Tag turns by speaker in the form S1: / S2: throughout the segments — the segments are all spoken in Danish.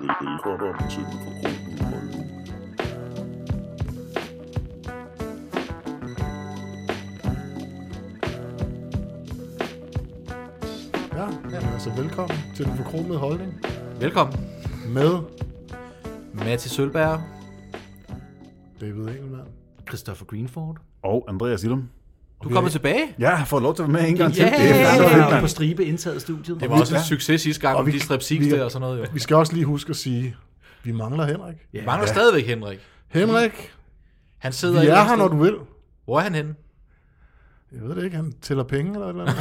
S1: Velkommen og tænder for kronen og røven.
S2: Ja, ja, altså velkommen til den forkromede holdning
S3: Velkommen,
S2: med
S3: Matti Sølberg,
S2: David Engelmann.
S3: Christopher Greenford.
S1: Og Andreas Illum.
S3: Du kommer tilbage.
S1: Ja, jeg har fået lov til at være med en gang til.
S3: Ja!
S1: Det er
S3: Ja,
S1: så fedt,
S4: Ja,
S1: mand.
S4: på stribe indtaget studiet.
S3: Det var også en
S1: Ja.
S3: succes sidste gang,
S2: Og
S3: om
S2: vi-
S3: de strapsiks
S2: vi-
S3: der og sådan noget jo.
S2: Vi skal også lige huske at sige, vi mangler Henrik.
S3: Vi mangler stadigvæk Henrik.
S2: Henrik,
S3: Han sidder
S2: vi
S3: et
S2: er
S3: eller
S2: her, når
S3: andet
S2: du vil.
S3: sted. Hvor er han henne?
S2: Jeg ved det ikke, han tæller penge eller et eller andet.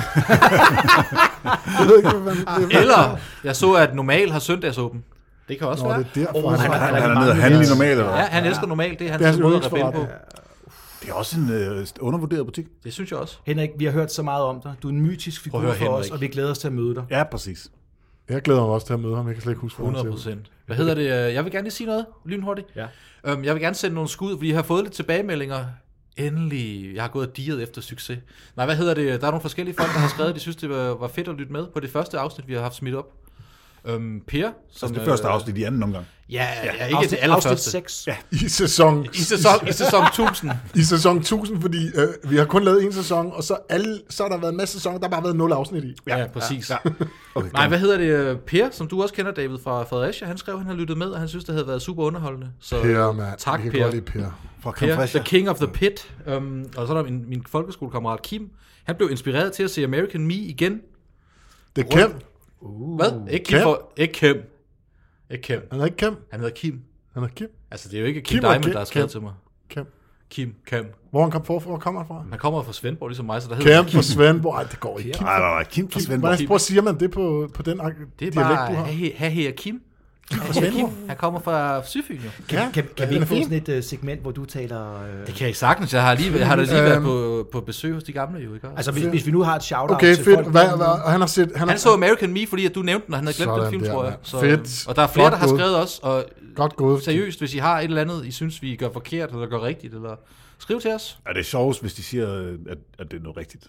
S2: jeg ved ikke, hvad man, det er,
S3: Eller, jeg så, at Normal har søndagsåben. Det kan også
S2: Nå,
S3: være.
S2: det er derfor,
S4: Åh,
S2: han
S1: Han
S2: er.
S1: er- Han er nede og handle normalt. Eller?
S3: Ja,
S1: hvad?
S3: han elsker normalt, det er
S2: Det er
S3: hans
S2: hans
S3: måde at rebelle på.
S2: yndlingsforret.
S1: Det er også en øh, undervurderet butik.
S3: Det synes jeg også.
S4: Henrik, vi har hørt så meget om dig. Du er en mytisk figur
S3: Prøv at
S4: for
S3: høre,
S4: os,
S3: Henrik.
S4: og vi glæder os til at møde dig.
S1: Ja, præcis.
S2: Jeg glæder mig også til at møde ham, jeg kan slet ikke huske, hvor han
S3: 100
S2: ser ud.
S3: procent. Hvad hedder det? Jeg vil gerne lige sige noget, lynhurtigt.
S4: Ja.
S3: Øhm, jeg vil gerne sende nogle skud, fordi jeg har fået lidt tilbagemeldinger. Endelig. Jeg har gået og diget efter succes. Nej, hvad hedder det? Der er nogle forskellige folk, der har skrevet, de synes, det var var fedt at lytte med på det første afsnit, vi har haft smidt op. Øhm, per,
S1: Så
S3: som...
S1: Altså, det første afsnit i anden omgang.
S3: Øh, ja, ja, ikke
S4: Afsnit-
S3: det allerførste.
S4: Afsnit 6.
S1: Ja.
S2: I sæson,
S3: I sæson, I sæson 1000.
S2: i sæson 1000, fordi øh, vi har kun lavet en sæson, og så, alle, så har der været en masse sæsoner, der har bare været nul afsnit i.
S3: Ja, præcis. Ja,
S1: Okay,
S3: Nej, hvad hedder det? Per, som du også kender, David fra Fredericia, han skrev, at han har lyttet med, og han synes, det havde været super underholdende. Så
S2: Per, mand.
S3: tak,
S2: jeg kan
S3: Per.
S2: godt lide Per.
S1: Fra
S3: Per,
S1: Camfrescia.
S3: The King of the Pit. Um, og så er der min, min folkeskolekammerat Kim. Han blev inspireret til at se American Me igen.
S2: Det er Kem.
S3: Hvad? Ikke Kim?
S2: Uh, Kim.
S3: For, ikke Kim. Ikke Kim.
S2: Han er ikke Kem.
S3: Han hedder Kim.
S2: Han er Kim.
S3: Altså, det er jo ikke Kim,
S2: Kim
S3: Kim
S2: og
S3: Diamond,
S2: Kim.
S3: der har skrevet
S2: Kim.
S3: til mig.
S2: Kem.
S3: Kim, Kim.
S2: Hvor han kom forfra, hvor kommer han fra?
S3: Han kommer fra Svendborg, ligesom mig, så der hedder
S2: Kæm for
S3: han Kim.
S2: Svendborg. Ej, det går ikke. Kim,
S1: Nej, nej, nej. Kim fra
S2: Kim,
S1: Svendborg.
S2: hvordan prøv, siger man det på, på den ak-
S3: Det er
S2: dialekt,
S3: bare
S2: du har? Uh.
S3: ha- ha- her Kim.
S2: Fra Svendborg?
S3: Han kommer fra Sydfyn, jo.
S2: Ja,
S4: Kan, kan, kan
S2: den
S4: vi ikke
S2: er
S4: få
S2: fin.
S4: sådan et øh, segment, hvor du taler... Øh...
S3: Det kan jeg sagtens. Jeg har lige, jeg har da lige
S2: Øhm.
S3: været på, på besøg hos de gamle, jo. Ikke? Altså,
S4: Altså, hvis, hvis vi nu har et shout-out
S2: Okay,
S4: til
S2: fedt.
S4: folk...
S2: Hvad, hvad, han har set... Han, har,
S3: han så American Me, fordi at du nævnte den, og han havde glemt
S2: Sådan
S3: den film,
S2: der,
S3: tror jeg.
S2: mand. Fedt.
S3: Og der er flere,
S2: Flot
S3: der har
S2: gået.
S3: skrevet også, og
S2: Godt gået.
S3: seriøst, hvis I har et eller andet, I synes, vi gør forkert, eller gør rigtigt, eller skriv til os.
S1: Er det sjovest, hvis de siger, øh, at, at det er noget rigtigt?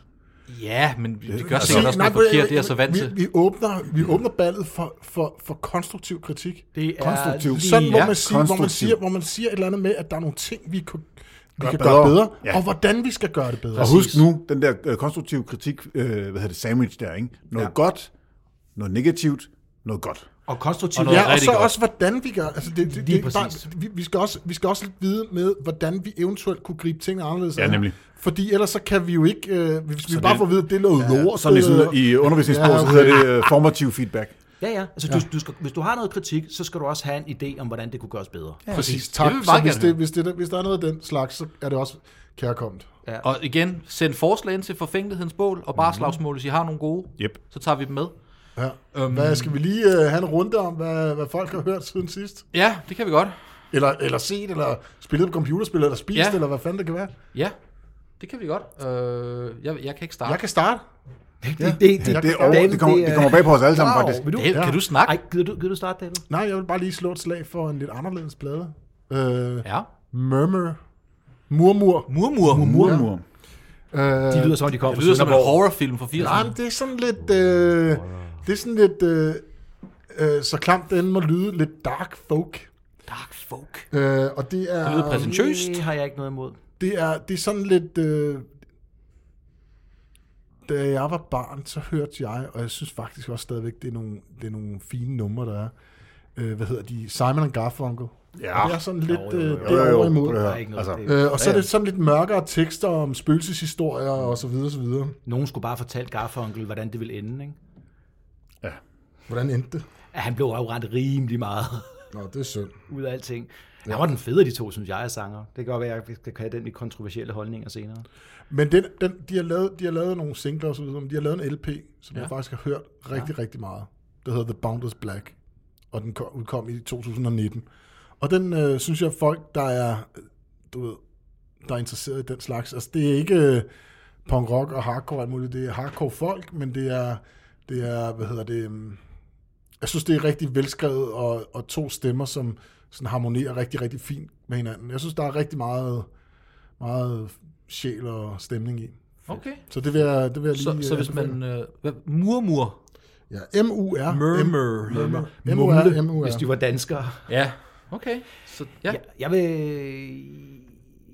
S3: Ja, men vi, vi gør
S1: altså-
S3: sikkert også noget
S2: prøv-
S3: forkert, det er jeg så vant
S2: vi,
S3: til.
S2: vi, åbner, vi åbner ballet for, for, for konstruktiv kritik.
S4: Det er
S1: Konstruktiv.
S4: lige-
S2: Sådan, hvor,
S1: Ja,
S2: man siger, hvor, man
S1: konstruktiv.
S2: siger, hvor man siger et eller andet med, at der er nogle ting, vi, kan, vi
S1: Gør
S2: kan
S1: bedre.
S2: gøre bedre,
S1: Ja.
S2: og hvordan vi skal gøre det bedre.
S1: Og
S3: Præcis.
S1: husk nu, den der øh, konstruktive kritik, øh, hvad hedder det, sandwich der, ikke? Noget ja. godt, noget negativt, noget godt.
S4: Og konstruktivt.
S3: Og noget-
S2: Ja, og
S3: rigtig
S2: så
S3: godt.
S2: også, hvordan vi gør. Altså, det, det, det,
S4: Lige
S2: er ikke
S4: præcis.
S2: bare, vi, vi, skal også, vi skal også lidt vide med, hvordan vi eventuelt kunne gribe tingene anderledes.
S1: Ja,
S2: an.
S1: nemlig.
S2: Fordi ellers så kan vi jo ikke, øh, hvis vi
S1: Så
S2: bare
S1: det-
S2: får at vide, at det er noget ja, lort.
S1: Sådan ligesom
S2: øh,
S1: i undervisningssprog,
S2: Ja,
S1: så hedder det øh, formativ feedback.
S4: Ja, ja. Altså, du, du skal, hvis du har noget kritik, så skal du også have en idé om, hvordan det kunne gøres bedre.
S2: Ja, præcis,
S3: Det
S2: tak.
S3: vil vi
S2: Så
S3: meget
S2: hvis,
S3: gerne
S2: det, hvis, det, hvis der er noget af den slags, så er det også kærkommet.
S3: Og igen, send forslag ind til forfængelighedens bål, og
S4: Mhm.
S3: bare slagsmål, hvis I har nogle gode,
S1: Yep.
S3: så tager vi dem med.
S2: Ja.
S3: Øhm.
S2: Hvad, skal vi lige øh, have en runde om, hvad, hvad folk har hørt siden sidst?
S3: Ja, det kan vi godt.
S2: Eller, eller set, eller spillet på computerspil, eller spist,
S3: Ja.
S2: ja. eller hvad fanden det kan være.
S3: Ja, det kan vi godt. Øh, jeg, jeg kan ikke starte.
S2: Jeg kan starte.
S4: Det, det,
S1: Det, er over, det, kommer, det kommer bag på os alle sammen, faktisk.
S4: Vil du?
S3: David,
S2: Ja.
S3: kan du snakke?
S4: Ej, gider du, gider du starte, David?
S2: Nej, jeg vil bare lige slå et slag for en lidt anderledes plade. Øh,
S3: Ja.
S2: Murmur. Murmur.
S3: Murmur. Murmur.
S1: Murmur.
S4: De lyder som om, de kommer
S3: Det lyder
S4: fra
S3: som en
S4: Sønderborg.
S3: horrorfilm fra
S2: Øh, Nej,
S3: 80'erne.
S2: men det er sådan lidt... Øh, det er sådan lidt... Øh, øh, så klamt det end må lyde. Lidt dark folk.
S3: Dark folk.
S2: Øh, og det er...
S3: Det lyder præsentøst.
S4: Det har jeg ikke noget imod.
S2: det er, det er sådan lidt... Øh, da jeg var barn, så hørte jeg, og jeg synes faktisk også stadigvæk, det er nogle, det er nogle fine numre, der er. Øh, hvad hedder de? Simon and Garfunkel.
S1: Ja.
S2: Og Det er sådan lidt
S4: jo, jo, jo.
S2: øh, derovre imod.
S1: prøv at høre.
S4: Der er ikke noget.
S1: Altså,
S2: Øh, og så er det sådan lidt mørkere tekster om spøgelseshistorier og så videre, så videre.
S4: Nogen skulle bare fortælle Garfunkel, hvordan det ville ende, ikke?
S1: ja.
S2: Hvordan endte det?
S4: At han blev røvrendt rimelig meget
S2: Nå, det er synd.
S4: ud af alting. Han var den fede af de to, synes jeg, er sanger. Det kan godt være, at jeg skal have den i kontroversielle holdninger senere.
S2: Men den, den, de, har lavet, de har lavet nogle singler og så videre, men de har lavet en LP, som ja. jeg faktisk har hørt rigtig, ja. rigtig meget. Der hedder The Boundless Black, og den kom, udkom i 2019. Og den øh, synes jeg, folk, der er, øh, du ved, der er interesseret i den slags, altså det er ikke øh, punk rock og hardcore og alt muligt, det er hardcore folk, men det er, det er hvad hedder det, øhm, jeg synes, det er rigtig velskrevet, og, og to stemmer, som sådan harmonerer rigtig, rigtig fint med hinanden. Jeg synes, der er rigtig meget, meget sjæl og stemning i.
S3: Okay.
S2: Så det vil jeg, det vil jeg lige...
S3: Så, så
S2: øh,
S3: hvis
S2: anbefale.
S3: man... Øh, hvad- murmur.
S2: Ja, M-U-R.
S3: Murmur.
S2: Murmur. M-U-R.
S4: Mumle,
S2: M-U-R.
S4: hvis de var danskere.
S3: Ja, okay. Så, ja.
S4: Ja. Jeg, vil,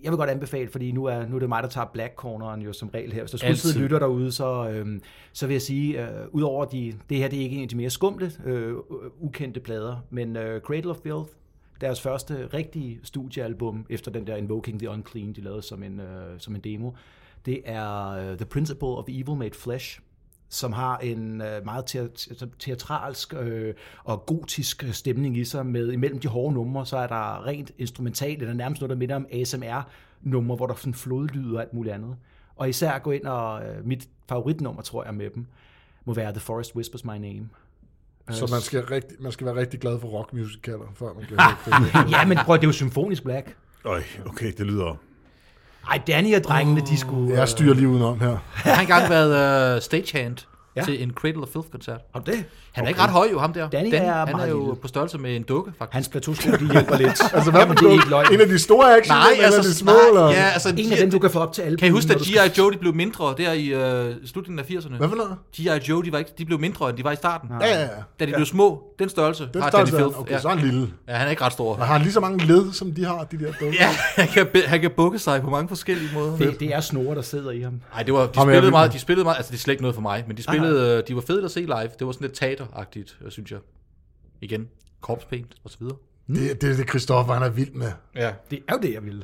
S4: jeg vil godt anbefale, fordi nu er, nu er det mig, der tager black corneren jo som regel her. Hvis der skulle
S3: Altid.
S4: sidde lytter derude, så, øhm, så vil jeg sige, øh, udover de, det her det er ikke en af de mere skumle, øh, ukendte plader, men øh, Cradle of Filth, deres første rigtige studiealbum efter den der Invoking the Unclean, de lavede som en, øh, som en demo, det er øh, The Principle of Evil Made Flesh, som har en øh, meget te- te- teatralsk øh, og gotisk øh, stemning i sig. Med imellem de hårde numre, så er der rent instrumentalt, eller nærmest noget, der minder om ASMR-numre, hvor der er sådan flodlyde og alt muligt andet. Og især gå ind og øh, mit favoritnummer, tror jeg, med dem, må være The Forest Whispers My Name.
S2: Så man skal, rigtig, man skal være rigtig glad for rockmusicaler, før man kan høre det.
S4: Ja, men prøv, det er jo symfonisk black.
S1: Øj, okay, det lyder...
S4: Ej, Danny og drengene, de skulle...
S2: Jeg styrer lige udenom her.
S3: Jeg har engang været uh, stagehand ja.
S4: Ja.
S3: til en Cradle of Filth-koncert.
S4: Har du det?
S3: Han er ikke ret høj jo, ham der.
S4: Danny
S3: Dan,
S4: er
S3: han er
S4: meget
S3: jo
S4: lille.
S3: på størrelse med en dukke, faktisk.
S4: Hans plateausko, de hjælper lidt. altså,
S2: hvad
S4: Jamen, det er ikke løgn.
S2: En af de store action, eller de små,
S3: nej,
S2: eller...
S3: ja, altså,
S4: En af dem, du kan få op til alle.
S3: Kan I huske, at G.I. Joe de blev mindre der i øh, slutningen af 80'erne?
S2: Hvad for noget?
S3: G.I. Joe, de, var ikke, de blev mindre, end de var i starten.
S2: Ja, ja, ja.
S3: Da de blev små, den størrelse
S2: Den
S3: har
S2: størrelse,
S3: Ah, Danny Filth.
S2: okay,
S3: ja.
S2: så er han lille.
S3: ja, han er ikke ret stor.
S2: Og har lige så mange led, som de har, de der dumme.
S3: Ja, han kan, be- han kan bukke sig på mange forskellige måder.
S4: Det, det er snore, der sidder i ham.
S3: Nej, det var, de
S2: Ham er
S3: spillede
S2: vild
S3: meget,
S2: med.
S3: de spillede meget, altså det er slet ikke noget for mig, men de spillede, øh, de var fede at se live, det var sådan lidt teateragtigt, øh, synes jeg. Igen, korpspaint og så videre.
S2: Hmm? Det, det er det, Christoffer, han er vild med.
S3: Ja.
S4: Det er jo det, jeg ville.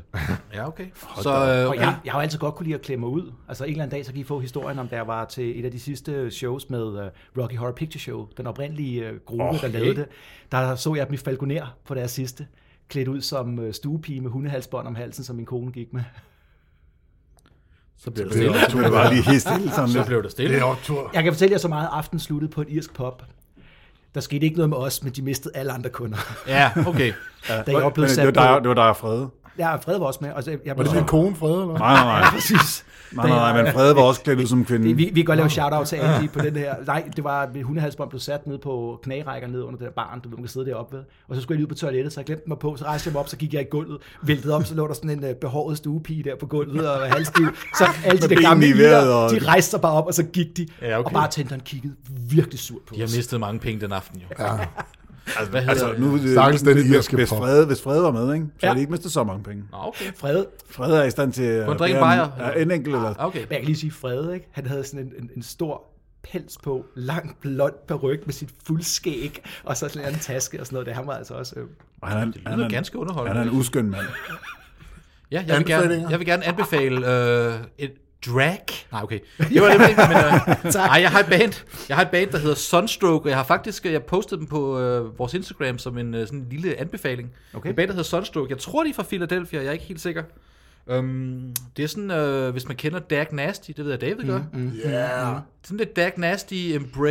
S3: Ja, okay. Så, øh,
S4: Og
S3: okay.
S4: jeg, jeg har jo altid godt kunne lide at klemme mig ud. Altså en eller anden dag, så kan I få historien om, da jeg var til et af de sidste shows med uh, Rocky Horror Picture Show, den oprindelige uh, gruppe,
S1: Åh,
S4: der lavede det. Der så jeg dem i Falconer på deres sidste, klædt ud som uh, stuepige med hundehalsbånd om halsen, som min kone gik med.
S3: så blev der
S1: Det
S3: stille.
S1: er du bare lige helt stille sådan
S3: Så
S1: lidt.
S3: blev der
S2: Det
S3: stille.
S2: er optur.
S4: Jeg kan fortælle jer så meget, at aftenen sluttede på et irsk pop. Der skete ikke noget med os, men de mistede alle andre kunder,
S3: Ja, okay.
S4: da jeg
S1: Men
S4: blev
S1: det
S4: sat
S1: var dig,
S4: på.
S1: det var dig og Frede.
S4: Ja, Fred var også med. Og så, jeg
S2: Var det din kone, Frede, eller?
S1: Nej, nej, nej.
S4: Præcis.
S1: Nej, nej, nej, men Frede var også klædt ud som kvinde.
S4: Det, vi, vi kan godt lave shout-out til Andy på den her. Nej, det var, at hundehalsbånd blev sat ned på knærækker ned under den der barn, du ved, man kan sidde deroppe ved. Og så skulle jeg lige ud på toilettet, så jeg glemte mig på, så rejste jeg mig op, så gik jeg i gulvet, væltede om, så lå der sådan en uh, behåret stuepige der på gulvet og var halvstiv. Så alle de
S1: benene
S4: der gamle
S1: i vejret
S4: iler,
S1: og-
S4: de rejste sig bare op, og så gik de.
S3: Ja, okay.
S4: Og bartenderen kiggede virkelig sur på
S3: De har
S4: os.
S3: mistet mange penge den aften, jo. Ja. Altså, hvad hedder
S1: Altså, nu,
S2: Stakkels den
S1: hvis-
S2: irske
S1: hvis,
S2: pop.
S1: Frede, hvis Frede var med, ikke? så ja.
S4: Ja.
S1: havde de ikke mistet så mange penge.
S3: Nå, okay.
S4: Fred,
S1: Frede er i stand til at
S3: Må jeg drikke en
S1: bære
S3: bajer?
S1: en, en enkelt eller...
S3: Okay.
S4: men jeg kan lige sige Fred, ikke? han havde sådan en, en, en stor pels på, lang blond peryk med sit fuldskæg, og så sådan en taske og sådan noget. Det han var altså også... Øh,
S1: Og Han er, det
S3: lyder ganske underholdende.
S1: Han er en uskøn mand.
S3: Ja, jeg vil, gerne,
S2: Anbefalinger?
S3: jeg vil gerne anbefale øh, et drag. Nej, okay. Det var det, men, øh,
S4: Tak.
S3: nej, jeg har et band. Jeg har et band, der hedder Sunstroke, og jeg har faktisk øh, jeg postet dem på øh, vores Instagram som en øh, sådan en lille anbefaling. Okay.
S4: Okay.
S3: Et band, der hedder Sunstroke. Jeg tror, de er fra Philadelphia, jeg er ikke helt sikker. Um, det er sådan, øh, hvis man kender Dag Nasty, det ved jeg, David gør. Mm, mm.
S2: Ja.
S3: Sådan lidt Dag Nasty,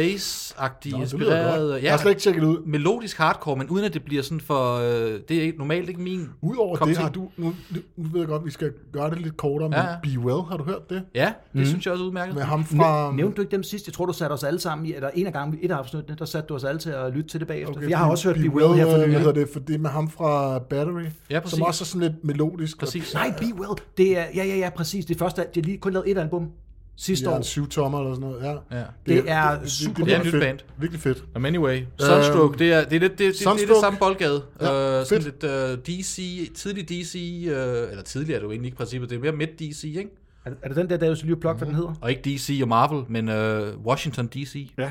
S3: Embrace-agtig,
S2: Det lyder
S3: inspireret.
S2: godt. Jeg har slet ikke tjekket det ud.
S3: melodisk hardcore, men uden at det bliver sådan for... Øh, det er ikke, normalt ikke min...
S2: Udover
S3: kop
S2: det
S3: te.
S2: har du, nu, nu ved jeg godt, vi skal gøre det lidt kortere, men
S3: Ja, ja.
S2: Be Well, har du hørt det?
S3: Ja, det mm. synes jeg også er udmærket.
S2: Med ham fra...
S4: Fra... Nævnte du ikke dem sidst? Jeg tror, du satte os alle sammen i, eller en af gangen, et af afsnittene, der satte du os alle til at lytte til det bagefter. Okay, jeg har også hørt Be Well her for
S2: øh, Hvad hedder
S4: nylig.
S2: det? For det er med ham fra Battery,
S3: Ja, præcis.
S2: som også er sådan lidt melodisk.
S3: Præcis.
S4: Nej, Be Well. Det er, ja, ja, ja, præcis. Det første, de har lige kun lavet et album sidste
S2: Ja, altså-
S4: år.
S2: en syv tommer eller sådan noget. Ja.
S3: Ja.
S4: Det er super-
S3: Det er et nyt
S2: fedt.
S3: band.
S2: Virkelig fedt.
S3: Nå, Men anyway, Sunstroke, det
S1: Øhm,
S3: er det, er lidt, det, det, det, det er det
S2: Sunstroke.
S3: samme boldgade. Ja,
S2: Ja,
S3: øh, sådan lidt øh, DC, tidlig DC, øh, eller tidligere er det jo egentlig ikke i princippet, det er mere midt DC, ikke?
S4: Er, er det den der, der er lige plug,
S2: Mhm.
S4: hvad den hedder?
S3: Og ikke DC og Marvel, men øh, Washington DC.
S1: Ja.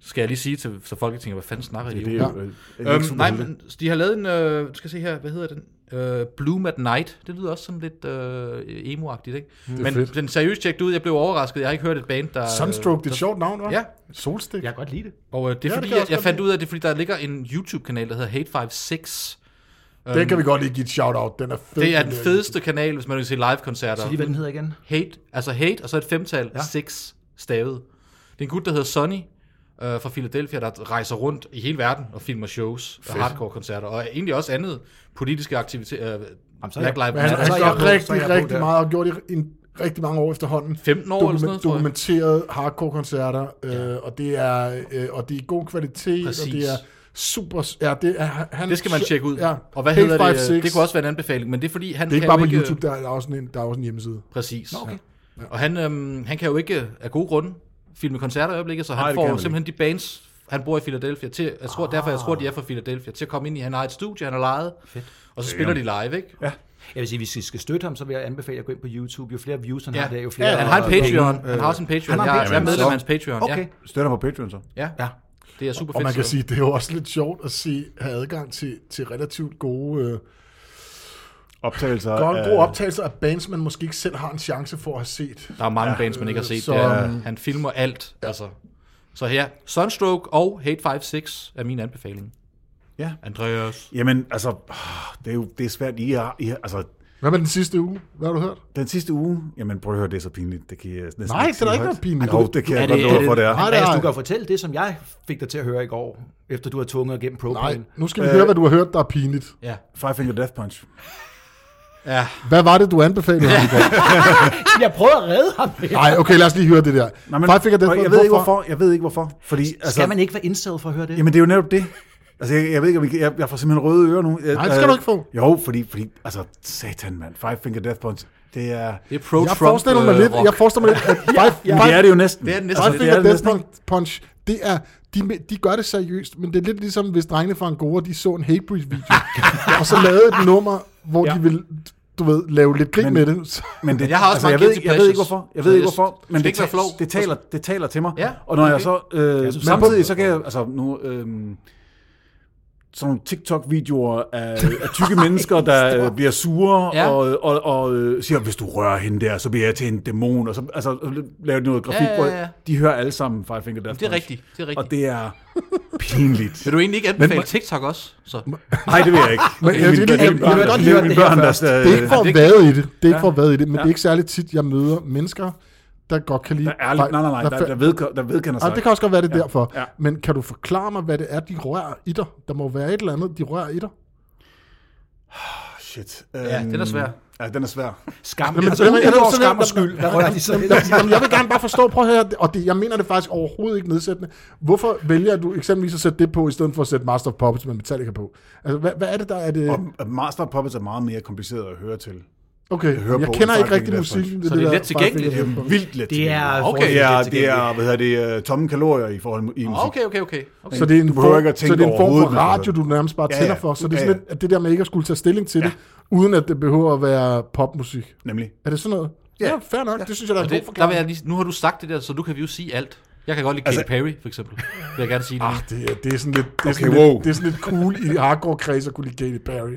S3: Så skal jeg lige sige til så folk tænker, hvad fanden snakker I
S1: Det er
S3: om?
S1: jo øh, ikke
S3: Øhm,
S1: super
S3: nej,
S1: heldigt.
S3: men de har lavet en, øh, skal jeg se her, hvad hedder den? Øh, Bloom at Night. Det lyder også sådan lidt øh, emo-agtigt, ikke?
S1: Mm.
S3: Men
S2: fedt.
S3: den seriøst tjekket ud, jeg blev overrasket. Jeg har ikke hørt et band, der...
S2: Sunstroke, det er et sjovt navn, hva'?
S3: Øh, Ja.
S2: Solstik.
S4: Jeg kan godt lide det.
S3: Og øh, det
S2: Ja,
S3: er
S2: det
S3: ja, fordi,
S2: kan
S3: det
S2: jeg
S3: jeg,
S2: også
S3: jeg
S2: godt
S3: fandt
S2: lide.
S3: ud af, at det er fordi, der ligger en YouTube-kanal, der hedder Hate56.
S2: Den kan vi godt lige give et shout-out. Den er fed.
S3: Det er Øhm, den
S2: der.
S3: fedeste kanal, hvis man vil se
S4: Så lige,
S3: live-koncerter.
S4: hvad den hedder igen.
S3: Hate, altså hate, og så et femtal, ja.
S4: Ja.
S3: seks stavet. Det er en gut, der hedder Sonny øh, fra Philadelphia, der rejser rundt i hele verden og filmer shows og hardcore-koncerter, og egentlig også andet politiske aktiviteter. Øh,
S4: så er jeg-
S3: Black Lives
S2: Men han,
S3: Matter.
S4: så
S2: han
S4: er
S2: gør
S4: jeg på, så er
S2: rigtig,
S4: jeg på
S2: rigtig
S4: der.
S2: meget, og gjort det i en, rigtig mange år efterhånden.
S3: 15 år eller sådan noget, tror jeg.
S2: Dokumenteret hardcore-koncerter, øh, og det er øh, og det er god kvalitet,
S3: Præcis.
S2: og det er super... Ja, det, er, han,
S3: Det skal man tjekke ud.
S2: Ja,
S3: og hvad
S2: Hate
S3: hedder det?
S2: 56.
S3: Det kunne også være en anbefaling, men det er fordi, han
S2: Det er ikke
S3: kan
S2: bare på
S3: jo ikke, øh-
S2: YouTube, der er, der er, også, en, der er også en hjemmeside.
S3: Præcis.
S4: okay.
S3: Ja. Og han, øhm, han kan jo ikke af gode grunde filme koncerter i øjeblikket, så han
S1: Nej,
S3: Nej,
S1: det kan
S3: får
S1: han
S3: simpelthen de bands, han bor i Philadelphia, til, jeg tror, ah. derfor jeg tror, de er fra Philadelphia, til at komme ind i, han har et studie, han har lejet, Fedt. og så spiller de live, ikke? Ja,
S4: Jeg vil sige, hvis I skal støtte ham, så vil jeg anbefale at gå ind på YouTube. Jo flere views han
S3: ja.
S4: har der, jo flere...
S3: han har en
S4: penge.
S3: Patreon, han har også en Patreon,
S4: han har en
S3: jeg, jeg er
S4: Patreon.
S3: medlem af
S1: Så-
S3: hans Patreon,
S4: Okay.
S1: Støtter på Patreon så.
S3: ja. ja.
S4: Ja.
S3: Det er super fedt.
S2: Og man kan
S3: så-
S2: sige, det er jo også lidt sjovt at se, have adgang til, til relativt gode, øh,
S1: Optagelser.
S2: gode,
S1: af-
S2: gode optagelser af bands, man måske ikke selv har en chance for at have set.
S3: Der er mange ja, bands, man ikke har set.
S2: så-
S3: Så, ja. Han filmer alt. Ja. Altså. Så her, Sunstroke og Hate 5-6 er min anbefaling.
S1: Ja.
S3: Andreas.
S1: Jamen, altså, ah, det er jo det er svært. I har, I har, altså,
S2: Hvad med den sidste uge? Hvad har du hørt?
S1: den sidste uge, jamen prøv at høre, det er så pinligt. Det kan jeg næsten
S2: Nej, det er da
S1: sige
S2: ikke
S1: højt.
S2: noget pinligt.
S1: Jo,
S2: Du-
S1: det kan jeg
S4: Er det-
S1: godt
S4: er
S1: love
S4: det-
S1: for, det er.
S2: Nej, det
S4: Andreas,
S2: er-
S4: du kan jo fortælle det, som jeg fik dig til at høre i går, efter du har tunget igennem
S2: Nej,
S4: propane.
S2: nu
S1: Øh,
S2: skal vi høre, hvad du har hørt, der er pinligt.
S3: Ja.
S1: Five Finger Death Punch.
S3: ja.
S2: Hvad var det, du anbefalede ham i går?
S4: Jeg prøvede at redde ham.
S2: Nej, okay, lad os lige høre det der.
S1: Nej, men,
S2: Five Finger Death
S1: og jeg
S2: Punch,
S1: ved ikke hvorfor. Jeg ved ikke hvorfor. Fordi, altså,
S4: Skal man ikke være indsat for at høre det?
S1: Jamen, det er jo netop det. Altså, jeg, jeg ved ikke, om I kan- jeg, jeg får simpelthen røde ører nu. Jeg,
S2: Nej, det skal
S1: øh,
S2: du ikke få.
S1: Jo, fordi, fordi altså, satan, mand. Five Finger Death Punch, det er...
S3: Det er pro-Trump
S2: Jeg forestiller mig
S3: øh,
S2: lidt,
S3: rock.
S2: jeg forestiller mig lidt at Five,
S1: Ja.
S2: Five,
S1: Det er det jo næsten.
S3: Det er det næsten.
S2: Five
S3: Altså,
S1: det
S2: Finger
S1: er det
S2: Death
S1: næsten.
S2: Punch, punch, det er, de, de gør det seriøst, men det er lidt ligesom, hvis drengene fra Angora, de så en Hatebreed-video, og så lavede et nummer, hvor
S1: Ja.
S2: ja. de ville, du ved, lave lidt grin
S1: Men-
S2: med det. Så,
S1: Men det, altså,
S3: Jeg har også
S1: jeg,
S3: mange
S1: ved,
S3: guilty
S1: jeg ved ikke
S3: pleasures.
S1: hvorfor. Jeg
S3: Så
S1: ved ikke
S3: det-
S1: hvorfor,
S3: skal
S1: men det,
S3: ikke være
S1: ta-
S3: flov.
S1: det, taler, det taler til mig.
S3: Ja,
S1: og når jeg
S3: okay.
S1: så øh, men
S4: synes,
S1: samtidig
S4: det er
S1: så kan jeg altså nu øh, sådan nogle TikTok-videoer af, af tykke mennesker, der øh, bliver sure
S3: Ja.
S1: ja. og, og, og øh, siger, hvis du rører hende der, så bliver jeg til en dæmon, og så altså, laver de noget grafik,
S3: Ja, ja,
S1: hvor
S3: ja.
S1: de hører alle sammen Five Finger Death
S3: Det er
S1: Punch.
S3: rigtigt, det er rigtigt.
S1: Og det er pinligt.
S3: Vil du egentlig ikke anbefale TikTok også? Så.
S1: Nej, det vil jeg ikke. Men
S2: jeg vil lige- jeg vil
S4: godt lige høre det her først.
S1: der,
S2: det er ikke for
S3: det
S2: at
S3: ikke-
S2: vade i det, det er ikke for at vade i det, men det er ikke særlig tit, jeg møder mennesker, der godt kan lide...
S1: der er, nej, nej, nej, der, der, ved, der vedkender sig.
S2: Ah, det kan også godt være det ja. derfor.
S1: Ja.
S2: Ja. Men kan du forklare mig, hvad det er, de rører i dig? Der må være et eller andet, de rører i dig.
S1: Shit.
S3: Ja,
S1: Øhm,
S3: den er svær.
S1: Ja, den er svær.
S4: Skam.
S2: Jamen,
S4: Altså,
S2: jamen,
S4: jeg
S2: jamen,
S4: ved,
S2: sådan
S4: skam
S2: er-
S4: og skyld. Hvad rører de så? ved?
S2: Jamen, jeg vil gerne bare forstå, prøv at høre, og det, jeg mener det faktisk overhovedet ikke nedsættende. Hvorfor vælger du eksempelvis at sætte det på, i stedet for at sætte Master of Puppets med Metallica på? Altså, hvad, hvad er det, der er det...
S1: Og Master of Puppets er meget mere kompliceret at høre til.
S2: Okay, jeg,
S1: hører
S2: jeg
S1: på
S2: kender
S1: en
S2: ikke
S1: fucking
S2: rigtig
S1: Death Punch.
S2: musikken.
S3: Så det er
S2: der
S3: let tilgængeligt.
S2: Five Finger Death Punch.
S1: Vildt let
S4: Det er
S1: tilgængeligt.
S3: Øhm, Okay.
S1: det er,
S4: forholdsvis
S1: det er,
S4: tilgængeligt.
S1: hvad hedder det, øh, tomme kalorier i forhold i musik.
S3: Ah, Okay, okay, okay. okay.
S2: Så det er en
S1: Du behøver
S2: form,
S1: ikke at tænke
S2: så det er en form
S1: overhovedet,
S2: for radio,
S1: hvis du-
S2: du nærmest bare
S1: Ja, ja.
S2: tænder for. Så det er
S1: Ja,
S2: sådan
S1: ja.
S2: lidt, at det der med ikke at skulle tage stilling til det, uden at det behøver at være popmusik.
S1: Nemlig.
S2: Er det sådan noget? Ja, fair nok. Det synes jeg, der er en god
S3: det, der vil
S2: forklaring.
S3: jeg lige, nu har du sagt det der, så du kan vi jo sige alt. Jeg kan godt lide altså,
S1: Altså-
S3: Katy Perry, for eksempel. Vil jeg gerne sige det. Ah,
S2: Det er, det er sådan lidt, det er,
S1: Okay,
S2: sådan
S1: wow.
S2: lidt, det er sådan lidt cool i hardcore kreds at kunne lide Katy Perry.
S3: med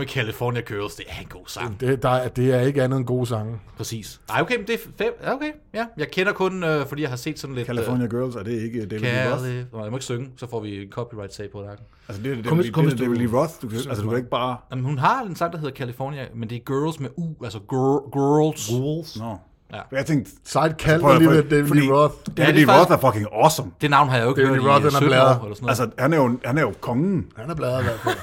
S3: Ah, California Girls, det er en god sang.
S2: Det, der, er- det er ikke andet end gode sange.
S3: Præcis. Ej, okay, men det er fem. Ja, okay, ja. Jeg kender kun, øh, fordi jeg har set sådan lidt...
S1: California Girls, er det ikke David
S3: Øh,
S1: Lee Roth?
S3: Cali... Nå, jeg må ikke synge, så får vi en copyright-sag på nakken.
S1: Altså, det er det,
S4: Kom-
S1: David-
S4: kom,
S1: det er
S4: hvis du-
S1: David Lee Roth. Du kan, altså, du kan ikke bare...
S3: Jamen, hun har en sang, der hedder California, men det er Girls med U, altså gir- Girls.
S4: Rules.
S1: Nå.
S3: Ja.
S1: Jeg tænkte...
S2: Sejt kald
S1: Altså, Prøv at-
S2: lige lidt
S1: fordi-
S2: David Lee Roth.
S1: David
S3: det er
S1: Lee Roth
S3: faktisk-
S1: er fucking awesome.
S3: Det navn har jeg jo ikke
S2: David
S3: hørt i
S2: Roth,
S3: øh,
S2: den er
S3: 17 år, eller
S2: bladret.
S3: sådan noget.
S1: Altså, han er jo, han er jo kongen.
S2: Han er bladet i hvert fald.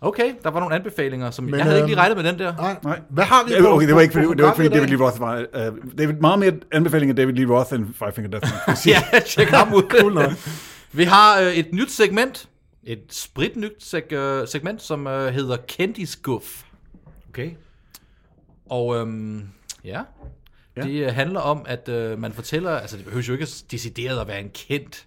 S3: Okay, der var nogle anbefalinger, som
S2: Men,
S3: jeg havde
S2: øhm,
S3: ikke lige regnet med den der.
S2: Nej.
S1: Nej.
S2: Hvad har vi
S1: Ja, Okay, det var ikke,
S2: på
S1: fordi, det var ikke, fordi
S2: programmet i
S1: David Lee
S2: dag?
S1: Roth var... Uh, David, meget mere anbefaling af David Lee Roth end Five Finger Death Punch.
S3: Ja, tjek ham ud. Vi har øh, et nyt segment, et spritnyt seg- øh, segment, som øh, hedder Kendisguf.
S4: Okay.
S3: Og øhm, ja, ja, det øh, handler om, at øh, man fortæller, altså det behøver jo ikke at decideret at være en kendt,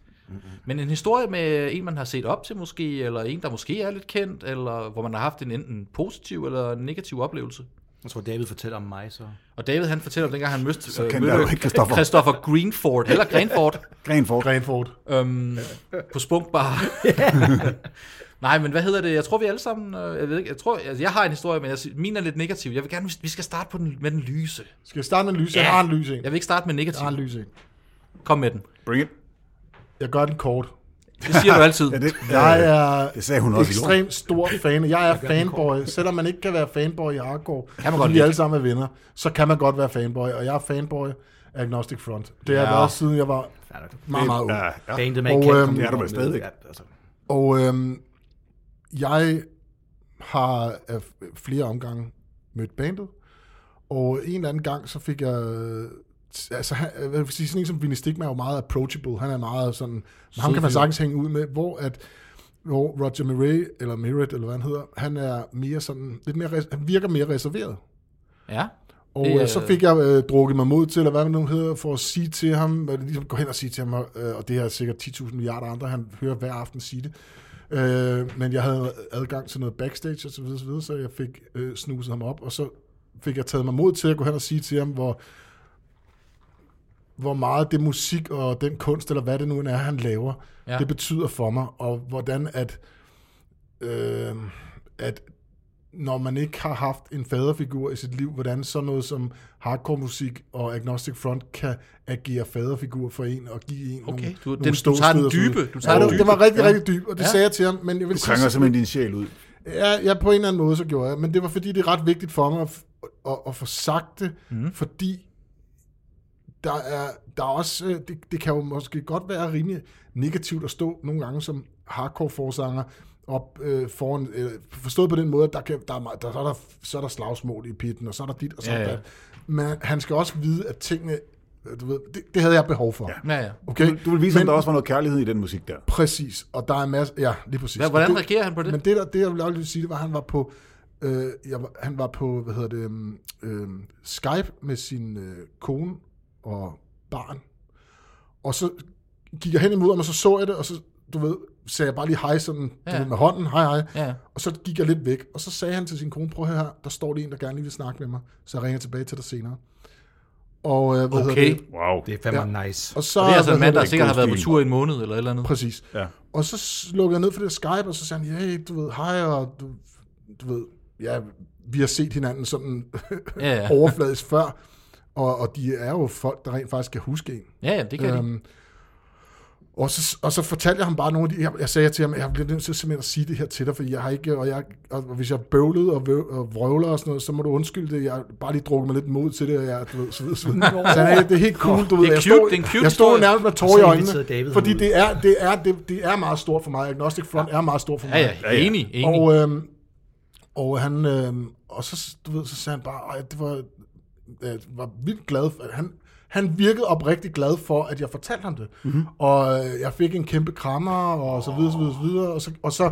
S3: men en historie med en, man har set op til måske, eller en, der måske er lidt kendt, eller hvor man har haft en enten positiv eller negativ oplevelse.
S4: Jeg tror, David fortæller om mig, så...
S3: Og David han fortæller, om dengang han mødte
S1: kendte jeg jo ikke Christoffer.
S3: Christopher Greenford, eller Greenford,
S1: Grenford.
S2: Grenford.
S3: Øhm, på spunkbar. Nej, men hvad hedder det? Jeg tror, vi alle sammen... øh, Jeg ved ikke, jeg tror... Altså, jeg har en historie, men jeg, sy- min er lidt negativ. Jeg vil gerne... Vi skal starte på den, med den lyse.
S2: Skal jeg starte med en lys? Jeg har en lys en.
S3: Jeg vil ikke starte med
S2: Jeg har en
S3: negativ.
S2: lys en.
S3: Kom med den.
S1: Bring it.
S2: Jeg gør den kort.
S3: Det siger du altid.
S1: Ja, det,
S2: Jeg
S1: øh,
S2: er
S1: det sagde hun også i går.
S2: ekstremt stor fan. Jeg er fanboy. Selvom man ikke kan være fanboy i hardcore,
S3: Kan man godt
S2: fordi vi
S3: lide.
S2: alle sammen er venner, så kan man godt være fanboy. Og jeg er fanboy af Agnostic Front. Det har jeg
S3: Ja.
S2: været siden jeg var meget, meget ung.
S1: Ja, ja.
S4: Bandet, man
S2: Og,
S4: ikke kan
S2: øhm,
S4: komme
S1: det er du
S4: ud
S1: vel
S4: med.
S1: stadigvæk.
S4: Ja, altså.
S2: Og øhm, jeg har af flere omgange mødt bandet, og en eller anden gang, så fik jeg... øh, Altså, han, hvad vil jeg sige, sådan en som Vinny Stigma er jo meget approachable. Han er meget sådan... ham kan man sagtens hænge ud med, hvor at hvor Roger Murray, eller Merritt, eller hvad han hedder, han er mere sådan, lidt mere, res- han virker mere reserveret.
S3: Ja.
S2: Og
S3: Det,
S2: det,
S3: øh,
S2: øh, så fik jeg øh, drukket mig mod til, eller hvad det nu hedder, for at sige til ham, eller ligesom gå hen og sige til ham, og, øh, og det her er sikkert 10.000 milliarder andre, han hører hver aften sige det. Øh, men jeg havde adgang til noget backstage og så videre, så, videre, så jeg fik øh, snuset ham op, og så fik jeg taget mig mod til at gå hen og sige til ham, hvor, hvor meget det musik og den kunst, eller hvad det nu end er, han laver,
S3: Ja.
S2: ja. det betyder for mig, og hvordan at, øh, at når man ikke har haft en faderfigur i sit liv, hvordan sådan noget som hardcore musik og agnostic front kan agere faderfigur for en og give en
S3: Okay,
S2: nogle,
S3: du-
S2: nogle
S3: den- du tager den
S2: ståsteder for en.
S3: dybe, du tager
S2: ja,
S3: den
S2: det,
S3: dybe.
S2: det var rigtig,
S3: Ja.
S2: rigtig dyb, og det
S3: Ja.
S2: ja. sagde jeg til ham, men jeg vil
S1: Du krænger simpelthen din sjæl ud.
S2: Ja, ja, på en eller anden måde, så gjorde jeg. Men det var, fordi det er ret vigtigt for mig at, f- at, at få sagt det,
S3: Mhm.
S2: mm. fordi der er, der er også, øh, det, det kan jo måske godt være rimelig negativt at stå nogle gange som hardcore-forsanger op øh, foran, øh, forstået på den måde, at der kan, der er, meget- der, så, er der, så er der slagsmål i pitten, og så er der dit, og så er
S3: Ja,
S2: der
S3: ja.
S2: ja, Men han skal også vide, at tingene, øh, du ved, det, det havde jeg behov for.
S3: Ja, ja.
S2: Okay?
S1: Du vil vise, at
S2: Men-
S1: der også var noget kærlighed i den musik der.
S2: Præcis, og der er masser, ja, lige præcis.
S3: Hvad- hvordan
S2: Og
S3: reagerer han på det?
S2: Men det, der, det jeg ville også lige sige, det var, at han var på, øh, jeg, var- han var på, hvad hedder det, øhm, øh, Skype med sin øh, kone og barn, og så gik jeg hen imod ham, og så så jeg det, og så, du ved, sagde jeg bare lige hej sådan,
S3: Ja.
S2: ja. med hånden, hej hej,
S3: Ja.
S2: og så gik jeg lidt væk, og så sagde han til sin kone, prøv at høre her, der står lige en, der gerne lige vil snakke med mig, så jeg ringer tilbage til dig senere. Og, øh, hvad
S3: Okay.
S2: hedder det?
S1: Wow.
S4: Det er fandme ja. nice.
S2: Og så,
S3: Og det er altså en
S2: hvad
S3: mand,
S2: hedder
S3: der
S2: det?
S3: sikkert har været på
S1: stil.
S3: tur i en måned eller et eller andet.
S2: Præcis.
S1: Ja.
S2: Og så slukkede jeg ned for det Skype, og så sagde han, hey, du ved, hej, og du, du ved, ja, vi har set hinanden sådan
S3: Ja, ja.
S2: overfladisk før, og, og de er jo folk, der rent faktisk kan huske en.
S3: Ja, ja, det kan de.
S2: Øhm, og så, og så fortalte jeg ham bare nogle af de... Jeg, jeg sagde til ham, jeg bliver nødt til simpelthen at sige det her til dig, for jeg har ikke... Og, jeg, og hvis jeg bøvlede og, vøv, og vrøvler og sådan noget, så må du undskylde det. Jeg har bare lige drukket mig lidt mod til det, og jeg... Du ved, så videre, så videre. så han, er- det er helt cool, du ved.
S3: Det er
S2: jeg
S3: cute,
S2: stod,
S3: det er en cute
S2: jeg stod
S3: historie.
S2: nærmest med
S4: Og
S2: tårer i
S4: så inviterede David
S2: øjnene, fordi
S4: ham ud.
S2: det er, det, er, det, det er meget stort for mig. Agnostic Front er meget stort for
S3: Ja,
S2: mig.
S3: ja,
S1: ja.
S3: enig, enig.
S2: Og, øhm, og han, øhm, og så, du ved, så sagde han bare, at det var, øh, var vildt glad for, han, han virkede oprigtigt glad for, at jeg fortalte ham det. Mm-hmm. Og øh, jeg fik en kæmpe krammer, og så videre, så videre, så videre, og så, og så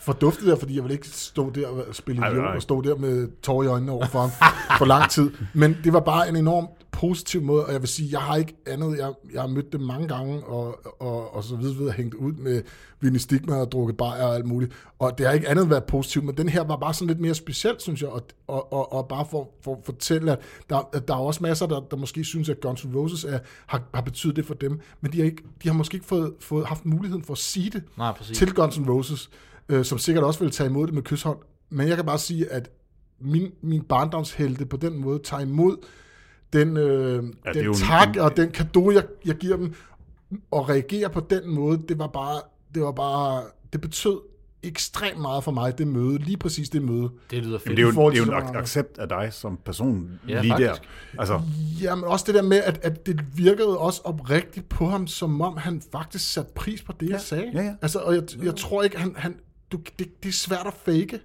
S2: forduftede jeg, fordi jeg ville ikke stå der og spille
S1: Ej,
S2: idiot,
S1: nej.
S2: og stå der med tårer i øjnene over for ham for lang tid. Men det var bare en enorm positiv måde, og jeg vil sige, jeg har ikke andet, jeg, jeg har mødt dem mange gange, og, og, og så videre, videre hængt ud med Vinnie Stigma og drukket bajer og alt muligt, og det har ikke andet været positivt, men den her var bare sådan lidt mere speciel, synes jeg, og, og, og, og bare for, for at fortælle, at der, at der er også masser, der, der måske synes, at Guns N' Roses er, har, har betydet det for dem, men de har, ikke, de har måske ikke fået, fået, haft muligheden for at sige det
S3: Nej, præcis.
S2: til Guns N' Roses, øh, som sikkert også vil tage imod det med kysshånd. Men jeg kan bare sige, at min, min barndomshelte på den måde tager imod den, øh,
S1: er
S2: den
S1: jo en-
S2: tak
S1: en-
S2: og den kado, jeg, jeg giver dem, og reagerer på den måde, det var bare, det var bare, det betød ekstremt meget for mig, det møde, lige præcis det møde.
S3: Det lyder
S1: Jamen,
S3: fedt.
S1: det er jo,
S2: I forhold
S1: det er
S2: til
S1: jo en
S2: så mange
S1: ak-
S2: andre.
S1: accept af dig som person
S3: Ja,
S1: ja, lige
S3: faktisk.
S1: der. Altså,
S2: Ja, men også det der med, at, at det virkede også oprigtigt på ham, som om han faktisk satte pris på det, ja. jeg sagde.
S1: ja, ja.
S2: Altså, og jeg, jeg tror ikke, han, han du, det, det er svært at fake.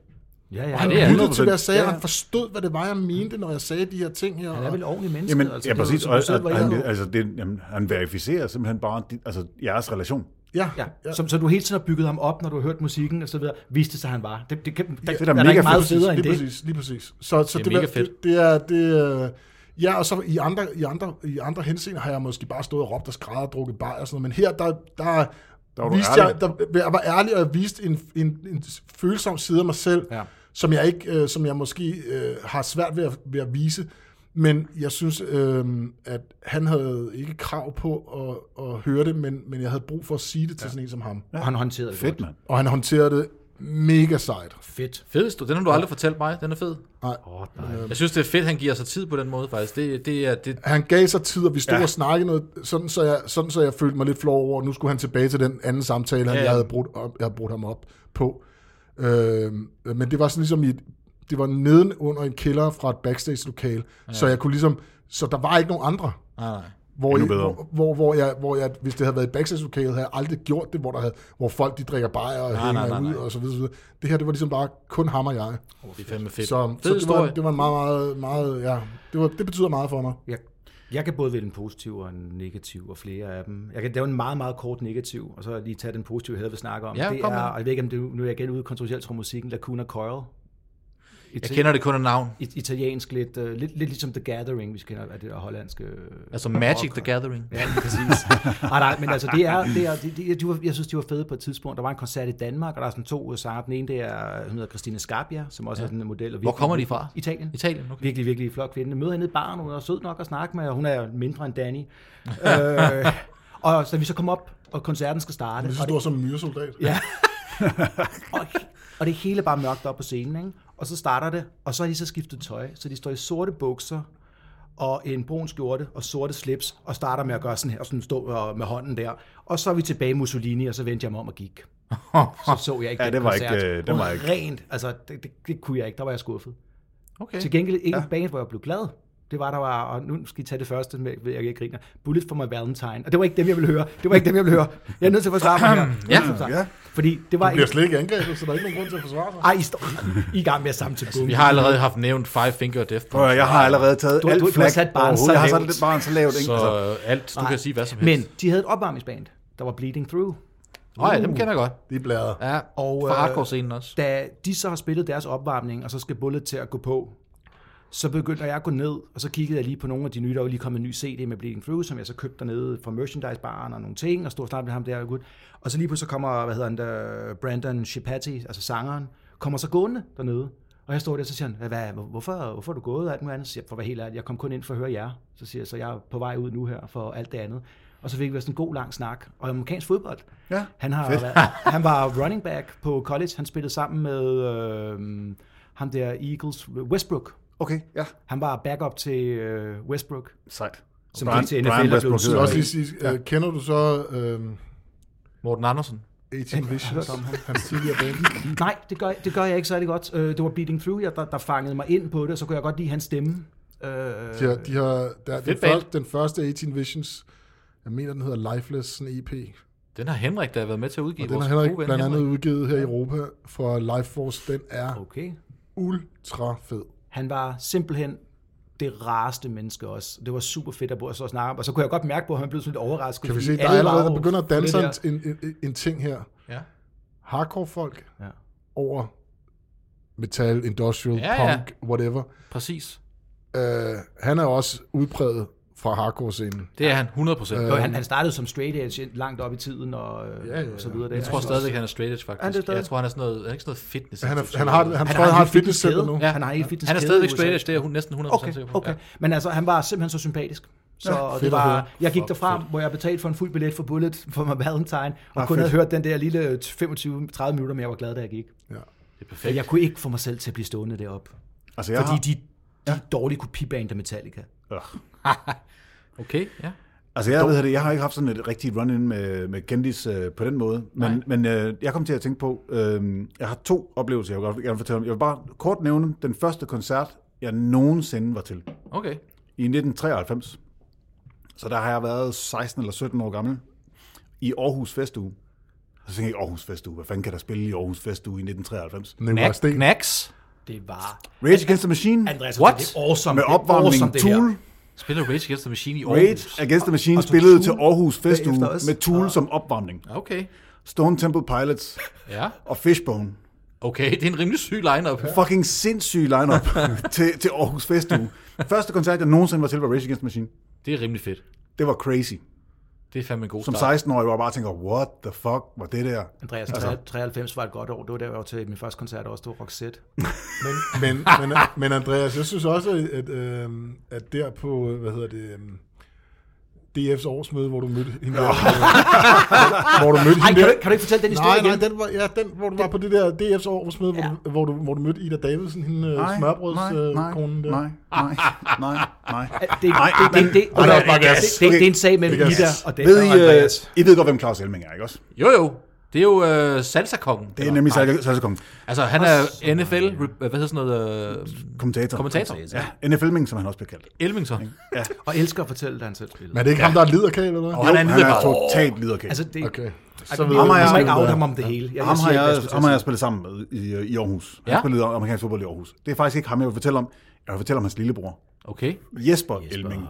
S4: Ja, ja.
S2: Han
S3: det er
S2: ja,
S3: han.
S2: lyttede til, hvad jeg
S1: 100%.
S2: sagde,
S1: Ja,
S2: og
S1: ja.
S2: han forstod, hvad det var, jeg mente, når jeg sagde de her ting her.
S4: Han er
S2: og-
S4: vel ordentlig menneske.
S1: jamen,
S4: altså,
S1: ja,
S4: det er jo,
S1: præcis.
S4: som
S1: Og,
S4: du selv var
S1: og,
S4: inde
S1: han,
S4: på.
S1: altså, det, jamen, han verificerer simpelthen bare dit, altså, jeres relation.
S2: Ja,
S4: Ja,
S2: ja.
S4: som, så du hele tiden har bygget ham op, når du har hørt musikken og så videre, viste det sig, han var. Det, det, kan, der,
S1: det er da
S4: der er
S1: mega
S4: ikke meget
S1: fedt.
S4: federe end
S2: lige
S4: det.
S2: Præcis, lige præcis. Så, så
S3: Det er
S2: det, det,
S3: mega
S2: var-
S3: fedt.
S2: det, det er... Det, øh, ja, og så i andre, i, andre, i andre henseender har jeg måske bare stået og råbt og skrædder og drukket bajer og sådan noget, men her, der, der,
S1: var
S2: der
S1: du
S2: viste
S1: ærlig.
S2: jeg, der, jeg var ærlig, og jeg viste en, en, en følsom side af mig selv,
S4: Ja.
S2: som jeg ikke, øh, som jeg måske øh, har svært ved at, ved at vise, men jeg synes, øh, at han havde ikke krav på at, at høre det, men, men jeg havde brug for at sige det til ja. sådan en som ham.
S4: Og han håndterede det
S1: Fedt,
S4: godt.
S1: mand.
S2: Og han håndterede det mega sejt.
S4: Fedt.
S3: Fedest, den har du aldrig fortalt mig. Den er fed.
S2: Øhm.
S4: Åh, nej.
S3: Jeg synes, det er fedt, han giver sig tid på den måde, faktisk. Det, det er, det,
S2: han gav sig tid, og vi stod
S1: Ja.
S2: ja. og snakkede noget, sådan så, jeg, sådan så jeg følte mig lidt flov over, at nu skulle han tilbage til den anden samtale, han,
S3: Ja,
S2: ja, ja.
S3: ja.
S2: jeg havde brudt, op, jeg havde brudt ham op på. Øh, men det var sådan ligesom i, et- det var neden under en kælder fra et backstage-lokale, ja. så jeg kunne ligesom, så der var ikke nogen andre.
S3: nej, nej.
S2: Hvor,
S1: Endnu
S2: jeg,
S1: bedre.
S2: hvor, hvor, hvor, jeg, hvor jeg, hvis det havde været i backstage-lokalet, havde jeg aldrig gjort det, hvor, der havde, hvor folk de drikker bajer og
S3: Nej, nej,
S2: hænger
S3: nej,
S2: ud
S3: nej.
S2: og så videre, så videre. Det her, det var ligesom bare kun ham og jeg.
S3: Det er fandme fedt.
S2: Så,
S3: fed
S2: så det, var,
S3: historie.
S2: det var en meget, meget, meget ja, det, var, det betyder meget for mig.
S4: Jeg, jeg kan både vælge en positiv og en negativ, og flere af dem. Jeg kan lave en meget, meget kort negativ, og så lige tage den positive, jeg havde vil snakke om.
S3: Ja,
S4: det
S3: kom
S4: er,
S3: med den.
S4: og jeg ved ikke, om det nu er jeg igen ude kontroversielt fra musikken, Lacuna Coil.
S3: Jeg kender det kun af navn.
S4: it- italiensk, lidt, øh, lidt, lidt ligesom The Gathering, vi kender af det der hollandske... øh,
S3: Altså Magic
S4: rock-
S3: the Gathering.
S4: Ja, lige præcis. nej, nej, men altså, det er, det er, de, de, de var, jeg synes, de var fede på et tidspunkt. Der var en koncert i Danmark, og der er sådan to øh, sanger. Den ene, det er, hun hedder Christine Scarpia, som også ja. er sådan en model. Og virkelig-
S3: kommer de fra?
S4: Italien.
S3: Italien, okay.
S4: Virkelig, virkelig flot kvinde. Møder hende i baren, hun er sød nok at snakke med, og hun er mindre end Danny. øh, og så vi så kommer op, og koncerten skal starte.
S2: Lige så
S4: og
S2: stor som en myresoldat.
S4: Ja. og, og det hele er bare mørkt op på scenen, ikke? Og så starter det, og så har de så skiftet tøj, så de står i sorte bukser og en brun skjorte og sorte slips, og starter med at gøre sådan her, og sådan stå og- med hånden der. Og så er vi tilbage i Mussolini, og så vendte jeg mig om og gik. Så så jeg ikke
S1: Ja,
S4: den
S1: det var
S4: koncert.
S1: ikke, øh, det
S4: Hun
S1: var
S4: er
S1: ikke-
S4: Rent, altså det, det, det, kunne jeg ikke, der var jeg skuffet.
S3: okay.
S4: Til gengæld ikke ja. band, hvor jeg blev glad. Det var, der var, og nu skal I tage det første med, ved jeg ikke griner, Bullet for my Valentine. Og det var ikke dem, jeg ville høre. Det var ikke dem, jeg ville høre. Jeg er nødt til at forsvare mig her.
S3: Ja.
S1: Ja.
S4: Fordi det var
S2: Han bliver slet ikke angrebet, så der er ikke nogen grund til at forsvare sig.
S4: ej, I, står, I er i gang med at samtale altså,
S3: Vi har allerede haft nævnt Five Finger Death
S1: Prøv, at høre, jeg har allerede taget
S4: Du-
S1: alt
S4: du- du har
S1: flag
S4: sat barren
S1: overhovedet.
S4: så
S1: Jeg har sat
S4: lavt.
S1: det barn så lavt. Ikke?
S3: Så
S1: Altså,
S3: øh, alt, du kan sige hvad som
S4: Men
S3: helst.
S4: de havde et opvarmningsband, der var Bleeding Through.
S3: Åh ja, dem kender jeg godt.
S2: De er blæret.
S3: Ja, og,
S4: Og,
S3: fra
S4: øh,
S3: hardcore-scenen også.
S4: Da de så har spillet deres opvarmning, og så skal Bullet til at gå på, så begyndte jeg at gå ned, og så kiggede jeg lige på nogle af de nye, der var lige kommet en ny CD med Bleeding Through, som jeg så købte dernede fra merchandise-baren og nogle ting, og stod og snakkede med ham der. Og, gut. og så lige pludselig så kommer, hvad hedder han der, Brandon Schipatti, altså sangeren, kommer så gående dernede. Og jeg står der, så siger han, Hvad, hvor- hvorfor, hvorfor er du gået og alt muligt andet? Så siger jeg, for at være helt ærlig, jeg kom kun ind for at høre jer. Så siger jeg, så jeg er på vej ud nu her for alt det andet. Og så fik vi sådan en god lang snak om amerikansk fodbold.
S1: Ja,
S4: han, har været, han var running back på college. Han spillede sammen med øh, ham der Eagles, Westbrook.
S1: okay, ja.
S4: Han var backup til øh, Westbrook,
S1: Sejt.
S4: som
S1: Brian-
S4: gik til NFL
S1: Brian
S4: og blev
S1: Westbrook
S2: Så
S1: hedder
S2: vil
S4: sur.
S2: jeg også lige sige, øh, kender du så øh,
S3: Morten Andersen.
S2: 18 Visions,
S4: hørt om
S2: hans tidligere band?
S4: Nej, det gør, det gør jeg ikke særlig godt. Øh, det var Beating Through, jeg, der, der fangede mig ind på det, og så kunne jeg godt lide hans stemme. Øh,
S2: De har, de har, der, den,
S3: Fedt band.
S2: første, den første 18 Visions, jeg mener, den hedder Lifeless, sådan en E EP.
S3: Den har Henrik, der har været med til at udgive.
S2: Og den har
S3: vores
S2: Henrik
S3: gode ven
S2: blandt andet
S3: Henrik.
S2: udgivet her i Europa fra Life Force. Den er
S4: Okay.
S2: ultra fed.
S4: Han var simpelthen det rareste menneske også. Det var super fedt at bo og så snakke om. Og så kunne jeg godt mærke på, at han blev sådan lidt overrasket.
S2: Kan vi
S4: fordi
S2: se, der er
S4: alle var
S2: allerede, der
S4: jo
S2: begynder at
S4: på det
S2: danse en,
S4: der.
S2: en, en, en ting her.
S3: Ja.
S2: Hardcore folk
S4: Ja.
S2: over metal, industrial,
S3: Ja, ja.
S2: punk, whatever.
S3: Præcis.
S2: Øh, han er også udpræget fra hardcore-scenen.
S3: Det er han, 100%.
S4: Jo, han, han startede som straight edge langt op i tiden og, øh,
S2: Ja, ja, ja.
S4: og så videre. Der.
S3: Jeg tror stadigvæk, han er straight edge,
S4: Er han
S3: faktisk.
S4: det stadig?
S3: Jeg tror, han er sådan noget, han er ikke sådan noget fitness.
S2: Han, er, han, har, han, han tror, han
S4: en
S2: har
S4: helt
S2: et fitnesscenter nu.
S4: fitnesskæde.
S3: Ja.
S4: Han har en helt fitness
S3: Han er stadigvæk straight edge, det er hun næsten 100%
S4: Okay,
S3: sikker på.
S4: okay. Men altså, han var simpelthen så sympatisk. Så ja,
S2: fedt
S4: det
S2: at høre.
S4: var, jeg gik
S3: Fuck,
S4: derfra,
S3: fedt.
S4: hvor jeg betalte for en fuld billet for Bullet for mig Valentine, og kun
S1: fedt.
S4: havde hørt den der lille øh, 25-30 minutter, men jeg var glad, da jeg gik.
S2: Ja.
S3: Ja. Det er perfekt.
S4: Jeg kunne ikke få mig selv til at blive stående deroppe,
S1: Altså, jeg
S4: fordi de, de er dårlige kopiband af Metallica.
S1: har, øh.
S3: Okay, ja.
S1: Altså, jeg, ved det, jeg har ikke haft sådan et rigtigt run-in med, med kendis øh, på den måde,
S3: Nej.
S1: men, men øh, jeg kom til at tænke på, øh, jeg har to oplevelser, jeg vil godt gerne fortælle om. Jeg vil bare kort nævne den første koncert, jeg nogensinde var til,
S3: Okay.
S1: i 1993. Så der har jeg været 16 eller 17 år gammel, i Aarhus Festuge. Og så tænkte jeg, Aarhus Festuge, hvad fanden kan der spille i Aarhus Festuge i 1993?
S2: Nikolaj Sten.
S3: Knacks.
S4: Det var...
S1: Rage Against the Machine,
S4: Andreas,
S3: What?
S4: det er awesome.
S1: med
S4: det er
S1: opvarmning
S4: awesome, det her.
S1: Tool,
S3: Spiller Rage Against the Machine i Aarhus.
S1: Rage Against the Machine
S4: og så
S1: spillede
S4: Tool
S1: til Aarhus Festuge
S4: bagefter også.
S1: med Tool som opvarmning.
S3: Okay.
S1: Stone Temple Pilots
S3: Ja.
S1: og Fishbone.
S3: Okay, det er en rimelig syg lineup. Ja.
S1: Fucking sindssyg lineup til, til Aarhus Festuge. Første koncert, jeg nogensinde var til, var Rage Against the Machine.
S3: Det er rimelig fedt.
S1: Det var crazy.
S3: Det er fandme en god
S1: Som
S3: start.
S1: 16-årig var jeg bare tænker, what the fuck var det der?
S4: Andreas, 93 var et godt år. Det var der, jeg var til min første koncert, også stod Roxette.
S2: Men, men, men, men Andreas, jeg synes også, at, øh, at der på, øh, hvad hedder det, øh, DF's årsmøde, hvor du mødte hende der, øh, hvor du mødte hende
S4: Ej, kan du,
S2: der,
S4: ikke- kan du ikke fortælle den historie
S2: Nej,
S4: igen?
S2: nej, den var, ja, den, hvor du var på det der DF's årsmøde, ja. hvor, du, hvor, du, hvor du mødte Ida Davidsen, hende øh,
S1: Nej, nej, nej,
S2: smørbrødskonen der.
S1: nej, nej, nej, nej.
S4: Det, det, det, det, det,
S2: Ej, lad os bare
S4: det,
S2: gas.
S4: det, det,
S1: Okay.
S4: er en sag mellem
S2: Gas.
S4: Ida og den
S1: Ved
S4: og
S1: I, øh,
S4: Andreas.
S1: I ved godt, hvem Claus Elming er, ikke også?
S3: Jo, jo. Det er jo øh, salsa-kongen.
S1: Det er nemlig salgskongen.
S3: Altså, han er NFL, rep- hvad hedder sådan noget, øh,
S1: Kommentator.
S3: kommentator. Ja.
S1: Ja, NFL-ming, som han også bliver kaldt.
S3: Elmington.
S4: Og elsker at fortælle, da han selv spiller.
S2: Men er det ikke ja. ham, der er liderkage, eller hvad?
S3: Og han er en
S1: han er
S3: liderkage.
S1: totalt liderkage.
S4: Altså, det,
S2: Okay.
S4: så
S2: ved
S4: ved jeg,
S1: jeg,
S4: man må
S1: hvem
S4: ikke
S2: det
S4: out
S2: er.
S4: ham om det hele. Jeg,
S1: ham,
S4: siger
S1: har
S4: ikke, hvad
S1: jeg,
S4: skulle til
S1: ham
S4: at
S1: har jeg spillet sammen med i, i Aarhus. Han
S3: Ja.
S1: ja. spillede amerikansk fodbold i Aarhus. Det er faktisk ikke ham, jeg vil fortælle om. Jeg vil fortælle om hans lillebror,
S3: Okay.
S1: Jesper, Jesper. Elming.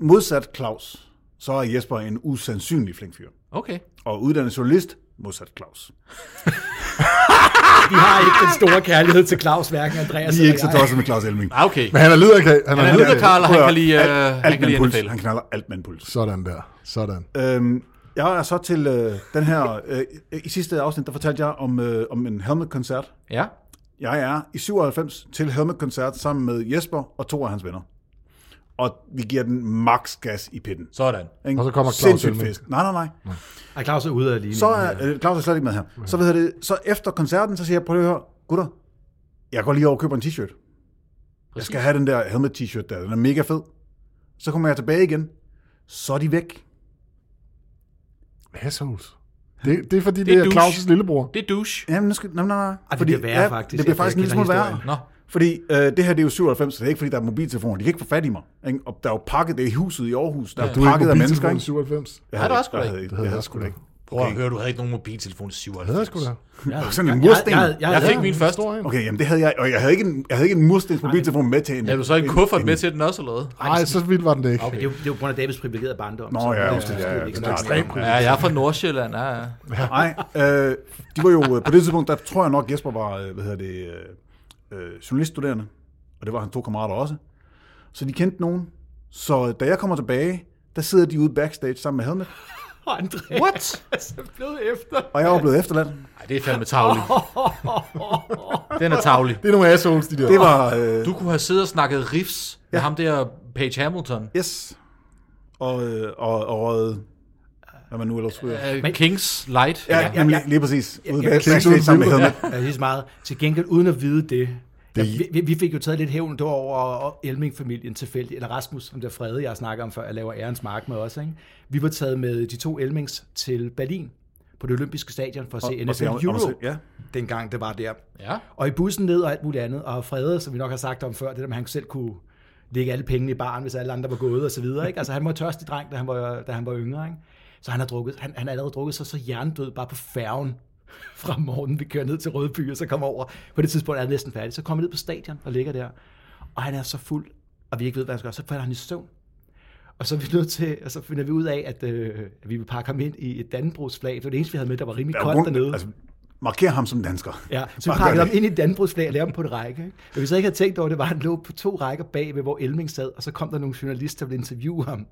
S1: Modsat Claus, så er Jesper en usandsynlig flink fyr.
S3: Okay.
S1: Og uddannet journalist, modsat Claus.
S4: Vi har ikke den store kærlighed til Claus, hverken Andreas
S1: Vi er
S4: eller
S1: ikke så
S4: jeg.
S1: tosset med Claus Elming.
S3: Ah, okay.
S2: Men han er lyderkal. Han er,
S3: Han er
S2: liderkal.
S3: lyderkal, og han
S1: Prøv at
S3: kan lide,
S1: høre,
S3: øh,
S1: alt,
S3: han
S1: alt
S3: kan
S1: med
S3: lide
S1: en puls.
S3: NFL.
S1: Han knaller alt med en puls.
S2: Sådan der. Sådan.
S1: Øhm, jeg er så til øh, den her... Øh, I sidste afsnit, der fortalte jeg om, øh, om en Helmet-koncert.
S3: Ja.
S1: Jeg er i 97 til Helmet-koncert sammen med Jesper og to af hans venner. Og vi giver den max gas i pitten.
S3: Sådan.
S1: Ikke?
S2: Og så kommer Claus
S1: Sindssygt
S2: Elming.
S1: fest. Nej, nej, nej.
S4: Ej, Claus er ude af lige
S1: Så er øh, Claus er slet ikke med her. Så, ved jeg det, så efter koncerten, så siger jeg, prøv lige at høre, gutter, jeg går lige over og køber en t-shirt. Jeg skal have den der helmet t-shirt der, den er mega fed. Så kommer jeg tilbage igen, så er de væk.
S2: Assholes. Det, det er fordi, det,
S3: er
S2: det er
S3: douche.
S2: Claus' lillebror.
S3: Det er douche.
S1: Jamen, nu skal, nej, nej, nej.
S4: det bliver værre faktisk,
S1: Det bliver
S4: efter
S1: faktisk en
S4: jeg
S1: lille
S4: kender
S1: smule værre.
S4: historien.
S3: Nå.
S1: Fordi øh, det her, det er jo 97, så det er ikke fordi, der er mobiltelefoner. De kan ikke få fat i mig. Ikke? Og der er jo pakket, det er i huset i Aarhus. Der er
S2: Du
S1: ja,
S2: er
S1: pakket af
S2: ikke
S1: mennesker,
S2: mobiltelefonen
S1: ikke?
S2: 97.
S1: Jeg
S3: Nej, der er
S1: ikke-
S3: sgu da
S1: jeg
S3: ikke.
S1: havde-
S2: Det
S1: Jeg
S2: havde
S1: havde
S2: jeg
S1: sgu
S2: sgu
S1: da
S2: da
S1: ikke.
S3: Prøv at høre, du havde ikke nogen mobiltelefon i
S2: Det
S3: 97.
S2: havde jeg sgu da.
S1: Sådan en
S4: Jeg, jeg,
S1: mursten.
S4: jeg, jeg,
S3: Jeg fik min først.
S2: Stor en.
S1: Okay, jamen det havde jeg, og jeg havde ikke en, jeg havde ikke en murstens mobiltelefon med til en.
S3: Er du så en kuffert med til den også, eller hvad?
S2: Nej, så vildt var den det ikke.
S4: Men det er, jo, det er jo på grund af Davids privilegerede barndom.
S1: Nå
S4: så-
S1: ja, ja, ja, ja, det er klart.
S3: Ja, jeg er fra Nordsjælland. Ja, ja.
S1: Nej, øh, de var jo, øh, på det tidspunkt, der tror jeg nok, Jesper var, øh, hvad hedder det, øh, øh, journaliststuderende, og det var hans to kammerater også. Så de kendte nogen. Så da jeg kommer tilbage, der sidder de ude backstage sammen med Helmet,
S4: Andreas
S3: What?
S4: er blevet efter.
S1: og jeg var blevet efterladt.
S3: Ej, det er fandme tavlig. Den er tavlig.
S2: Det er nogle assholes, de der.
S1: Det var, øh,
S3: Du kunne have siddet og snakket riffs med ham der Page Hamilton.
S1: yes, og, øh, og, og øh, hvad man nu ellers ryger.
S3: Øh,
S4: Men-
S3: Kings Light.
S1: Ja,
S3: Ja.
S1: jamen, lige, lige præcis. Ude
S4: ja,
S1: backstage sammen med Helmet.
S4: Ja, lige så meget. Til gengæld, uden at vide det, ja, vi, vi- vi fik jo taget lidt hævn derover Elming-familien tilfældigt, eller Rasmus, som der Frede, jeg snakker om før, jeg laver ærens mark med os. Ikke? Vi var taget med de to Elmings til Berlin på det olympiske stadion for at se
S1: og se
S4: NFL
S1: om- om-
S4: Euro,
S1: ja.
S4: dengang det var der.
S3: ja.
S4: Og i bussen ned og alt muligt andet. Og Frede, som vi nok har sagt om før, det der med, at han selv kunne lægge alle pengene i baren, hvis alle andre var gået og så videre. Ikke? Altså, han var en tørstig dreng, da han var, da han var yngre. Ikke? Så han har drukket, han, han har allerede drukket sig så hjernedød bare på færgen fra morgenen. Vi kører ned til Rødby, og så kommer over. På det tidspunkt er han næsten færdig. Så kommer han ned på stadion og ligger der. Og han er så fuld, og vi ikke ved, hvad han skal gøre. Så falder han i søvn. Og så er vi nødt til, og så finder vi ud af, at, øh, at vi vil pakke ham ind i et Dannebrogsflag. Det var det eneste, vi havde med, der var rimelig
S1: Der er jo
S4: koldt
S1: grund-
S4: dernede.
S1: Altså, markér ham som dansker.
S4: Ja, så vi
S1: Bare gør
S4: pakkede
S1: det.
S4: ham ind i Danbrugsflag og lavede dem på en række. Ikke? Hvad vi så ikke havde tænkt over, det var, at han lå på to rækker bag ved, hvor Elming sad, og så kom der nogle journalister, der ville interviewe ham.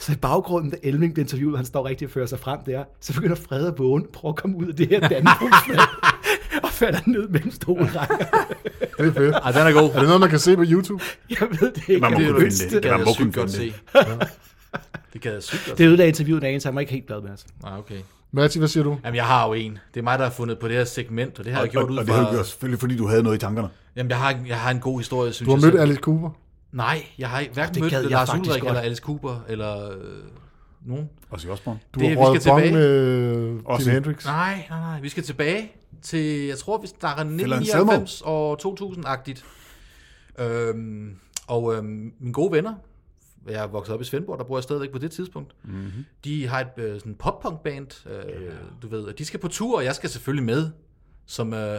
S4: Så i baggrunden, da Elming blev interviewet, han står rigtig og fører sig frem der, så begynder Fred at vågne, prøve at komme ud af det her Danbrugsflag, og falder ned mellem stolrækker.
S2: Det er fedt.
S3: Ej, den er god.
S2: Er det noget, man kan se på YouTube?
S4: Jeg ved det ikke.
S1: Man må
S4: Det,
S1: kunne
S4: det,
S1: finde
S4: det,
S1: det.
S4: det,
S3: gad
S1: man må
S3: jeg sygt
S1: kunne
S3: godt se.
S1: finde
S3: Det gad jeg sygt godt se.
S4: det ødelagde interviewet dagen, så han var ikke helt glad med os.
S3: Nej, okay.
S2: Matti, hvad siger du?
S3: Jamen, jeg har jo en. Det er mig, der har fundet på det her segment, og det har jeg gjort
S1: og,
S3: ud
S1: og det har du
S3: fra...
S1: gjort selvfølgelig, fordi du havde noget i tankerne.
S3: Jamen, jeg har, en- jeg har en god historie, synes
S2: Du har
S3: jeg
S2: mødt
S3: selv.
S2: Alice Cooper.
S3: Nej, jeg har ikke- hverken
S4: Det
S3: mødt
S4: gad jeg
S3: Lars
S4: faktisk
S3: Ulrik,
S4: godt.
S3: eller Alice Cooper, eller øh, nogen.
S1: Også i Osborne.
S2: Du
S3: Det-
S2: har
S3: vi
S2: røget
S3: skal
S2: bong
S3: tilbage.
S2: med
S1: Også-
S2: Jimi Hendrix.
S3: Nej, nej, nej. Vi skal tilbage til, jeg tror, vi snakker
S1: Fælder en
S3: 1999 og 2000-agtigt. Øhm, og øhm, mine gode venner, jeg er vokset op i Svendborg, der bor jeg stadigvæk på det tidspunkt,
S1: Mhm.
S3: mm-hmm. de har et øh, sådan pop-punk-band, øh, du ved, og de skal på tur, og jeg skal selvfølgelig med, som, øh,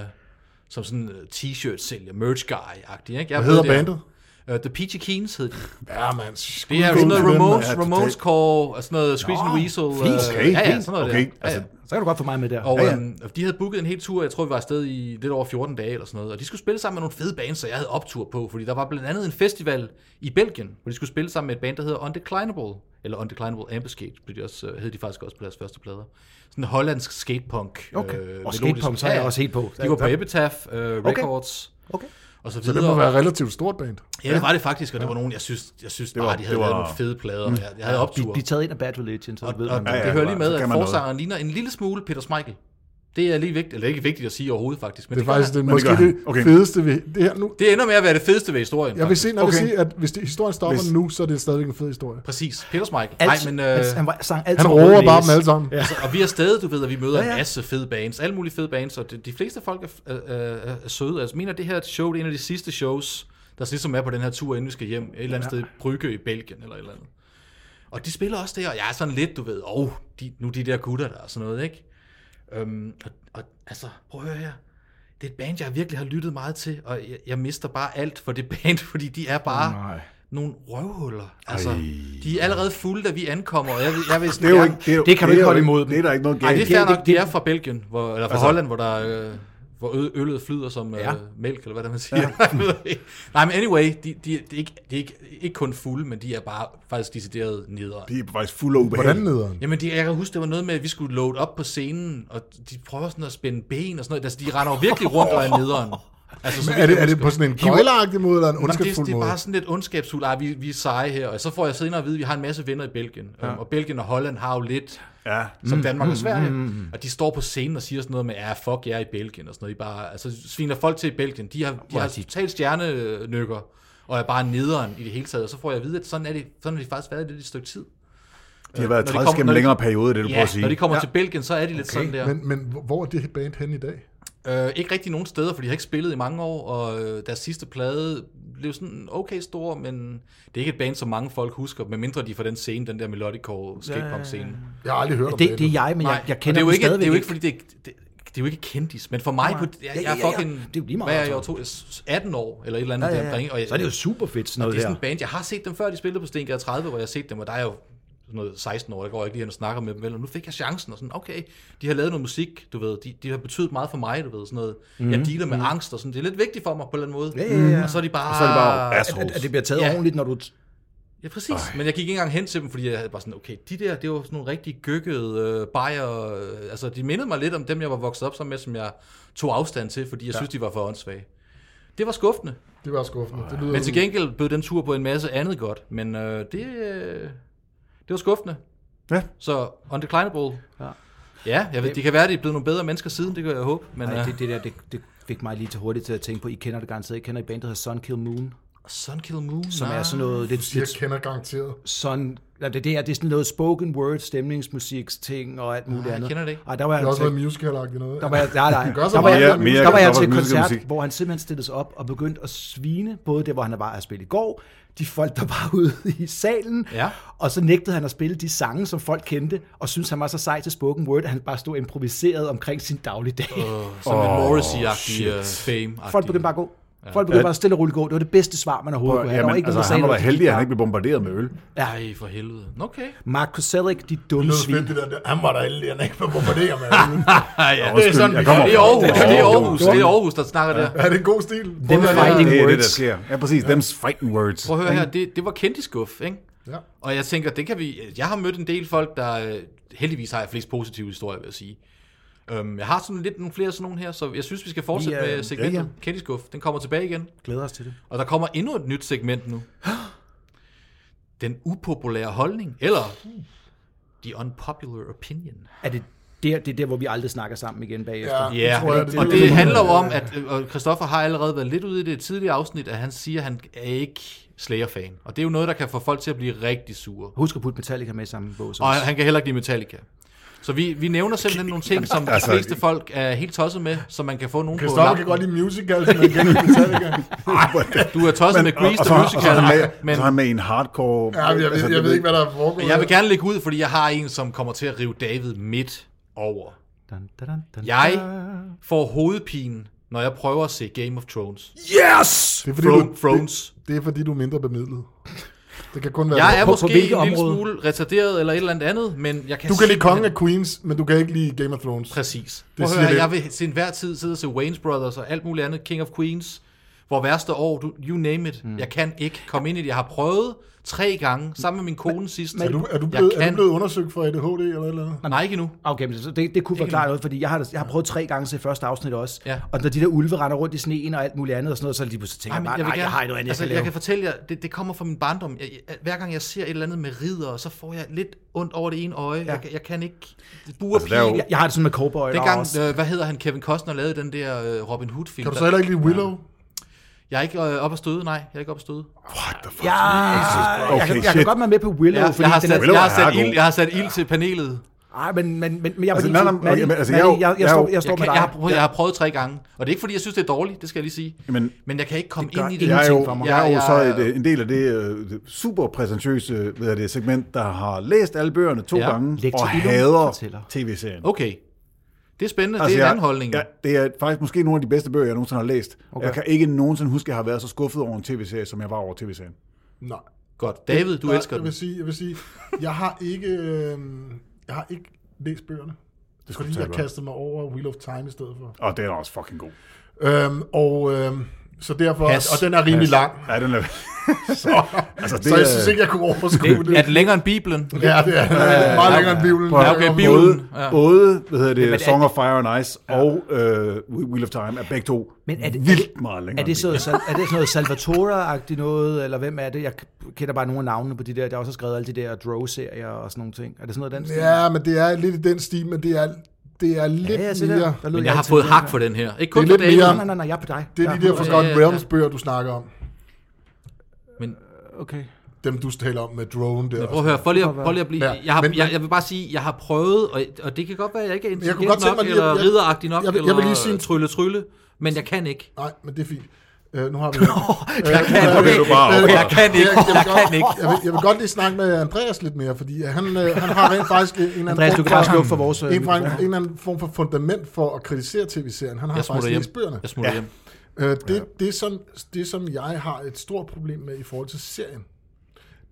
S3: som sådan øh, t-shirt-sælger, merch-guy-agtig. Ikke? Jeg
S2: Hvad hedder
S3: ved det her.
S2: bandet?
S3: Øh, The Peachy Keens hed de.
S2: Ja, man.
S3: Det er jo sådan noget
S1: Dem,
S3: Ramones,
S1: ja, totalt.
S3: Ramones Core, og sådan noget Squeeze and Weasel. øh,
S1: Okay,
S3: ja, ja,
S1: fint.
S3: sådan noget
S1: Okay,
S3: der. Ja,
S1: altså,
S3: ja.
S4: Så kan du godt få mig med der.
S3: Og
S1: Ja,
S3: ja,
S1: ja.
S3: ja. Øhm, de havde booket en hel tur, jeg tror, vi var afsted i lidt over 14 dage eller sådan noget. Og de skulle spille sammen med nogle fede bands, så jeg havde optur på. Fordi der var blandt andet en festival i Belgien, hvor de skulle spille sammen med et band, der hedder Undeclinable. Eller Undeclinable Ambuscade, blev de også, øh, hed de faktisk også på deres første plader. Sådan en hollandsk skatepunk. øh,
S4: Okay. Og
S3: melodisk-
S4: skatepunk, så er jeg
S3: Ja, ja.
S4: også helt på.
S3: De var på Epitaph øh,
S4: Okay.
S3: Records.
S4: Okay.
S3: Og så
S2: Så det
S3: videre.
S2: må være et relativt stort band.
S3: Ja, det var det faktisk, og det var nogen, jeg synes, jeg synes bare,
S1: var-
S3: de havde
S1: det var-
S3: lavet nogle fede plader. Jeg, jeg havde
S4: De,
S3: optur.
S4: de er taget ind af Bad Religion, så ved
S3: Og
S4: man.
S3: ja,
S1: ja,
S3: det hører
S1: så
S3: lige med,
S1: kan
S3: at
S1: man noget.
S3: forsangeren ligner en lille smule Peter Smeichel. Det er lige vigtigt, eller ikke vigtigt at sige overhovedet faktisk. Men
S2: Det
S3: det,
S2: er
S3: gør
S2: faktisk
S3: han.
S2: det,
S1: Men det
S2: måske
S1: gør
S2: det
S1: han. Okay.
S2: fedeste ved det her nu.
S3: det ender med at være det fedeste ved historien.
S2: Jeg vil se, når okay.
S1: Okay.
S2: sige, at hvis det, historien stopper
S1: Hvis-
S2: nu, så er det stadigvæk en fed historie.
S3: Præcis. Peter Smeichel. Nej,
S4: Alt,
S3: men...
S4: han,
S3: Øh,
S4: han, var, sang alt
S2: Han
S4: som
S2: roer
S4: Røde
S2: bare
S4: Næse.
S2: dem alle sammen. Ja.
S3: altså, og vi er stadig, du ved, at vi møder ja,
S4: Ja,
S3: ja.
S4: ja.
S3: en masse fede bands, alle mulige fede bands, og de, de fleste folk er, øh, øh, er søde. Altså, mener, det her show, det er en af de sidste shows, der ligesom er på den her tur, inden vi skal hjem, et eller andet ja. sted i Brygge i Belgien, eller et eller andet. Og de spiller også der, og jeg er sådan lidt, du ved, åh, oh, de, nu de der gutter der, og sådan noget, ikke? Øhm, og, og altså, prøv at høre her. Det er et band, jeg virkelig har lyttet meget til, og jeg, jeg mister bare alt for det band, fordi de er bare...
S4: Nej.
S3: nogle røvhuller. Altså, de er allerede fulde, da vi ankommer, og jeg, vil- jeg vil
S1: Det, er jo ikke,
S4: Det kan du ikke
S1: er jo
S4: holde imod dem.
S1: Det er der ikke noget
S3: Nej,
S1: galt.
S3: det er
S1: i.
S3: fair
S4: det-
S3: nok,
S4: det-
S3: de er fra Belgien, hvor, eller fra altså, Holland, hvor der øh, hvor ø- øllet flyder som øh,
S4: Ja.
S3: mælk, eller hvad man siger. Jeg ved ikke. Nej, men anyway, de, de, de, er ikke, de er ikke, ikke kun fulde, men de er bare faktisk decideret nedere.
S1: De er faktisk fulde af
S2: Hvordan
S1: ubehag.
S2: nederen?
S3: Jamen, det, jeg kan huske, det var noget med, at vi skulle load op på scenen, og de prøver sådan at spænde ben og sådan noget. Altså, de render jo virkelig rundt og er nederen. Altså, så
S2: Er det, er det
S3: vidt jeg
S2: på
S3: husker.
S2: sådan en gøjleragtig måde, eller en
S3: Nå, men det,
S2: ondskabsfuld
S3: det er
S2: måde?
S3: bare sådan lidt ondskabsfuldt. Ej, vi, vi er seje her. Og så får jeg senere at vide, at vi har en masse venner i Belgien. Ja. Og Belgien og Holland har jo lidt
S1: Ja.
S3: som Danmark og
S1: mm,
S3: Sverige. Og de står på scenen og siger sådan noget med, ja, fuck jer i Belgien og sådan noget. I bare, altså, sviner folk til i Belgien. De har, de har
S4: de-
S3: totalt stjernenykker og er bare nederen i det hele taget. Og så får jeg at vide, at sådan er det, sådan har de faktisk været lidt et stykke tid. Øh,
S1: De har været
S3: Når de
S1: træls
S3: kommer-
S1: gennem
S3: når
S1: en
S3: de-
S1: længere periode, det du prøver
S3: Ja,
S1: at
S3: når de
S1: sige.
S3: kommer ja. til Belgien, så er de lidt okay. sådan der.
S2: Men, men hvor er det her band hen i dag?
S3: Øh, ikke rigtig nogen steder, for de har ikke spillet i mange år, og øh, deres sidste plade blev sådan okay stor, men det er ikke et band, som mange folk husker, medmindre de er fra den scene, den der melodicore skatepunk scene.
S2: Jeg har aldrig hørt om
S4: Det, det er jeg, men
S3: Nej,
S4: jeg, jeg
S3: og det
S4: kender
S3: er jo
S4: dem
S3: ikke,
S4: stadigvæk
S3: det er jo ikke, fordi det, er- det, det er jo ikke kendis, men for mig, på, jeg,
S4: Ja,
S3: jeg
S4: ja,
S3: er
S4: ja, ja.
S3: fucking,
S4: Det er jo lige meget,
S3: hvad er jeg,
S4: altså.
S3: jeg to, 18 år, eller et eller andet ja,
S4: Ja,
S3: ja,
S4: ja, ja.
S3: deromkring, og jeg,
S4: Så er det jo super fedt sådan
S3: og det
S4: noget
S3: er sådan et
S4: der.
S3: band, jeg har set dem før, de spillede på Stengade 30, hvor jeg har set dem, og der er jo sådan noget 16 år, der går jeg ikke lige hen og snakker med dem, vel? og nu fik jeg chancen, og sådan, okay, de har lavet noget musik, du ved, de, de har betydet meget for mig, du ved, sådan noget, mm-hmm. jeg dealer med mm-hmm. angst, og sådan, det er lidt vigtigt for mig på en eller anden måde,
S4: Mhm. Ja, ja, ja.
S3: og så er de bare,
S1: Og så er det bare
S4: Ah, At,
S1: assholes.
S4: at det bliver taget
S3: Ja.
S4: ordentligt, når du...
S3: ja præcis, Øj. men jeg gik ikke engang hen til dem, fordi jeg havde bare sådan, okay, de der, det var sådan nogle rigtig gykkede øh, bajer, øh, altså de mindede mig lidt om dem, jeg var vokset op sammen med, som jeg tog afstand til, fordi jeg ja. synes, de var for åndssvage. Det var skuffende.
S2: Det var skuffende. Det lyder
S3: Men til gengæld bød den tur på en masse andet godt, men øh, det, øh, det var skuffende.
S1: Ja.
S3: Så undeclinable.
S4: Ja.
S3: Ja, jeg ved, det kan være, at de er blevet nogle bedre mennesker siden, det kan jeg håbe. Men
S4: Nej,
S3: øh,
S4: det, det der, det, det fik mig lige til hurtigt til at tænke på, I kender det garanteret, I kender et band, der hedder Sunkill Moon,
S3: Sunkill Moon,
S4: som
S3: nej.
S4: er sådan noget lidt,
S2: jeg
S4: lidt
S2: kender garanteret.
S4: sådan, nej, det, det, er, det er sådan noget spoken word, stemningsmusiks ting og alt muligt
S3: jeg
S4: andet.
S3: kender det ikke.
S4: Ej, der var jeg
S2: Det er
S4: altså
S2: også noget musical-agtigt noget.
S4: Der var jeg, nej, nej.
S2: Gør så
S4: Der var
S2: meget.
S4: jeg,
S2: Mere-
S1: mere-
S4: der var jeg
S1: der var
S4: til en
S1: musical
S4: koncert,
S1: musik.
S4: hvor han simpelthen stillede sig op og begyndte at svine, både der, hvor han var at spille i går, de folk, der var ude i salen,
S3: Ja.
S4: og så nægtede han at spille de sange, som folk kendte, og syntes, han var så sej til spoken word, at han bare stod improviseret omkring sin dagligdag. Uh,
S3: Som en
S1: Åh,
S3: Morrissey-agtig
S1: shit.
S3: øh, fame
S4: folk begyndte bare at gå. Folk begyndte bare at stille og roligt gå. Det var det bedste svar, man overhovedet kunne have. Der var
S1: Jamen,
S4: ikke
S1: altså,
S4: nogen, der
S1: han
S4: sagde
S1: var da
S4: noget til
S1: heldig, at han
S4: guitar.
S1: ikke blev bombarderet med øl.
S3: Ej, for helvede. Okay.
S4: Mark Koselleck, de
S2: Det
S4: dumme
S2: lyder
S4: svin.
S2: fedt, det der. der- Han var der heldig, han ikke var på det, man.
S3: Ej, ja.
S1: Undskyld,
S2: sådan,
S1: jeg
S2: vi
S1: kommer
S3: Det er
S1: fra-
S3: Aarhus, det er
S1: Jo, jo,
S3: Aarhus, det er Aarhus, der snakker der.
S2: Er det en god stil?
S4: Dem er fighting
S1: Det er det,
S4: words.
S1: der sker. Ja, præcis. Them's fighting words.
S3: Prøv at høre her, det, det var kendtiskuff, ikke?
S2: Ja.
S3: Og jeg tænker, det kan vi... Jeg har mødt en del folk, der... øh, Heldigvis har jeg flest positive historier, vil jeg sige. Øhm, jeg har sådan lidt nogle flere sådan nogle her, så jeg synes, vi skal fortsætte
S4: Vi, øh,
S3: med segmentet.
S1: ja,
S3: Ja,
S1: ja.
S3: ja. Kendtiskuff, den kommer tilbage igen.
S4: Glæder os til det.
S3: Og der kommer endnu et nyt segment nu. Den upopulære holdning, eller the unpopular opinion.
S4: Er det der, det er der, hvor vi aldrig snakker sammen igen bagefter?
S2: Ja.
S3: Ja,
S2: tror jeg, det
S3: og
S2: er
S3: det
S2: det,
S3: handler jo
S2: man-
S3: om, at øh, og Christoffer har allerede været lidt ude i det tidligere afsnit, at han siger, at han er ikke Slayer-fan. Og det er jo noget, der kan få folk til at blive rigtig sure.
S4: Husk at putte Metallica med i samme bås. også.
S3: Og han kan heller ikke lide Metallica. Så vi, vi nævner simpelthen nogle ting, som de
S1: Altså,
S3: fleste folk er helt tosset med, så man kan få nogen på
S2: Kristoffer kan
S3: lappen.
S2: godt lide musicals, men han kan ikke lide Metallica.
S3: Du er tosset med Grease
S1: og,
S3: the
S1: så, og så er
S3: Musical,
S1: han med,
S3: men
S1: så er han med i en hardcore... altså,
S2: Ja, men jeg, ved, jeg ved ikke, hvad der er foregået.
S3: Altså, jeg vil gerne lægge ud, fordi jeg har en, som kommer til at rive David midt over.
S4: Dun, dun, dun, dun,
S3: Jeg
S4: dun.
S2: Ah.
S3: får hovedpine, når jeg prøver at se Game of Thrones.
S1: Yes!
S2: Det er, fordi,
S3: Thrones.
S2: du,
S3: Thrones.
S2: det, det er fordi, du er mindre bemidlet. Det kan kun være...
S3: Jeg er
S4: på- på
S3: måske
S4: hvilket
S3: en lille
S4: område?
S3: smule retarderet eller et eller andet andet, men jeg kan
S2: du kan lide
S3: simpelthen-
S2: Kongen af Queens, men du kan ikke lide Game of Thrones.
S3: Præcis.
S2: Det
S3: Prøv at
S2: siger
S3: høre, her,
S2: lidt.
S3: jeg vil til enhver tid sidde og se Wayne's Brothers og alt muligt andet, King of Queens, hvor værste år, du, you name it. Mm. Jeg kan ikke komme ind i det. Jeg har prøvet tre gange, sammen med min kone sidst.
S2: Er du, er, du
S3: Jeg
S2: blevet, er
S3: kan-
S2: du blevet undersøgt for ADHD eller et eller andet?
S3: Nej, ikke endnu.
S4: Okay, men så det, det kunne forklare noget, fordi jeg har, jeg har prøvet tre gange til første afsnit også.
S3: Ja.
S4: Og når de der ulve render rundt i sneen og alt muligt andet og sådan noget, så er de lige pludselig tænker,
S3: Ej,
S4: jeg
S3: men
S4: bare,
S3: vil
S4: nej, jeg
S3: gerne-
S4: har noget andet,
S3: altså,
S4: jeg kan
S3: jeg
S4: lave.
S3: kan fortælle jer, det, det kommer fra min barndom. Jeg, jeg, hver gang jeg ser et eller andet med ridder, så får jeg lidt ondt over det ene øje. Ja. Jeg, kan- jeg kan ikke... Det buer
S1: Altså,
S3: altså,
S1: der er jo-
S4: Jeg, jeg har det sådan med cowboy.
S3: Dengang, øh, hvad hedder han, Kevin Costner lavede den der øh, Robin Hood-film.
S2: Kan du så
S3: der-
S2: heller ikke lide Willow?
S3: Jeg er ikke øh, op at støde, nej. Jeg er ikke op at støde.
S1: What the fuck?
S4: Ja, jeg, jeg, kan, jeg kan
S1: shit.
S4: godt være med på Willow,
S3: Jeg,
S4: fordi
S3: jeg, har,
S4: den er...
S3: sat,
S1: Willow
S3: jeg, har,
S1: er
S3: sat
S1: god.
S3: ild, jeg har sat ild til panelet.
S4: Ej, men, men, men, men jeg var
S1: Altså, nej,
S4: lige til,
S1: nej,
S4: Maddie,
S1: jamen, altså, jeg er jo-
S4: Maddie, jeg,
S1: jeg
S4: jeg,
S1: er
S4: står,
S1: jo-
S4: jeg står
S3: Jeg,
S4: med
S3: kan, jeg, har
S4: dig.
S3: prøvet, jeg har prøvet tre gange, og det er ikke fordi, jeg synes, det er dårligt, det skal jeg lige sige.
S1: Men
S3: Men jeg kan ikke komme
S4: Det gør
S3: ind i
S1: jeg er
S3: det.
S4: ingenting
S1: jo,
S4: for mig.
S1: jeg er jo
S3: Jeg-
S1: så
S3: jeg-
S1: et, en del af det øh, super præsentøse hvad er det, segment, der har læst alle bøgerne to
S3: Ja.
S1: gange
S4: Lektor
S1: og
S4: Illum
S1: hader
S4: fortæller.
S1: tv-serien.
S3: Okay. Det er spændende, altså, det er en anden holdning.
S1: Jeg, det er faktisk måske nogle af de bedste bøger, jeg nogensinde har læst. Okay. Jeg kan ikke nogensinde huske, at jeg har været så skuffet over en tv-serie, som jeg var over tv-serien.
S2: Nej.
S3: Godt. David, du
S2: jeg,
S3: elsker
S2: jeg
S3: den.
S2: vil sige, jeg vil sige, jeg har ikke, øh, jeg har ikke læst bøgerne. Det
S1: skulle
S2: fordi
S1: du tage
S2: jeg
S1: godt.
S2: kastede mig over Wheel of Time i stedet for.
S1: Og den er også fucking god.
S2: Øhm, og øhm, så derfor,
S3: Pas.
S2: og den er rimelig
S1: Pas.
S2: lang.
S1: Ja, den er...
S2: Så, altså,
S1: det
S2: det så jeg
S1: er-
S2: synes ikke, jeg kunne overskue det.
S3: Det, er den længere end Bibelen?
S2: Ja, det er, det er meget længere end Bibelen.
S1: Prøv at-
S3: Ja, okay,
S2: Bibelen.
S3: Bibelen.
S1: Både,
S3: Ja.
S1: både hvad hedder det,
S4: Men er-
S1: Song of Fire and Ice og øh, Wheel of Time er begge to
S4: Men er det-
S1: vildt meget længere.
S4: Er det,
S1: end
S4: så, sal- er det sådan noget Salvatore-agtigt noget, eller hvem er det? Jeg kender bare nogle af navnene på de der. Der er også skrevet alle de der Drow-serier og sådan nogle ting. Er det sådan noget dansk?
S2: Ja, men det er lidt i den stil, men det er, det er lidt
S4: ja, jeg
S2: mere...
S4: der. Der lød
S3: Men jeg har
S4: altid
S3: fået
S4: sådan
S3: hak
S4: der.
S3: for den her. Ikke
S2: Det
S3: kun
S2: er
S3: for
S2: lidt
S3: David,
S2: mere-
S4: Nej, nej, nej, nej, jeg er på dig.
S2: Det er
S4: Jeg
S2: de der Forgotten
S3: Ja, ja, ja.
S2: Realms bøger, du snakker om.
S3: men
S4: Okay.
S2: Dem, du taler om med drone der.
S3: prøv at høre, for lige at, prøv lige at blive...
S2: Ja,
S3: Jeg, har,
S2: men-
S3: jeg, jeg vil bare sige, jeg har prøvet, og, og det kan godt være, at jeg ikke er
S2: kunne
S3: intelligent
S2: godt tænke
S3: nok,
S2: mig lige at-
S3: eller
S2: jeg-
S3: ridderagtig nok,
S2: jeg vil- jeg vil lige
S3: eller
S2: sige en-
S3: trylle-trylle, men jeg kan ikke.
S2: Nej, men det er fint. Øh, nu har vi...
S3: Jeg kan
S1: okay,
S3: ikke.
S1: du bare
S3: Okay,
S1: over.
S3: jeg kan ikke.
S2: Jeg,
S3: Jeg
S2: vil godt,
S3: kan ikke.
S2: Jeg, vil, jeg vil godt lige snakke med Andreas lidt mere, fordi han, øh, han har rent faktisk en eller anden
S4: Andreas, du kan bare slukke for vores, øh,
S2: en, fra en, en
S4: mikrofon.
S2: eller anden form for fundament for at kritisere tv-serien. Han har
S3: Jeg
S2: faktisk
S3: smutter hjem.
S2: læst bøgerne.
S3: Jeg smutter
S2: Ja.
S3: hjem.
S2: Øh, det, det, som, det, som jeg har et stort problem med i forhold til serien,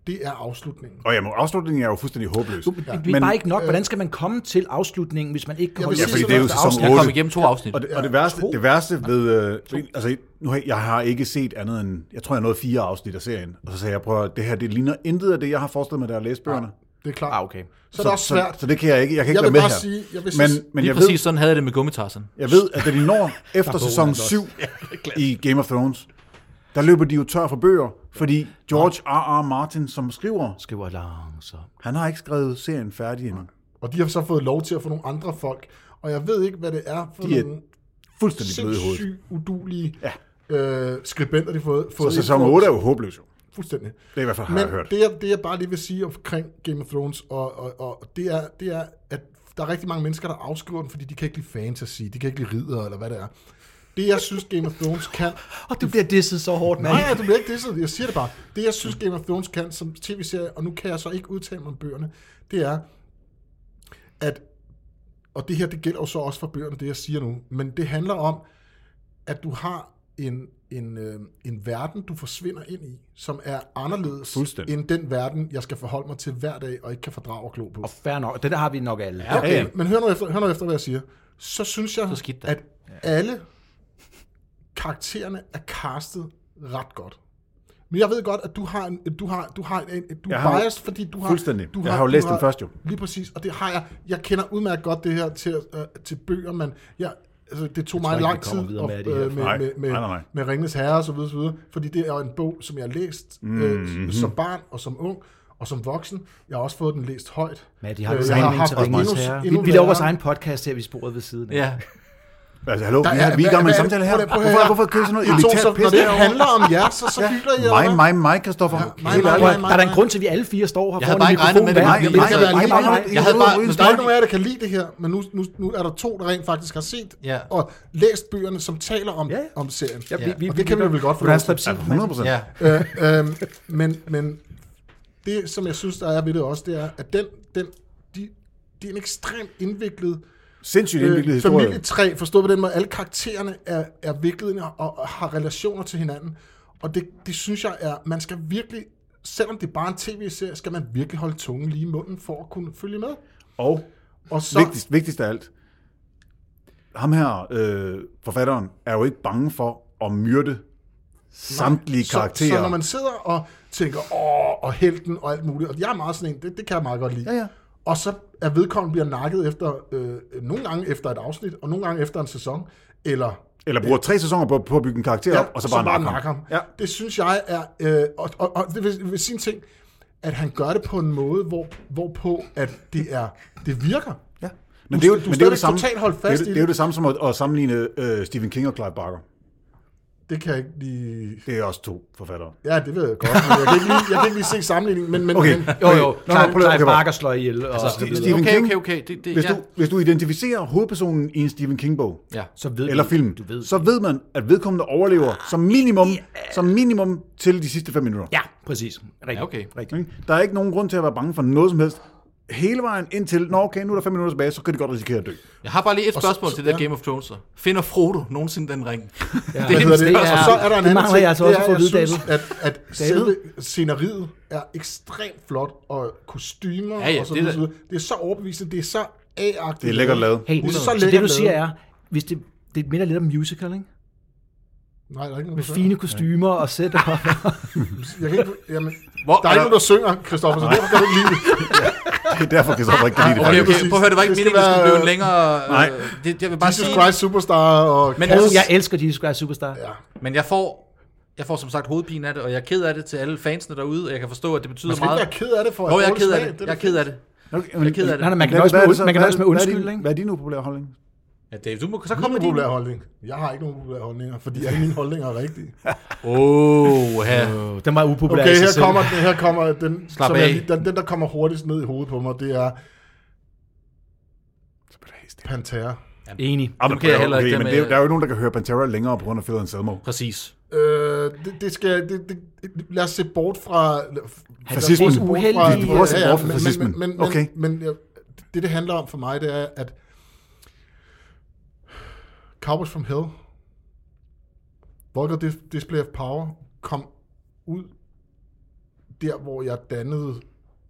S2: det er afslutningen.
S1: Og jamen, afslutningen er jo fuldstændig håbløs.
S4: Det er
S1: Men-
S4: bare ikke nok. Hvordan skal man komme til afslutningen, øh, hvis man ikke kan
S2: Jeg
S4: holde
S2: vil
S1: Ja,
S4: sig
S1: fordi
S4: til
S1: det er jo
S4: første
S1: sæson
S4: afsnit?
S3: Jeg kom
S1: Otte.
S3: igennem to afsnit.
S1: Og det, og det værste,
S4: to.
S1: det værste ved... Øh, altså, nu, har jeg jeg har ikke set andet end... Jeg tror, jeg nåede fire afsnit af serien. Og så sagde jeg, prøv at høre, det her, det ligner intet af det, jeg har forestillet mig, da jeg læste bøgerne.
S2: Det er klart.
S4: Ah, okay.
S2: Så, er det er også svært.
S1: Så, så det kan jeg ikke. Jeg kan ikke
S2: Jeg vil
S1: være med
S2: bare
S1: her.
S2: sige- jeg vil sige-
S1: men men
S3: Lige
S1: jeg,
S3: præcis
S1: ved,
S3: sådan havde jeg det med gummitarsen.
S1: jeg ved, at da de når efter sæson 7 i Game of Thrones, der løber de jo tør for bøger, fordi George R.R. Martin, som skriver,
S4: Skriver langsomt.
S1: han har ikke skrevet serien færdig endnu.
S2: Og de har så fået lov til at få nogle andre folk. Og jeg ved ikke, hvad det er for
S1: De er
S2: nogle
S1: Fuldstændig bløde i hovedet.
S2: sindssygt udulige
S1: Ja.
S2: øh, skribenter, de har fået.
S1: Så
S2: fået
S1: sæson
S2: ind på.
S1: 8 er jo håbløs jo.
S2: Fuldstændig.
S1: Det er i hvert fald, har jeg
S2: Men
S1: hørt.
S2: det jeg, det, jeg bare lige vil sige omkring Game of Thrones, og, og, og det, er, det er, at der er rigtig mange mennesker, der afskriver den, fordi de kan ikke lide fantasy, de kan ikke lide ridder, eller hvad det er. Det, jeg synes, Game of Thrones kan...
S4: Og du bliver disset så hårdt, mand.
S2: Nej, nej, du bliver ikke disset, jeg siger det bare. Det, jeg synes, Game of Thrones kan som tv-serie, og nu kan jeg så ikke udtale mig om bøgerne, det er, at... Og det her, det gælder jo så også for bøgerne, det jeg siger nu. Men det handler om, at du har en, en, øh, en verden, du forsvinder ind i, som er anderledes
S1: Fuldstændig.
S2: end den verden, jeg skal forholde mig til hver dag, og ikke kan fordrage og glo på.
S4: Og fair nok. Det der har vi nok alle.
S1: Ja, ja.
S2: Men hør nu efter, hør nu efter hvad jeg siger. Så synes jeg,
S3: Så skidt da.
S2: at alle karaktererne er castet ret godt. Men jeg ved godt, at du har en, du har, du har en, du
S1: Jeg
S2: er
S1: har jo-
S2: biased, fordi du har...
S1: Fuldstændig.
S2: Du
S1: Jeg har jo
S2: du
S1: læst den først, jo.
S2: Lige præcis, og det har jeg. Jeg kender udmærket godt det her til, øh, til bøger, men jeg, altså, det tog mig
S4: ikke,
S2: en
S4: vi
S2: lang tid
S4: kommer videre med
S2: at-
S4: det her.
S2: øh, med,
S1: Nej.
S2: med, med,
S1: Nej, nej, nej.
S2: med Ringens Herre og så videre, så videre, fordi det er jo en bog, som jeg har læst
S1: Mm-hmm.
S2: øh, som barn og som ung og som voksen. Jeg har også fået den læst højt.
S4: Ja, de har
S2: Øh,
S4: den
S2: jeg
S4: samme
S2: haft
S4: interesse.
S2: endnu-
S4: Ringenes Ja. Herre. Vi,
S2: endnu
S4: vi laver vores
S2: værre-
S4: egen podcast her, vi sporet ved siden af.
S3: Ja.
S1: Altså, hallo, vi,
S2: Der
S1: er,
S2: er-
S1: vi er i gang med en
S2: hvad-
S1: samtale her.
S2: prøv lige- prøv lige
S1: Hvorfor,
S2: her.
S1: hvorfor kører sådan noget
S2: I to, så,
S1: elitært
S2: når
S1: pis
S2: det
S1: derovre?
S2: handler om jer, så, så hylder I,
S1: Mig,
S2: eller hvad?
S1: mig, mig, Kristoffer.
S2: mig,
S1: Helt
S2: mig,
S1: ærligt.
S4: Prøv, at-
S2: nej,
S4: der er da
S2: nej.
S4: en grund til, at vi alle fire står her
S3: Jeg havde bare ikke regnet med det.
S4: hver.
S3: Nej,
S4: Det
S3: nej,
S4: kan
S3: nej,
S4: være
S1: nej,
S4: lige
S1: nej,
S4: meget
S1: nej.
S4: mig.
S2: Jeg
S3: Jeg havde
S2: havde
S3: bare-
S2: men der er ikke nogen af jer, der kan lide det her, men nu, nu, nu er der to, der rent faktisk har set
S3: Ja.
S2: og læst bøgerne, som taler om,
S4: Ja, ja.
S2: om serien.
S4: Ja, vi, vi,
S2: og det kan vi vel godt få
S4: Hvordan
S2: lov til.
S4: slap sig?
S1: Ja, 100 Altså, procent.
S3: Ja.
S2: øh, øhm, men, men det, som jeg synes, der er ved det også, det er, at den, den, de, det er en ekstremt indviklet
S1: Sindssygt indviklet
S2: øh,
S1: historie.
S2: familietræ, forstået på den måde. Alle karaktererne er, er viklet ind og, og har relationer til hinanden. Og det, det synes jeg er, man skal virkelig, selvom det er bare en tv-serie, skal man virkelig holde tungen lige i munden for at kunne følge med.
S1: Og
S2: Og så,
S1: vigtigst, vigtigst af alt, ham her, øh, forfatteren, er jo ikke bange for at myrde samtlige karakterer.
S2: Så, så når man sidder og tænker, åh, og helten og alt muligt, og jeg er meget sådan en, det, det kan jeg meget godt lide.
S1: Ja, ja.
S2: Og så er vedkommende bliver nakket efter, øh, nogle gange efter et afsnit, og nogle gange efter en sæson, eller
S1: Eller bruger tre sæsoner på, på at bygge en karakter op, og så bare nakke
S2: nakke
S1: ham. Ja.
S2: Det synes jeg er, øh, og, og, og det vil, vil sige en ting, at han gør det på en måde, hvor, hvorpå at det, er, det virker.
S1: Ja. Men det er jo,
S2: du
S1: men det er jo
S2: stadig
S1: det samme,
S2: totalt holdt
S1: det,
S2: fast
S1: er,
S2: i
S1: jo- det
S2: det.
S1: er jo det samme som at, at sammenligne øh, Stephen King og Clive Barker.
S2: Det kan jeg ikke lige...
S1: Det er også to forfattere.
S2: Ja, det ved jeg godt, men jeg kan ikke lige, jeg kan ikke lige se sammenligningen. Men, men,
S1: Okay.
S2: men,
S4: Jo, jo.
S1: Nå, nå,
S4: Clive-
S1: prøv lige-
S4: Clive
S1: okay,
S4: Barker slår ihjel. Og så
S1: Stephen
S4: videre.
S3: Okay,
S1: King,
S3: okay, okay. Det, det,
S1: Hvis,
S3: ja.
S1: du, hvis du identificerer hovedpersonen i en Stephen King-bog,
S3: ja.
S4: Så ved
S1: eller
S4: du-
S1: film,
S4: Du ved.
S1: så ved man, at vedkommende overlever som minimum, som minimum til de sidste fem minutter.
S4: Ja, præcis. Rigtigt.
S3: Ja, okay.
S4: Rigtigt.
S1: Ikke? Der er ikke nogen grund til at være bange for noget som helst. hele vejen indtil, nå okay, nu er der fem minutter tilbage, så kan de godt risikere at dø.
S3: Jeg har bare lige et
S2: så-
S3: spørgsmål til
S2: så-
S3: det der
S2: ja.
S3: Game of Thrones. så. Finder Frodo nogensinde den ring? Ja,
S2: Hvad hedder det?
S4: det er-
S2: Og så er der en
S4: det
S2: anden
S4: mangler
S2: ting,
S4: jeg altså
S2: det
S4: også
S2: er,
S4: at få at vide,
S2: jeg synes, at, at selve sceneriet er ekstremt flot, og kostymer
S3: Ja, ja,
S2: og så
S3: det er
S2: videre.
S3: da-
S2: så videre. Det er så overbevisende, det er så A-agtigt.
S1: Det er lækkert lavet.
S4: Hey,
S2: Det er
S4: så,
S2: så
S4: så det du
S2: lækkert
S4: siger
S2: lavet.
S4: er, hvis det, det minder lidt om musical, ikke?
S2: Nej, der er ikke
S4: Med
S2: noget,
S4: fine kostymer og sæt. Og,
S2: Jeg kan ikke, jamen,
S3: Hvor,
S2: der er ikke nogen, der synger, Christoffer, så derfor kan du ikke lide det.
S1: Det er derfor, jeg så ikke kan lide det.
S3: Ah, Okay,
S1: faktisk.
S3: okay, prøv at høre, det var ikke
S2: Det
S3: meningen,
S2: skal
S3: at det skulle
S2: være-
S3: blive en længere...
S1: Nej.
S3: øh, Det, jeg vil bare
S2: Jesus
S3: sige,
S2: Christ Superstar og...
S3: Men
S2: Cats.
S3: altså,
S4: jeg elsker Jesus Christ Superstar.
S2: Ja.
S3: men jeg får, jeg får som sagt hovedpine af det, og jeg er ked af det til alle fansene derude, og jeg kan forstå, at det betyder
S2: Man skal ikke
S3: meget.
S2: være ked af det for at
S3: Nå, jeg er
S2: dårlig
S3: ked af
S2: smag,
S3: det.
S2: er
S3: Jeg er
S2: da
S3: ked
S2: fint.
S3: af det.
S1: Okay,
S3: Jeg er ked af det.
S4: Nej, nej, man kan
S1: Hvad-
S4: nøjes
S1: hvad
S4: med,
S1: er det
S4: ud-
S1: så-
S4: man kan
S1: hvad-
S4: nøjes med
S1: hvad er din-
S4: undskyldning.
S1: Hvad er din upopulære holdning?
S3: Ja, Dave, du må så
S2: Kom
S3: komme
S2: med
S3: med
S2: populær
S3: din.
S2: holdning. Jeg har ikke nogen populær holdninger, fordi alle mine holdninger er rigtige.
S3: Åh, her.
S4: Øh, Den var upopulær
S2: Okay,
S4: i sig
S2: her
S4: selv.
S2: kommer, den, her kommer den,
S3: Slap
S2: som jeg,
S3: af.
S2: lige- den, den, der kommer hurtigst ned i hovedet på mig, det er Pantera.
S4: Enig.
S1: Ah, men,
S3: kan jeg heller ikke,
S1: okay,
S3: dem
S1: men
S3: er-
S1: det, er jo- der er jo nogen, der kan høre Pantera længere på grund af Phil Anselmo.
S3: Præcis.
S2: Øh, det, det skal, det, det, lad os se bort fra...
S1: Fascismen.
S4: vores uheldige-
S1: Vi prøver at se bort fra
S2: men-
S1: fascismen.
S2: Men, men,
S1: Okay.
S2: men, men ja, det, det handler om for mig, det er, at Cowboys from Hell, Vulgar Dis- Display of Power, kom ud der, hvor jeg dannede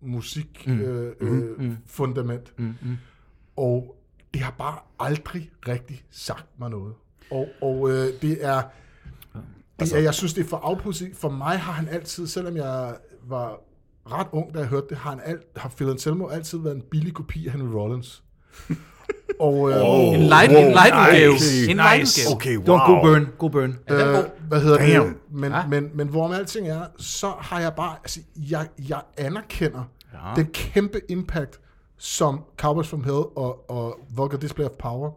S2: musikfundament. Mm. Øh, mm. fundament. Og det har bare aldrig rigtig sagt mig noget. Og, og øh, det er... Det, er- jeg synes, det er for afpudset. For mig har han altid, selvom jeg var ret ung, da jeg hørte det, har, han alt, har Phil Anselmo altid været en billig kopi af Henry Rollins. og, øh,
S1: Wow.
S3: En light, en light udgave.
S1: nice,
S3: En light udgave.
S4: nice.
S1: Okay, wow.
S4: Det var en god burn. God burn.
S2: Øh, hvad hedder
S1: Damn.
S2: det? Men,
S1: Ah.
S2: ja. men, men hvorom alting er, så har jeg bare, altså, jeg, jeg anerkender ja. den kæmpe impact, som Cowboys from Hell og, og Vulgar Display of Power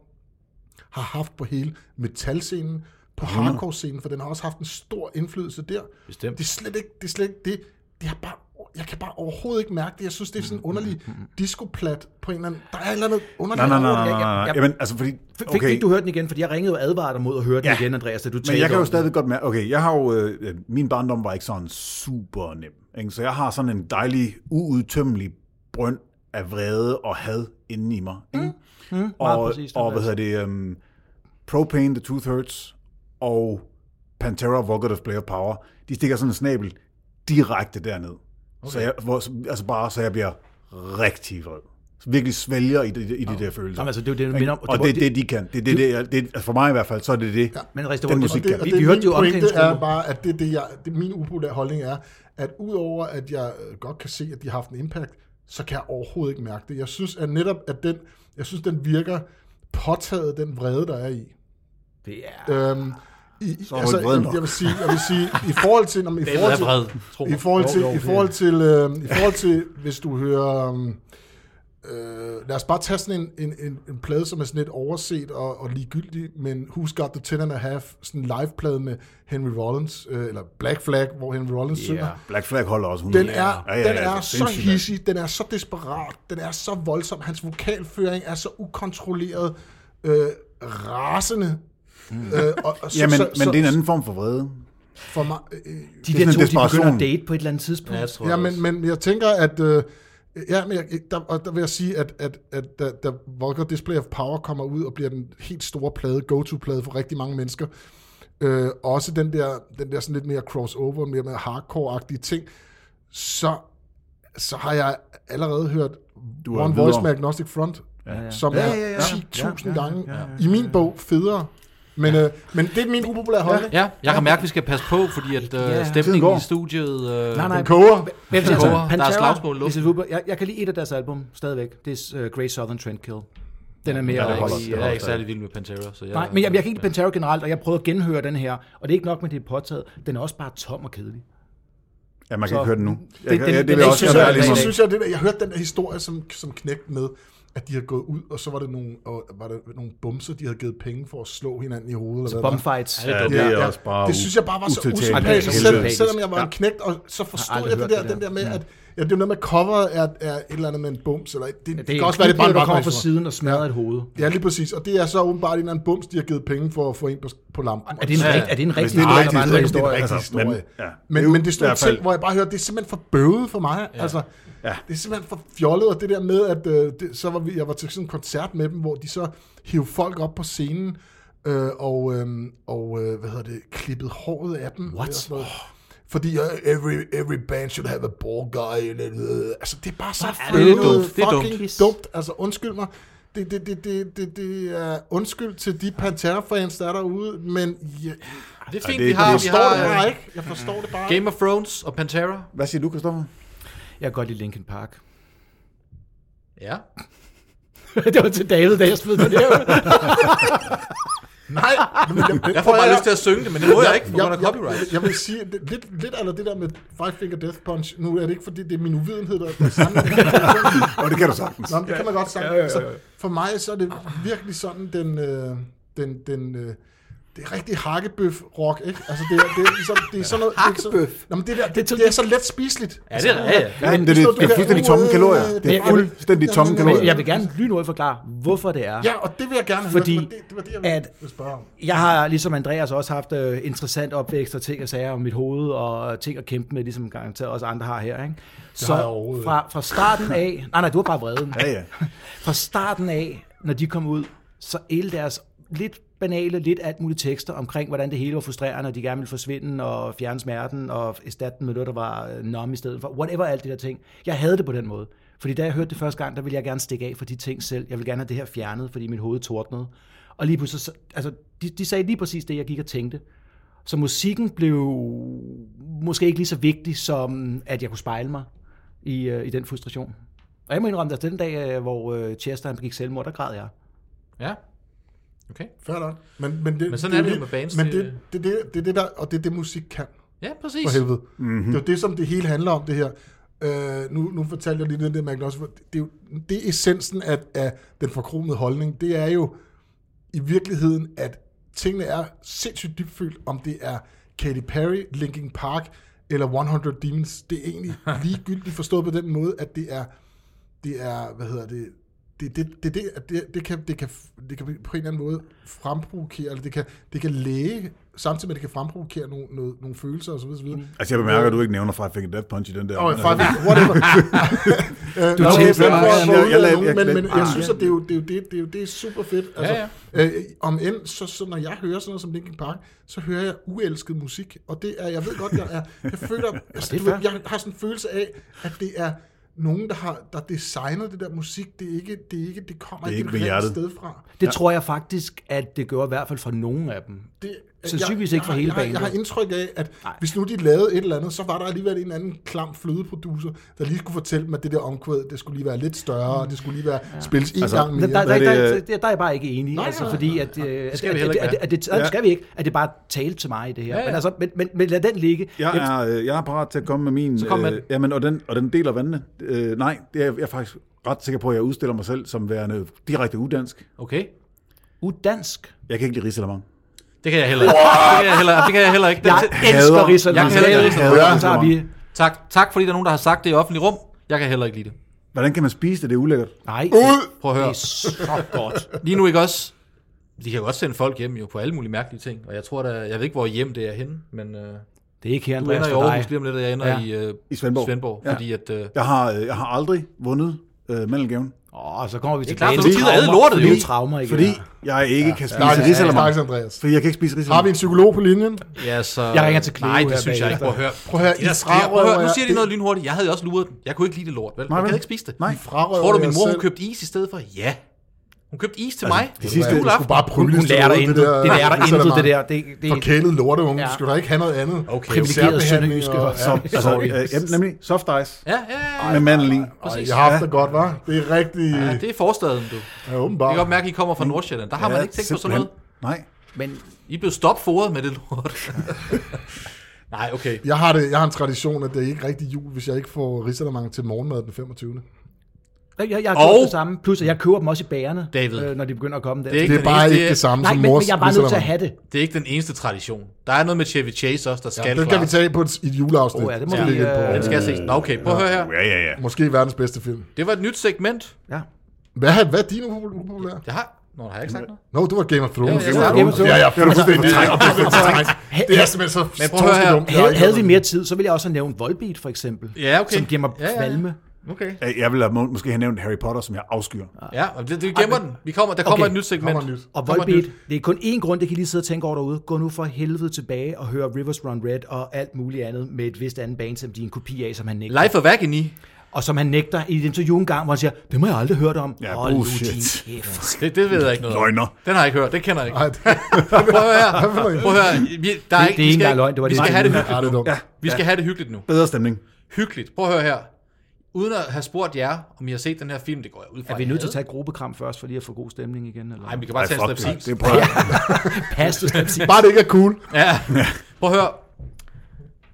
S2: har haft på hele metalscenen, på
S1: Mm.
S2: hardcore-scenen, for den har også haft en stor indflydelse der.
S3: Bestemt.
S2: Det er slet ikke, det er slet ikke, det, det er bare, jeg kan bare overhovedet ikke mærke det. Jeg synes, det er sådan en
S1: Mm,
S2: underlig disco-plat på en eller anden, der er et eller andet underligt
S1: Nej, nej, nej,
S2: over det.
S1: nej, nej, nej.
S4: Jeg-
S1: Jamen, altså, fordi...
S4: Fik,
S1: Okay,
S4: fik du hørt den igen? Fordi jeg ringede og advarede dig mod at høre den
S1: Ja.
S4: igen, Andreas, da du talte
S1: men jeg kan
S4: om
S1: jo
S4: den.
S1: stadig godt mærke... Okay, jeg har jo... Øh, min barndom var ikke sådan super nem. Ikke? Så jeg har sådan en dejlig, uudtømmelig brønd af vrede og had inde i mig. Ikke?
S4: Mm, meget
S1: og,
S4: præcist,
S1: og hvad
S4: Andreas.
S1: hedder det, um, Propane, The Two Thirds og Pantera, Vulgar Display of Power, de stikker sådan en snabel direkte derned. Okay. Så, jeg, hvor, altså bare, så jeg bliver rigtig vred. Så virkelig svælger i, de, i de der følelser.
S4: Jamen, altså, det er jo det, du minder om.
S1: og det er det, de kan. Det, er det, det, jeg- det, altså for mig i hvert fald, så er det det. Ja.
S4: Men Risto,
S1: Den
S4: det-
S1: musik
S4: det-
S1: kan.
S2: og
S4: vi,
S2: det
S4: vi
S2: er
S4: hørte
S2: min
S4: det jo
S2: pointe er
S4: omklædningsrummet.
S2: bare, at det, er det, jeg, det er min upopulære holdning er, at udover at jeg øh, godt kan se, at de har haft en impact, så kan jeg overhovedet ikke mærke det. Jeg synes, at netop at den, jeg synes, den virker påtaget den vrede, der er i.
S4: Det er...
S2: Øhm, i,
S1: er du ikke vred nok.
S2: jeg vil sige, jeg vil sige, i forhold til, når man, i
S3: David
S2: forhold
S3: er
S2: til,
S3: vred, tro
S2: i
S3: mig.
S2: forhold til,
S4: Jo, jo,
S2: i forhold til, øh, i forhold til hvis du hører... øhm, Øh, lad os bare tage sådan en, en, en, en plade, som er sådan lidt overset og, og ligegyldig, men Who's Got the Ten and a Half, sådan en live-plade med Henry Rollins, øh, eller Black Flag, hvor Henry Rollins yeah. synger.
S1: Black Flag holder også 100.
S2: Den er, ja, ja, ja, den er så hissig, den er så desperat, den er så voldsom, hans vokalføring er så ukontrolleret, øh, rasende. Mm. Øh, og, og så,
S1: Ja, men,
S2: så,
S1: men
S2: så,
S1: det er en anden form for vrede.
S2: For mig, øh,
S4: De
S1: det er
S4: der
S1: sådan en
S4: to, de begynder
S1: desperation.
S4: at date på et eller andet tidspunkt.
S3: Ja, jeg tror
S2: Ja,
S3: det
S2: men,
S3: også.
S2: men jeg tænker, at... Øh, ja, men jeg, der, og der vil jeg sige, at, at, at da, da Volker Display of Power kommer ud og bliver den helt store plade, go-to-plade for rigtig mange mennesker, øh, også den der, den der sådan lidt mere crossover, mere, mere hardcore-agtige ting, så, så har jeg allerede hørt
S1: Du
S2: du
S1: er
S2: One
S1: videre.
S2: Voice med Agnostic Front, ja, ja. som er
S1: Ja, ja, ja.
S2: 10.000
S1: Ja, ja, ja,
S2: gange,
S1: ja, ja,
S2: i min bog, federe. Men, øh, men det er min upopulære holdning.
S3: Ja, jeg kan mærke, at vi skal passe på, fordi at
S4: Ja.
S3: øh,
S1: Tiden
S3: stemningen
S1: går.
S3: i studiet... Øh,
S4: Nej, nej.
S2: Den koger.
S4: Men jeg vil sige,
S3: Der er
S4: altså, Pantera,
S3: slagsmål i
S4: hvis
S3: luften.
S4: jeg skulle- jeg, jeg kan lige et af deres album stadigvæk. Det er uh, Grey Southern Trendkill. Den er mere...
S3: Jeg er,
S1: holder-
S3: ikke,
S1: det
S3: jeg er
S1: holder
S3: ikke særlig vild med Pantera, så jeg...
S4: Nej, men jeg, jeg kan ikke lide Pantera generelt, og jeg prøvede at genhøre den her, og det er ikke nok med, at det er påtaget. Den er også bare tom og kedelig.
S1: Ja, man kan
S4: Så-
S1: ikke høre den nu. Jeg,
S4: den-
S1: kan- ja,
S4: den-
S1: det vil jeg
S4: den
S2: Jeg
S1: også
S2: synes,
S1: gerne være
S2: jeg, jeg,
S1: ligesom.
S2: synes jeg, det der, jeg hørte den der historie som, som knægt med, at de havde gået ud, og så var det nogle, og var der nogle bumser, de havde givet penge for at slå hinanden i hovedet. Eller
S4: Så
S2: hvad det var.
S4: Altså, bumfights.
S3: Ja, det er
S1: det
S3: dumt.
S1: er også bare
S2: det synes jeg bare var så
S1: utiltalende.
S2: usympatisk,
S4: Ja,
S2: ja,
S4: det er
S2: selv,
S4: usympatisk.
S2: selvom jeg var en knægt, og så forstod
S4: aldrig
S2: jeg, jeg det
S4: hørt
S2: der,
S4: det
S2: den
S4: der.
S2: der med, at ja, det er noget med at coveret er, er et eller andet med en bums, eller det, det,
S4: Det
S2: det
S4: er
S2: kan også være, det er bare en
S4: der kommer
S2: vagtmand,
S4: fra siden og smadrer et hoved.
S2: Ja, lige præcis. Og det er så åbenbart en eller anden bums, de har givet penge for at få en på, på lampen.
S4: Er det en,
S2: Og så-
S3: Ja.
S4: rigt, er det en rigtig
S1: det er en
S4: historie,
S1: rigtig-
S4: eller bare en
S1: rigtig-
S4: historie?
S2: rigtig
S1: Altså,
S2: historie.
S1: men- ja. Det
S2: Men,
S1: er
S2: men
S1: jo
S2: det er
S1: i
S2: sådan nogle
S1: hvert fald-
S2: ting, hvor jeg bare hører, det er simpelthen for bøvet for mig. Ja. Altså,
S1: Ja.
S2: Det er simpelthen for fjollet, og det der med, at øh, det, så var vi, jeg var til sådan en koncert med dem, hvor de så hiv folk op på scenen, øh, og, øh, og øh, hvad hedder det, klippet håret af dem.
S4: What?
S2: og sådan noget. Fordi uh, every, every band should have a ball guy. And, uh, altså, det er bare så
S3: er det
S2: bøvet,
S3: dumt. Det er
S2: fucking
S4: dumt.
S2: dumt. Altså, undskyld mig. Det, det, det, det, det, det er undskyld til de Pantera-fans, der er derude, men ja,
S3: Det er fint,
S1: det-
S3: vi har,
S1: det
S3: vi
S2: jeg forstår det
S3: har
S2: bare
S3: øh,
S2: ikke. Jeg forstår det bare ikke.
S3: Game of Thrones og Pantera.
S1: Hvad siger du, Kristoffer?
S4: Jeg kan godt lide Linkin Park.
S3: Ja.
S4: det var til David, da jeg smed det der.
S2: Nej, men jeg,
S3: Jeg får bare lyst til at synge det, men det må jeg ikke, på grund af copyright.
S2: Jeg, jeg vil sige, det, lidt, lidt eller det der med Five Finger Death Punch, nu er det ikke, fordi det er min uvidenhed, der er samlet.
S1: Og det kan du sagtens.
S2: Nå, men det kan man godt sagt. Altså, for mig så er det virkelig sådan den, øh, den, den øh, det er rigtig hakkebøf rock, ikke? Altså det er det er ligesom det er sådan noget
S4: Hakkebøf?
S2: Det er, så, Nå, men det der det,
S4: Det er
S2: det,
S4: til-
S2: det er så let spiseligt. Altså,
S3: Ja, det er rigtigt.
S1: Ja, det, det, det, det er fuldstændig tomme kalorier. Det er
S4: Men-
S1: fuldstændig tomme
S2: Men-
S1: kalorier.
S4: Men jeg vil gerne lynhurtigt forklare, hvorfor det er.
S2: Ja, og det vil jeg gerne
S4: Fordi
S2: høre. Det var det, det, var det jeg ville
S4: at-
S2: ville spørge om.
S4: Jeg har, ligesom Andreas, også haft øh, interessant opvækst og ting og sager om mit hoved, og ting at kæmpe med, ligesom garanteret også andre har her. Ikke? Så
S2: har jeg overhovedet
S4: fra, fra starten af... Nej, nej, du har bare vreden.
S1: Ja, ja.
S4: Fra starten af, når de kom ud, så hele deres lidt banale, lidt alt muligt tekster omkring, hvordan det hele var frustrerende, og de gerne ville forsvinde og fjerne smerten og erstatte den med noget, der var øh, numb i stedet for. Whatever, alt det der ting. Jeg havde det på den måde. Fordi da jeg hørte det første gang, der ville jeg gerne stikke af for de ting selv. Jeg ville gerne have det her fjernet, fordi mit hoved tordnede. Og lige pludselig, så- altså, de, de sagde lige præcis det, jeg gik og tænkte. Så musikken blev måske ikke lige så vigtig, som at jeg kunne spejle mig i, øh, i den frustration. Og jeg må indrømme, at den dag, øh, hvor øh, Chester han begik selvmord, der græd jeg.
S3: Ja. Okay.
S2: Fair nok. Men, men, det,
S3: Men sådan
S2: det,
S3: er det jo
S2: lige-
S3: med bands,
S2: Men
S3: det-
S2: det, det, det, det, er det der, og det er det, musik kan.
S3: Ja, præcis.
S2: For helvede. Mm-hmm. Det er jo det, som det hele handler om, det her. Øh, nu, nu fortalte jeg lige lidt det, man kan også... Det er, jo, det er essensen af, af den forkromede holdning. Det er jo i virkeligheden, at tingene er sindssygt dybfølt, om det er Katy Perry, Linkin Park eller 100 Demons. Det er egentlig ligegyldigt forstået på den måde, at det er... Det er, hvad hedder det... Det, det, det, det, at det, det, kan, det, kan, det kan på en eller anden måde fremprovokere, eller det kan, det kan læge, samtidig med, at det kan fremprovokere nogle, nogle, nogle følelser osv. osv. Mm.
S1: Altså, jeg bemærker, at du ikke nævner Five Finger Death Punch i den der.
S2: Åh,
S1: Men
S2: fuck,
S1: altså,
S2: whatever. Øh,
S4: Du
S2: nå,
S4: tænker
S2: okay,
S4: bare,
S2: men-
S4: jeg-
S1: jeg- jeg-
S2: men- men- Men
S1: jeg-
S2: jeg synes, at det er jo det, er jo det, det, er jo det er super fedt. Altså, ja, ja. Øh, om end, så, så når jeg hører sådan noget som Linkin Park, så hører jeg uelsket musik, og det er, jeg ved godt, jeg er, jeg føler, altså, du ved, jeg har sådan en følelse af, at det er nogen, der har der har designet det der musik, det er ikke, det, er ikke, det
S1: Det
S2: kommer
S1: er
S2: det
S1: ikke
S2: ikke
S1: ved
S2: et rigtigt
S1: hjertet.
S2: sted fra.
S4: Det ja. tror jeg faktisk, at det gjorde i hvert fald for nogen af dem.
S2: Det,
S4: Sandsynligvis
S2: jeg-
S4: ikke for
S2: jeg-
S4: hele
S2: jeg, har- Jeg
S4: bandet.
S2: har indtryk af, at Nej. hvis nu de lavede et eller andet, så var der alligevel en eller anden klam flødeproducer, der lige skulle fortælle dem, at det der omkvæd, det skulle lige være lidt større, og det skulle lige være spilles en
S1: Altså,
S2: gang
S4: Der,
S2: mere.
S4: der, der,
S1: Hvad er det,
S4: der, der, der er jeg bare ikke enig,
S2: Nej,
S4: altså,
S2: nej,
S4: fordi at, øh, at,
S3: skal
S4: at,
S3: vi heller
S4: at,
S3: ikke
S4: at,
S3: være.
S4: at, det, nej, det skal vi ikke, at det bare talte til mig i det her.
S3: Ja, ja.
S4: Men, altså, men, men, men lad den ligge.
S1: Jeg
S4: Jeg-
S1: er, øh, jeg er parat til at komme med min... Så
S3: kom med den.
S1: jamen, og den, og den deler vandene. Øh, nej, det er, jeg er faktisk ret sikker på, at jeg udstiller mig selv som værende direkte udansk.
S3: Okay.
S4: Udansk.
S1: Jeg kan ikke lide risalemang.
S3: Det kan jeg heller ikke. Det kan jeg heller, det kan jeg heller ikke. Den,
S4: Jeg elsker Risalamande.
S3: Jeg kan heller ikke
S1: lide
S4: Så tager vi...
S1: risalemang.
S3: tak, tak, fordi der er nogen, der har sagt det i offentlig rum. Jeg kan heller ikke lide det.
S1: Hvordan kan man spise det? Det er ulækkert.
S4: Nej, det,
S3: Prøv at
S4: det
S3: høre.
S4: er så godt.
S3: Lige nu ikke også. De kan jo også sende folk hjem jo på alle mulige mærkelige ting. Og jeg tror da, jeg ved ikke, hvor hjem det er henne, men øh,
S4: Det er ikke her,
S3: du ender
S4: Andreas,
S3: i
S4: for
S3: Aarhus
S4: dig.
S3: lige om lidt, og jeg ender
S4: Ja.
S3: ja. i, øh,
S1: I Svendborg.
S3: Svendborg
S1: Ja.
S3: Fordi at, øh,
S1: Jeg har, øh, jeg har aldrig vundet øh, mandelgaven,
S4: Åh, så kommer vi
S3: klart,
S4: tilbage
S3: for du gider æde lortet,
S4: Nye
S3: jo.
S4: traumer igen.
S1: fordi jeg ikke kan spise ja,
S2: Stakkels-
S1: risalemang.
S2: Stakkels Andreas.
S1: Fordi jeg kan ikke spise
S2: Har vi
S1: risalemang.
S2: en psykolog på linjen?
S3: ja, så,
S4: Jeg ringer til Cleo
S3: Nej, det
S4: her
S3: synes jeg ikke.
S4: bagefter.
S3: Prøv at høre.
S2: Prøv at høre,
S3: Det der
S2: I
S3: sker, prøv at høre.
S2: frarøver
S3: Nu
S2: jer-
S3: siger de noget lynhurtigt. Jeg havde jo også luret den. Jeg kunne ikke lide det lort, vel?
S1: Nej,
S3: jeg
S1: vel?
S3: gad ikke spise det.
S1: Nej.
S2: Frarøver
S3: Tror du,
S2: jer
S3: min mor hun
S2: selv-
S3: købte is i stedet for? Ja. Hun købte is til mig.
S1: de sidste-
S2: Du skulle bare
S4: Hun,
S2: prøve
S4: hun lærer dig intet. Det lærer dig intet, det der. Det, det,
S2: Forkælet lorteunge,
S4: Ja.
S2: du skulle da ikke have noget andet.
S3: Okay.
S4: Privilegerede
S2: Særbehandling
S4: sønderjyske
S2: og-
S4: og-
S1: Så, altså,
S4: Sorry.
S1: øh, jamen, nemlig soft ice
S3: Ja, ja, ja.
S1: med mandel i.
S2: Ej,
S3: Præcis.
S2: jeg har haft det godt, var. Det er rigtig...
S3: Ja, det er forstaden, du.
S2: Ja,
S3: Jeg
S2: åbenbart.
S3: kan godt mærke, at I kommer fra Nordsjælland. Der har man
S1: Ja,
S3: ikke tænkt på sådan
S1: simpelthen.
S3: noget.
S1: Nej.
S4: Men
S3: I blev stopforet med det lort. Nej, okay.
S2: Jeg har, det, jeg har en tradition, at det er ikke rigtig jul, hvis jeg ikke får risalemang til morgenmad den 25.
S4: Jeg, jeg har
S3: Og-
S4: gjort det samme, plus at jeg køber dem også i bærerne,
S3: David.
S4: når de begynder at komme der.
S3: Det er ikke
S2: Det er
S3: den
S2: bare
S3: eneste-
S2: ikke det samme
S4: Nej,
S2: som
S4: men,
S2: mors.
S4: men jeg er bare nødt til at have det.
S3: Det er ikke den eneste tradition. Der er noget med Chevy Chase også, der skal
S2: Den kan vi
S3: klares.
S2: tage på et, i et juleafsnit.
S4: Åh, ja, det må
S2: Skal
S4: vi,
S2: lægge ind
S4: øh,
S3: Den skal ses. Nå, okay, prøv at høre her.
S1: Ja, ja, ja.
S2: Måske verdens bedste film.
S3: Det var et nyt segment.
S4: Ja.
S2: Hvad, er- hvad er din upopul- upopulære?
S3: Jeg har... Nå, har jeg ikke sagt noget?
S2: Nå, det var Game of Thrones.
S3: Ja, ja, ja.
S2: Game of Thrones. Ja, ja, det er du fuldstændig. Det er- det er- det er- Det er simpelthen så
S3: Men prøv at høre her.
S2: dumt.
S4: Havde, havde vi mere tid, så ville jeg også have nævnt Volbeat, for eksempel,
S3: Ja, okay.
S4: som giver mig
S3: Ja, ja, ja.
S4: kvalme.
S3: Okay.
S1: Jeg ville have må- måske have nævnt Harry Potter, som jeg afskyr.
S3: Ja, og det, det gemmer den. Vi kommer, der kommer
S4: Okay.
S3: et nyt segment.
S2: Kommer nyt.
S4: Og
S3: Kommer
S4: Volbeat,
S3: nyt.
S4: det er kun én grund, det kan I lige sidde og tænke over derude. Gå nu for helvede tilbage og hør Rivers Run Red og alt muligt andet med et vist andet band, som de er en kopi af, som han nægter.
S3: Life of Agony.
S4: Og som han nægter i et interview en gang, hvor han siger, det må jeg aldrig hørt om.
S1: Ja,
S4: Hold nu
S1: bullshit.
S4: din kæft.
S3: Det, det ved jeg ikke noget om.
S1: Løgner.
S3: Den har jeg ikke hørt. Den kender jeg ikke.
S2: Ej, det-
S3: Prøv at høre her. Prøv at høre. Vi, der er
S4: Det-
S3: ikke,
S4: det er
S3: vi skal
S4: ikke engang løgn, det var
S3: vi
S4: det
S3: skal
S4: ikke.
S3: have det
S2: Ej,
S3: hyggeligt
S2: det er
S3: nu.
S2: dumt.
S3: Vi skal have det hyggeligt nu.
S1: Bedre stemning.
S3: Hyggeligt. Prøv at høre her. Uden at have spurgt jer, om I har set den her film, det går jeg ud fra.
S4: Er vi nødt til at tage et gruppekram først, for lige at få god stemning igen? Eller?
S3: Nej, vi kan
S1: Ej,
S3: bare tage en
S1: fuck
S3: slap
S1: det. Det prøver jeg.
S4: pas, du skal sige.
S2: Bare det ikke er cool.
S3: Ja. Prøv at høre.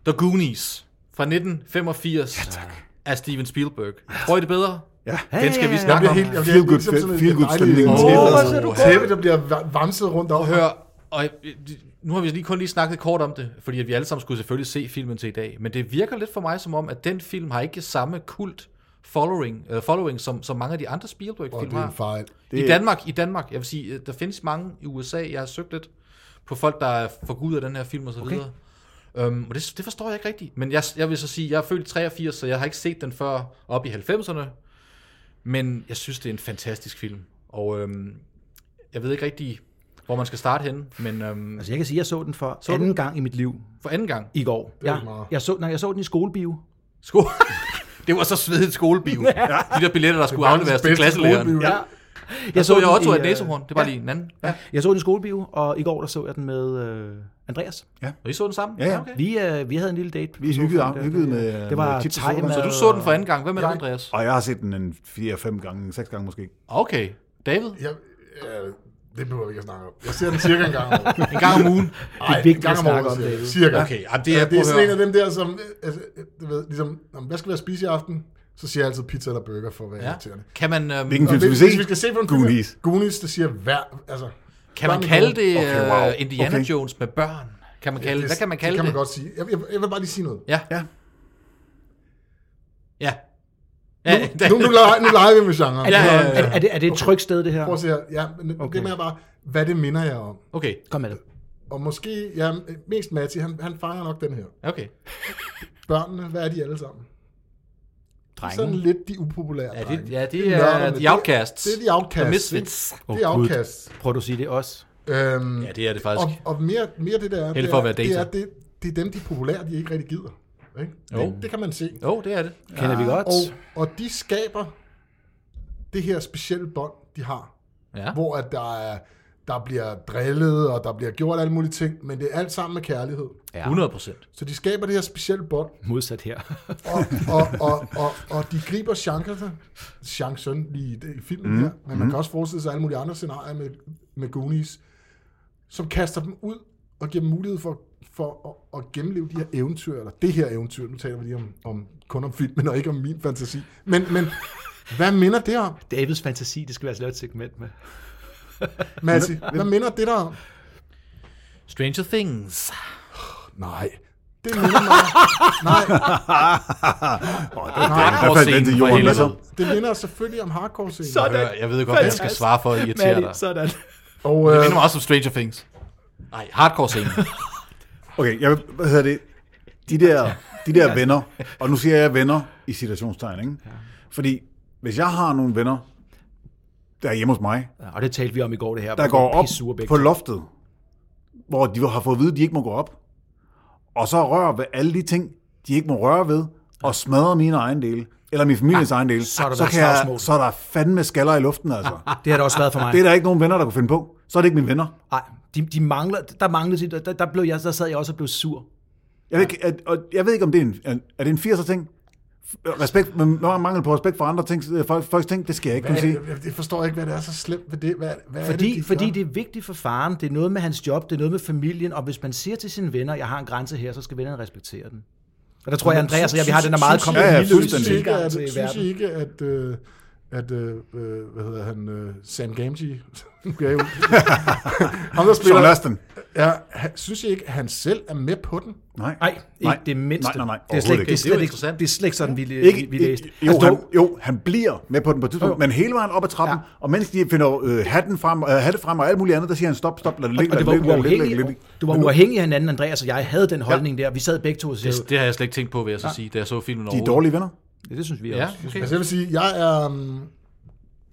S3: The Goonies fra 1985 ja, tak. af Steven Spielberg. Tror I det bedre?
S1: Ja.
S3: Den skal vi
S2: Jeg
S3: snakke
S2: bliver
S3: om.
S2: helt... jeg bliver
S1: Feel good-
S2: ligesom sådan en
S1: feel good
S2: dejlig-
S1: stemning.
S2: Åh,
S1: Tæppe,
S2: hvor
S1: altså.
S2: ser du godt. Tæppe, der bliver va- vanset rundt af.
S3: Hør, og øh, nu har vi lige kun lige snakket kort om det, fordi at vi alle sammen skulle selvfølgelig se filmen til i dag, men det virker lidt for mig som om, at den film har ikke samme kult following, øh, following som, som mange af de andre
S2: Åh,
S3: Spielberg-film
S2: det er en
S3: har.
S2: fejl.
S3: I Danmark, i Danmark, jeg vil sige, øh, der findes mange i USA, jeg har søgt lidt på folk, der er forgudet af den her film og så videre. Øhm, og det, det forstår jeg ikke rigtigt. Men jeg, jeg vil så sige, jeg er født i 83, så jeg har ikke set den før op i 90'erne. Men jeg synes, det er en fantastisk film. Og øhm, jeg ved ikke rigtig, hvor man skal starte henne, men øhm,
S4: Altså, jeg kan sige, at jeg så den for
S3: du
S4: anden gang i mit liv
S3: for anden gang.
S4: i går.
S2: er
S4: Ja,
S2: ikke meget.
S4: jeg, så, nej, jeg så den i skolebio.
S3: Sko- det var så svedigt skolebio. De der billetter, der skulle afleveres til klasselæreren.
S2: Ja.
S4: Jeg
S3: Så jeg Otto af
S4: øh,
S3: et næsehorn. Det var lige en anden. Ja.
S4: Jeg så den i skolebio, og i går der så jeg den med øh, Andreas.
S3: Og I så den sammen?
S1: Ja, ja.
S3: okay.
S4: Vi, øh, vi havde en lille date. på
S1: Vi
S4: sofaen
S1: hyggede-
S4: der.
S1: hyggede med-
S4: Det var
S1: med kids og
S4: thai
S1: sådan noget.
S4: mad.
S3: Så du så den for anden gang. Hvad med dig, Andreas?
S1: Og jeg har set den en 4-5 gange, 6 gange måske.
S3: Okay. David?
S2: Jeg- øh, Det behøver vi ikke at snakke om. Jeg ser den cirka en gang om året.
S3: En gang om ugen?
S2: Ej,
S4: er vigtigt
S2: en gang om
S4: at
S2: året
S4: snakke om,
S2: ser jeg
S4: David.
S2: Cirka.
S3: Okay, jamen, det
S2: Ja,
S3: er,
S2: det er
S3: prøv at
S2: sådan en af
S3: høre.
S2: dem der, som, øh, altså, øh, du ved, ligesom, "Nå, men hvad skal vi have spise i aften? Så siger jeg altid pizza eller burger for at være ja. irriterende.
S3: Ja. Kan man, øhm,
S1: Hvilken
S2: Og
S1: film skal vi
S2: hvis,
S1: se?
S2: hvis vi skal se på en film,
S1: Goonies.
S2: Goonies, der siger hver, altså...
S3: kan man
S2: børn i
S3: kalde
S2: Goonies.
S3: det
S1: Okay, wow.
S3: øh, Indiana
S1: Okay.
S3: Jones med børn? Kan man kalde,
S2: Det-
S3: hvad kan man kalde
S2: det?
S3: det?
S2: kan man godt sige. Jeg, jeg, jeg vil bare lige sige noget.
S3: Ja.
S1: Ja.
S3: Ja. ja.
S2: Nu, nu, leger, nu leger vi med genre.
S4: Er, det,
S3: Ja, ja, ja.
S4: Er, er, det, er det et trygt sted, det her?
S2: Prøv at se her. Ja, men okay.
S4: Okay.
S2: det med bare, hvad det minder jer om.
S3: Okay,
S4: Kom med det.
S2: Og måske, ja, mest Matti, han, han fanger nok den her.
S3: okay.
S2: Børnene, hvad er de alle sammen?
S4: Drenge.
S2: Sådan lidt de upopulære
S3: Ja, det,
S2: drenge.
S3: ja, det
S2: nørderne.
S3: er The Outcasts.
S2: Det, det er de outcasts.
S3: The Misfits.
S2: Det er
S4: Åh, Gud.
S2: outcasts.
S4: Prøver du at sige det også?
S2: Øhm,
S3: Ja, det er det faktisk.
S2: Og, og mere, mere det der er,
S3: Held
S2: det
S3: for
S2: er,
S3: at være
S2: det,
S3: data.
S2: er det, det er dem, de er populære, de ikke rigtig gider. Ikke?
S3: Jo.
S2: Det, det kan man se.
S3: Jo, oh, det er det.
S4: Kender vi godt.
S2: Og, og de skaber det her specielle bånd, de har,
S3: Ja.
S2: hvor at der, er, der bliver drillet, og der bliver gjort alle mulige ting, men det er alt sammen med kærlighed.
S3: 100 procent.
S2: Så de skaber det her specielle bånd,
S4: Modsat her.
S2: og, og, og, og, og de griber chancerne, chancen lige i, det- i filmen mm. her, men man kan også forestille sig alle mulige andre scenarier med, med Goonies, som kaster dem ud og giver dem mulighed for, for at, at gennemleve de her eventyr, eller det her eventyr, nu taler vi lige om, om, kun om filmen og ikke om min fantasi, men, men hvad minder det om,
S4: Davids fantasi, det skal vi altså lave et segment med.
S2: Massi? Hvad minder det der om?
S3: Stranger Things.
S2: Nej. Det minder mig. Nej,
S1: Hvad faldt den til
S3: for
S1: jorden? Hvad så?
S3: helvede.
S2: det minder selvfølgelig om hardcore-scenen.
S3: Prøv at høre, Jeg ved godt, hvad jeg skal svare for at irritere dig.
S4: sådan.
S2: Og,
S3: Det
S2: øh,
S3: minder mig også om Stranger Things. Nej, hardcore-scenen.
S1: Okay, jeg, vil- hvad hedder det? De der, de der venner, og nu siger jeg venner i citationstegn, ikke? Fordi hvis jeg har nogle venner, der er hjemme hos mig,
S4: Ja, og det talte vi om i går, det her.
S1: der går op på
S4: på
S1: loftet, hvor de har fået at vide, at de ikke må gå op, og så rører ved alle de ting, de ikke må røre ved, og smadrer mine egen dele, eller min families egen dele,
S4: så er der
S1: så,
S4: været
S1: kan jeg,
S4: slagsmål. Ah,
S1: så er der fandme skaller i luften, altså.
S4: Det har det også været for mig.
S1: Det er der ikke nogen venner, der kunne finde på. Så er det ikke mine venner.
S4: Nej, de, de mangler, der manglede sit, der, der, blev jeg, der sad jeg også og blev sur.
S1: Jeg ved, ikke, at, og jeg ved ikke, om det er en, er- er det en 80'er ting? F- Respekt, men når man mangel på respekt for andre ting, øh, folk, folks ting, det skal jeg ikke kunne
S2: Hvad,
S1: sige.
S2: jeg, jeg, jeg forstår ikke, hvad det er så slemt ved det. Hvad, hvad
S4: Fordi,
S2: er det, de
S4: fordi
S2: gør?
S4: det er vigtigt for faren, det er noget med hans job, det er noget med familien, og hvis man siger til sine venner, jeg har en grænse her, så skal vennerne respektere den. Og der tror jeg, Andreas og jeg, vi har den der meget
S2: Synes I-
S4: kompromisløse
S1: Ja, ja, fuldstændig.
S2: Synes I ikke,
S4: tilgang
S2: at,
S4: til
S2: synes I
S4: verden.
S2: ikke, at øh, at, øh, øh, hvad hedder han, øh, Sam Gamgee, nu kan jeg jo, ham der
S1: Sean
S2: spiller,
S1: Astin.
S2: ja, han, synes jeg ikke, han selv er med på den?
S1: Nej.
S4: Nej, ikke
S1: Nej.
S4: det mindste.
S1: Nej, nej, nej.
S4: det er slet,
S1: Overhovedet
S3: ikke. Det er jo
S4: det er slet ikke,
S3: interessant.
S4: det er slet ikke sådan, vi,
S1: Ikke,
S4: vi, vi læste.
S1: jo,
S4: Altså,
S1: han,
S4: dog-
S1: jo, han bliver med på den på et tidspunkt,
S4: Jo.
S1: men hele vejen op ad trappen, ja.
S4: Ja.
S1: og mens de finder øh, hatten frem, øh, hatte frem og alt muligt andet, der siger han stop, stop, lad det ligge,
S4: og
S1: lad
S4: det
S1: det
S4: var
S1: ligge, lad det ligge, lad det
S4: uafhængigt,
S1: ligge.
S4: det var uafhængigt af hinanden, Andreas og jeg havde den holdning der. Vi sad begge to og sagde,
S3: Det, det har jeg slet ikke tænkt på, vil jeg så sige, da jeg så filmen
S1: De er dårlige venner.
S4: ja, det synes vi
S3: Ja,
S4: også.
S3: okay.
S2: Altså jeg vil sige, jeg er, um,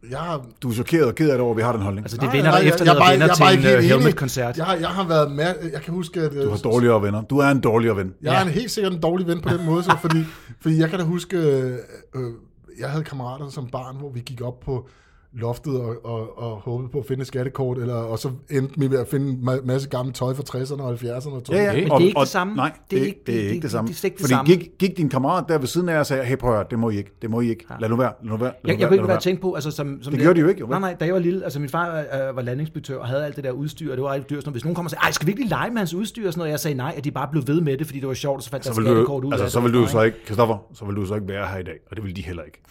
S2: jeg er
S1: Du er chokeret og ked af det over, at vi har den holdning.
S4: Altså,
S1: Altså,
S4: det er venner, der
S2: Nej, jeg-
S4: efterlader
S2: jeg er bare-
S4: venner
S2: jeg er
S4: til
S2: bare
S4: en
S2: ikke helt
S4: øh,
S2: enig.
S4: Helmet-koncert.
S2: Jeg, har- jeg har været mad, jeg kan huske, at øh,
S1: du har dårligere venner. Du er en dårligere ven.
S2: jeg er en helt sikkert en dårlig ven på den måde, så, fordi, fordi jeg kan da huske, øh, øh, jeg havde kammerater som barn, hvor vi gik op på loftet og, og, og håbede på at finde et skattekort, eller, og så endte vi med at finde en ma- masse gamle tøj fra 60'erne og 70'erne. Og
S1: Ja, ja.
S3: Men
S4: det er ikke det samme.
S1: Nej, det, er ikke det, er ikke det samme.
S4: det er slet ikke det
S1: Fordi
S4: samme.
S1: Gik, gik din kammerat der ved siden af og sagde, hey, prøv at høre, det må I ikke, det må I ikke. Lad nu være, lad nu være. Lad nu
S4: Jeg, jeg kunne
S1: være,
S4: ikke
S1: lad
S4: være
S1: nu
S4: tænkt på, altså som... som
S1: Det gjorde de jo ikke, jo, vel?
S4: Nej, nej, da jeg var lille, altså min far øh, var landingspeditør og havde alt det der udstyr, og det var alt dyrt, sådan noget. hvis nogen kom og sagde, ej, skal vi ikke lige lege med hans udstyr og sådan noget, og jeg sagde nej, at de bare blev ved med det, fordi det var sjovt, og så fandt der
S1: Så
S4: et
S1: vil du,
S4: skattekort ud
S1: altså,
S4: af
S1: så
S4: det,
S1: vil du
S4: og
S1: så ikke, Kristoffer, så vil du så ikke være her i dag, og det vil de heller ikke.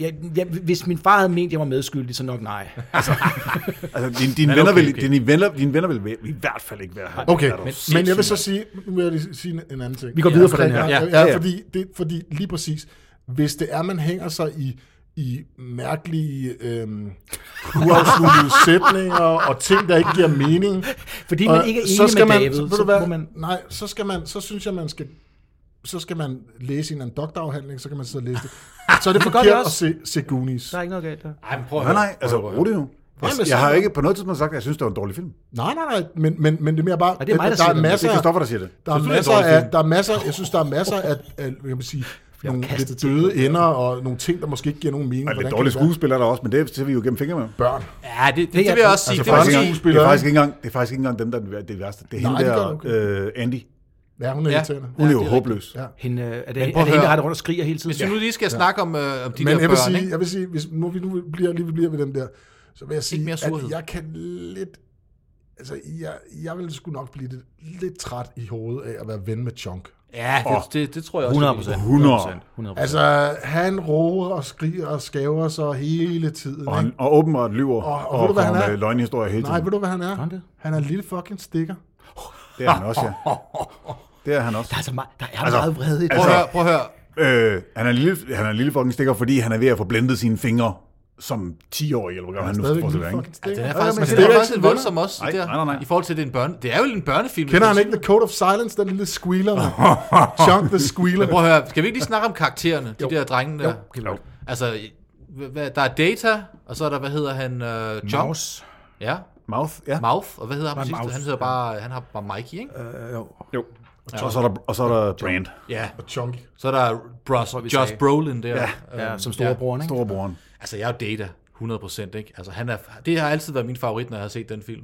S4: Ja, ja, hvis min far havde ment, at jeg var medskyldig, så nok nej.
S1: Altså, dine, dine,
S3: Men
S1: venner,
S3: okay,
S1: vil,
S3: okay.
S1: dine, venner, dine venner vil i hvert fald ikke være her.
S2: Okay,
S1: Er du
S2: men,
S1: sindssyg,
S2: men jeg vil så
S1: mand?
S2: sige, nu vil jeg lige sige en- en anden ting.
S4: Vi går videre
S2: ja,
S4: fra den her.
S2: Ja,
S3: Ja,
S2: ja,
S1: ja,
S2: ja.
S1: ja.
S2: Fordi, det, fordi lige præcis, hvis det er, man hænger sig i, i mærkelige øhm, uafsluttede sætninger og ting, der ikke giver mening.
S4: Fordi man
S2: og
S4: ikke er
S2: så
S4: enig
S2: skal
S4: med
S2: man,
S4: David,
S2: så, ved
S4: så
S2: du hvad,
S4: må man-
S2: Nej, så skal man, så synes jeg, man skal så skal man læse en eller anden doktorafhandling, så kan man sidde og læse det. Så er det
S4: gør det
S2: forkert at
S4: også.
S2: se, se Goonies.
S4: Der er ikke noget galt der.
S3: Ej, men prøv at
S1: Nej,
S3: høre.
S1: nej, altså,
S3: Prøv at
S1: ro det jo.
S2: Nej, men
S1: Jeg har
S2: så-
S1: ikke på noget tidspunkt sagt, at jeg synes, det var en dårlig film.
S2: Nej, nej, nej, men, men, men det er mere bare,
S4: det er mig, der
S2: der er
S4: siger det.
S1: Det
S2: masser
S1: er
S2: af
S1: Kristoffer, der siger det.
S2: Der er,
S3: Selvfølgelig er det
S2: masser
S3: en dårlig
S2: af, der er masser, jeg synes, der er masser af, af hvad kan man sige, nogle
S4: kastet
S2: lidt
S4: til.
S2: døde ender og nogle ting, der måske ikke giver nogen mening.
S1: Og
S2: Hvordan
S1: lidt
S2: kan
S1: dårlige
S2: det være?
S1: skuespillere der er også, men det ser vi jo gennem fingre med.
S2: Børn.
S3: Ja, det, det, det,
S4: jeg
S3: vil jeg
S4: tror-
S3: også sige.
S1: Altså,
S3: det vil
S1: faktisk,
S3: jeg
S1: ikke,
S3: sige.
S1: engang- det, er faktisk ikke engang, det er faktisk ikke engang dem, der er det- det er værste. Det er hende
S2: Nej, det
S1: der,
S2: gør det
S1: øh, Andy.
S2: Ja, hun er
S3: Ja.
S2: irriterende.
S1: Hun er jo
S3: det er
S1: håbløs.
S2: Ja.
S4: Hende, øh, er det, er det
S3: prøv at
S4: hende, der
S3: høre.
S4: render rundt og skriger hele tiden?
S3: Hvis vi nu lige skal snakke om, øh, om de
S2: Men jeg
S3: der
S2: vil
S3: børn,
S2: sige,
S3: ikke?
S2: jeg vil sige hvis nu vi nu bliver, lige bliver ved dem der, så vil jeg sige,
S3: mere surhed.
S2: at jeg kan lidt... Altså, jeg, jeg vil sgu nok blive lidt, lidt træt i hovedet af at være ven med Chunk.
S3: Ja, det, det, det tror jeg også.
S4: 100
S3: jeg vil sige.
S4: procent.
S1: 100.
S4: 100
S2: Altså, han roer og skriger og skaver sig hele tiden.
S1: Og,
S2: ikke?
S1: han, og åbenbart lyver
S2: Og-
S1: og,
S2: og
S1: og,
S2: ved du,
S1: og
S2: hvad han
S1: kommer
S2: er?
S1: med løgnhistorier hele
S2: Nej,
S1: tiden.
S2: ved du, hvad han er?
S4: han det?
S2: Han er en lille fucking stikker.
S1: Det er han også, ja. Det er han også.
S4: Der er, så meget, der er meget vrede i Altså- det.
S3: Prøv at høre, prøv at høre.
S1: Øh, han, er en lille, han er en lille fucking stikker, fordi han er ved at få blendet sine fingre som 10-årig, eller hvor gammel han nu
S2: Stadigvæk
S1: får
S2: en
S1: til
S2: lille
S1: være. ikke?
S2: fucking stikker.
S3: Den er
S1: Ja,
S3: faktisk,
S1: men
S3: den
S1: det
S3: er
S1: er
S3: faktisk lidt voldsom også,
S1: Nej,
S3: der,
S1: nej, nej, nej.
S3: i forhold til den børne. Det er jo en børnefilm.
S2: Kender han ikke The Code of Silence, den lille squealer? mand? Chunk the Squealer.
S3: Prøv at høre, skal vi ikke lige snakke om karaktererne, de der drenge der?
S1: Jo.
S3: Altså, h- hvad, der er Data, og så er der, hvad hedder han, uh, John?
S4: Mouse.
S3: Ja,
S1: Mouth, ja.
S3: Mouth, og hvad hedder han
S4: Nej,
S3: sidst?
S4: Mouse,
S3: Han hedder bare, han har bare Mikey, ikke?
S1: Jo. Og så er der, og så er der Brand,
S3: Ja,
S2: Chunky.
S3: så er der Bros,
S4: vi
S3: Josh
S4: sagde.
S3: Brolin der.
S4: Ja,
S3: Øhm,
S4: som storebroren, ikke?
S1: storebroren.
S3: Altså, jeg er jo Data, 100%, ikke? Altså, han er, det har altid været min favorit, når jeg har set den film.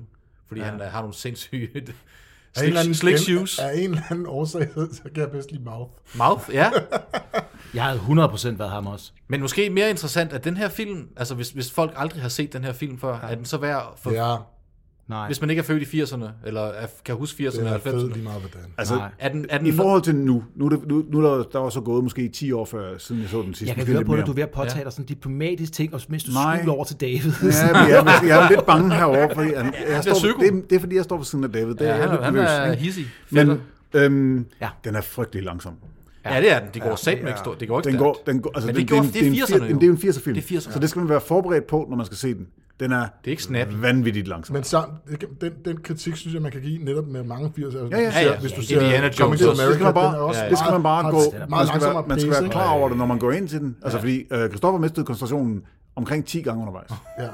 S3: Fordi ja. han øh, har nogle sindssyge...
S2: Af en eller anden-
S3: slick, slick
S2: en-
S3: shoes.
S2: Af en eller anden årsag, så- så kan jeg bedst lide Mouth.
S3: Mouth, ja.
S4: Jeg havde 100% været ham også.
S3: Men måske mere interessant, at den her film, altså hvis, hvis folk aldrig har set den her film før, ja. er den så værd, for, ja.
S2: Ja,
S4: Nej.
S3: hvis man ikke er født i 80'erne, eller er, kan huske 80'erne
S2: det
S3: og
S2: er fedt
S3: 90'erne.
S2: lige meget, hvordan.
S1: Altså,
S4: Nej.
S3: Er den, er den,
S1: i forhold til nu, nu, er det, nu, nu er der, der var så gået måske 10 år før, siden jeg så den sidste.
S4: Jeg kan
S1: Måske
S4: høre
S1: lidt
S4: på dig,
S1: mere.
S4: du er ved at påtage
S3: Ja.
S4: dig sådan diplomatiske ting, og mens du
S1: Nej.
S4: skjuler over til David.
S1: Ja, men jeg, er- jeg er lidt bange herovre, fordi han, jeg står,
S3: psyko.
S1: det, er- det er fordi, jeg står ved siden af David. Det
S3: ja,
S1: er
S3: han,
S1: lidt
S3: er, han
S1: nervøs,
S3: er
S1: ikke?
S3: hissig.
S1: Men
S3: Men,
S1: øhm,
S4: Ja.
S1: ja. den er frygtelig langsom.
S3: ja, det er den. Det går ja, satme ikke stort. Det går ikke
S1: Den
S3: stærkt.
S1: går, den går, altså,
S3: Men
S1: den-
S3: det gjorde-
S1: en-
S3: det er
S1: en
S3: 80'erne
S1: fir-
S3: jo.
S1: Det er jo en 80'er film,
S3: Det er 80'erne.
S1: så det skal man være forberedt på, når man skal se den. Den er,
S3: Det er ikke snap.
S1: vanvittigt langsom.
S2: Men sam, den, den kritik, synes jeg, man kan give netop med mange 80'er.
S1: Ja, ja. Ja,
S3: ja.
S2: Hvis du
S3: Ja,
S2: ser
S3: Indiana
S2: Coming
S3: Jones
S2: to
S3: også.
S1: det skal man
S2: America,
S1: bare,
S2: den er også
S1: ja, ja. Det skal man bare
S2: meget-
S1: gå.
S2: den er
S1: Man
S2: meget
S1: skal,
S2: langsommere
S1: være, man skal være
S2: paced,
S1: klar over det, når man går ind til den. Altså fordi øh, Christoffer mistede koncentrationen omkring 10 gange undervejs.
S2: ikke?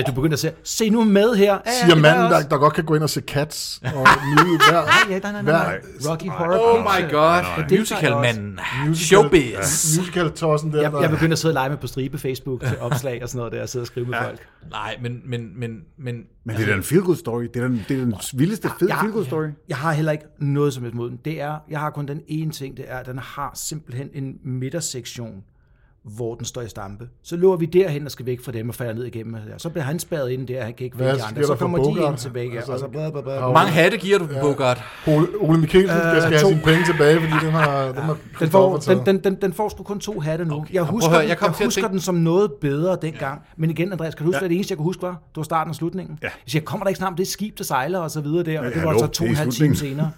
S2: Ja.
S4: André, du begynder at sige, se nu med her. Ja, ja, det
S2: Siger
S4: gør
S2: manden,
S4: jeg
S2: der,
S4: også.
S2: der godt kan gå ind og se Cats og nyde hver...
S4: Ja, nej, nej, nej,
S2: hver
S4: nej. Rocky Horror
S3: Oh
S4: Picture.
S3: my god.
S4: Det er
S3: Musical-manden.
S2: Musical-
S3: Showbiz.
S2: musical-tossen der,
S4: Jeg,
S2: der...
S4: jeg begynder at sidde og lege med på stribe Facebook til opslag og sådan noget der, og sidde og skrive med folk.
S3: Nej, men, men, men, men,
S1: Men det er da en feel good story. Det er den, det er den vildeste fede
S4: Jeg-
S1: feel good story.
S4: Jeg har heller ikke noget som helst mod den. Det er, jeg har kun den ene ting, det er, at den har simpelthen en midtersektion, hvor den står i stampe. Så løber vi derhen og skal væk fra dem og falder ned igennem. her. Så bliver han spadet ind der, han kan ikke
S2: Hvad
S4: finde de
S2: sker
S4: andre.
S2: der
S4: Så
S2: for
S4: kommer de ind
S2: Bogart?
S4: tilbage.
S2: Altså,
S4: Altså, og så bla, bla, bla. Øh,
S2: Hvor
S3: mange hatte giver du på Bogart?
S2: Ole, Ole Mikkelsen skal, skal have
S4: to.
S2: sine penge tilbage, fordi den har... Den, har
S4: Den får, den, den, den, den får sgu kun to hatte nu. Okay. Jeg
S3: prøv at
S4: husker,
S3: høre,
S4: den,
S3: jeg
S4: jeg
S3: kom til at
S4: jeg husker
S3: tænke-
S4: den som noget bedre dengang. Ja. Men igen, Andreas, kan du huske, ja. hvad det eneste, jeg kunne huske var? Det var starten og slutningen. Ja. Jeg siger, kommer der ikke snart om det skib, der sejler og så videre der? Og det var
S1: hallo,
S4: altså to
S1: det
S4: og en
S1: er
S4: halv time
S1: slutningen.
S4: senere.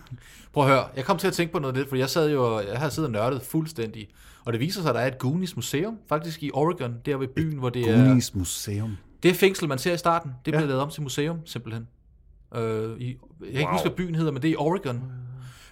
S3: Prøv at høre, jeg kom til at tænke på noget lidt, for jeg sad jo, jeg havde siddet og nørdet fuldstændig. Og det viser sig, at der er et Goonies museum, faktisk i Oregon, der ved byen, hvor det er...
S1: Goonies Museum.
S3: Det fængsel, man ser i starten, det blev
S1: Ja.
S3: lavet om til museum, simpelthen. Øh, i, jeg kan ikke
S1: Wow.
S3: huske, hvad byen hedder, men det er i Oregon.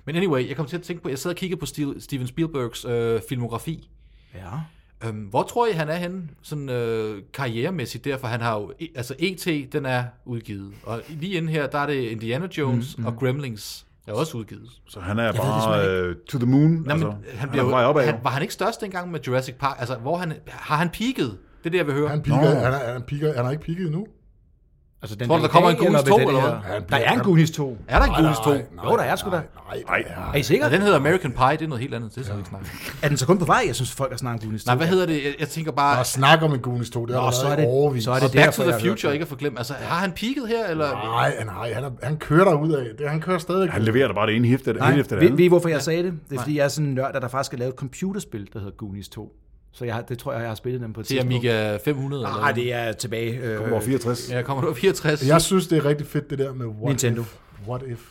S3: Men anyway, jeg kom til at tænke på, jeg sad og kiggede på Stil- Steven Spielbergs øh, filmografi.
S4: Ja.
S3: Øhm, hvor tror I, han er henne sådan, øh, karrieremæssigt? Derfor han har jo, E- altså E.T., den er udgivet. Og lige inden her, der er det Indiana Jones mm, og Gremlins, der er også udgivet.
S1: Så han er
S4: simpelthen
S1: bare øh, to the moon.
S3: Nå,
S1: altså,
S3: men, han
S1: han
S3: bliver,
S1: er på vej
S3: jo,
S1: opad.
S3: han, var han ikke størst dengang med Jurassic Park? Altså, hvor han, har han peaked? Det er det, jeg vil høre.
S2: Han piker,
S1: Nå.
S2: han er, han piker, han er ikke piket endnu.
S4: Altså, den
S3: Tror du,
S4: dag
S3: der
S4: i
S3: kommer
S4: dag,
S3: en Goonies
S4: eller hvad
S3: 2,
S4: det
S3: eller
S4: her-
S3: hvad?
S2: Han
S4: Der
S2: bliver-
S4: er en
S2: han-
S4: Goonies 2.
S3: er der en Goonies 2?
S4: Jo, der er sgu da.
S2: Nej,
S1: Nej,
S4: Er I sikre?
S3: Ja, den hedder American Pie, det er noget helt andet. Det skal vi ikke snakke om.
S4: Er den så kun på vej? Jeg synes, folk har snakket om Goonies 2.
S3: Nej, hvad hedder det? Jeg, jeg tænker bare...
S2: Der er snak om en Goonies 2, det har
S4: Nå,
S2: der
S4: så
S2: været
S4: er det-
S2: i overvis.
S4: så er
S3: Og
S4: det
S3: Back
S4: derfor,
S3: to the
S4: jeg har hørt
S3: Future, ikke at forglemme. Altså, har han peaked her, eller...
S2: Nej, nej, han, er, han kører derud af. Han kører stadig.
S1: Han leverer da bare det ene hæfte, det ene
S4: Nej,
S1: efter det
S4: ved,
S1: andet.
S4: ved I, hvorfor jeg sagde det? Det er, fordi jeg er sådan en nørd, at der faktisk er lavet et computerspil, der hedder Goonies 2. Så jeg har, det tror jeg, jeg har spillet dem på et
S3: Det er
S4: tidspunkt.
S3: Amiga 500, eller...
S4: Nej, det er tilbage. Øh,
S1: Over 64.
S3: Ja, kommer du 64?
S2: Jeg synes, det er rigtig fedt, det der med what
S4: Nintendo.
S2: if. What if.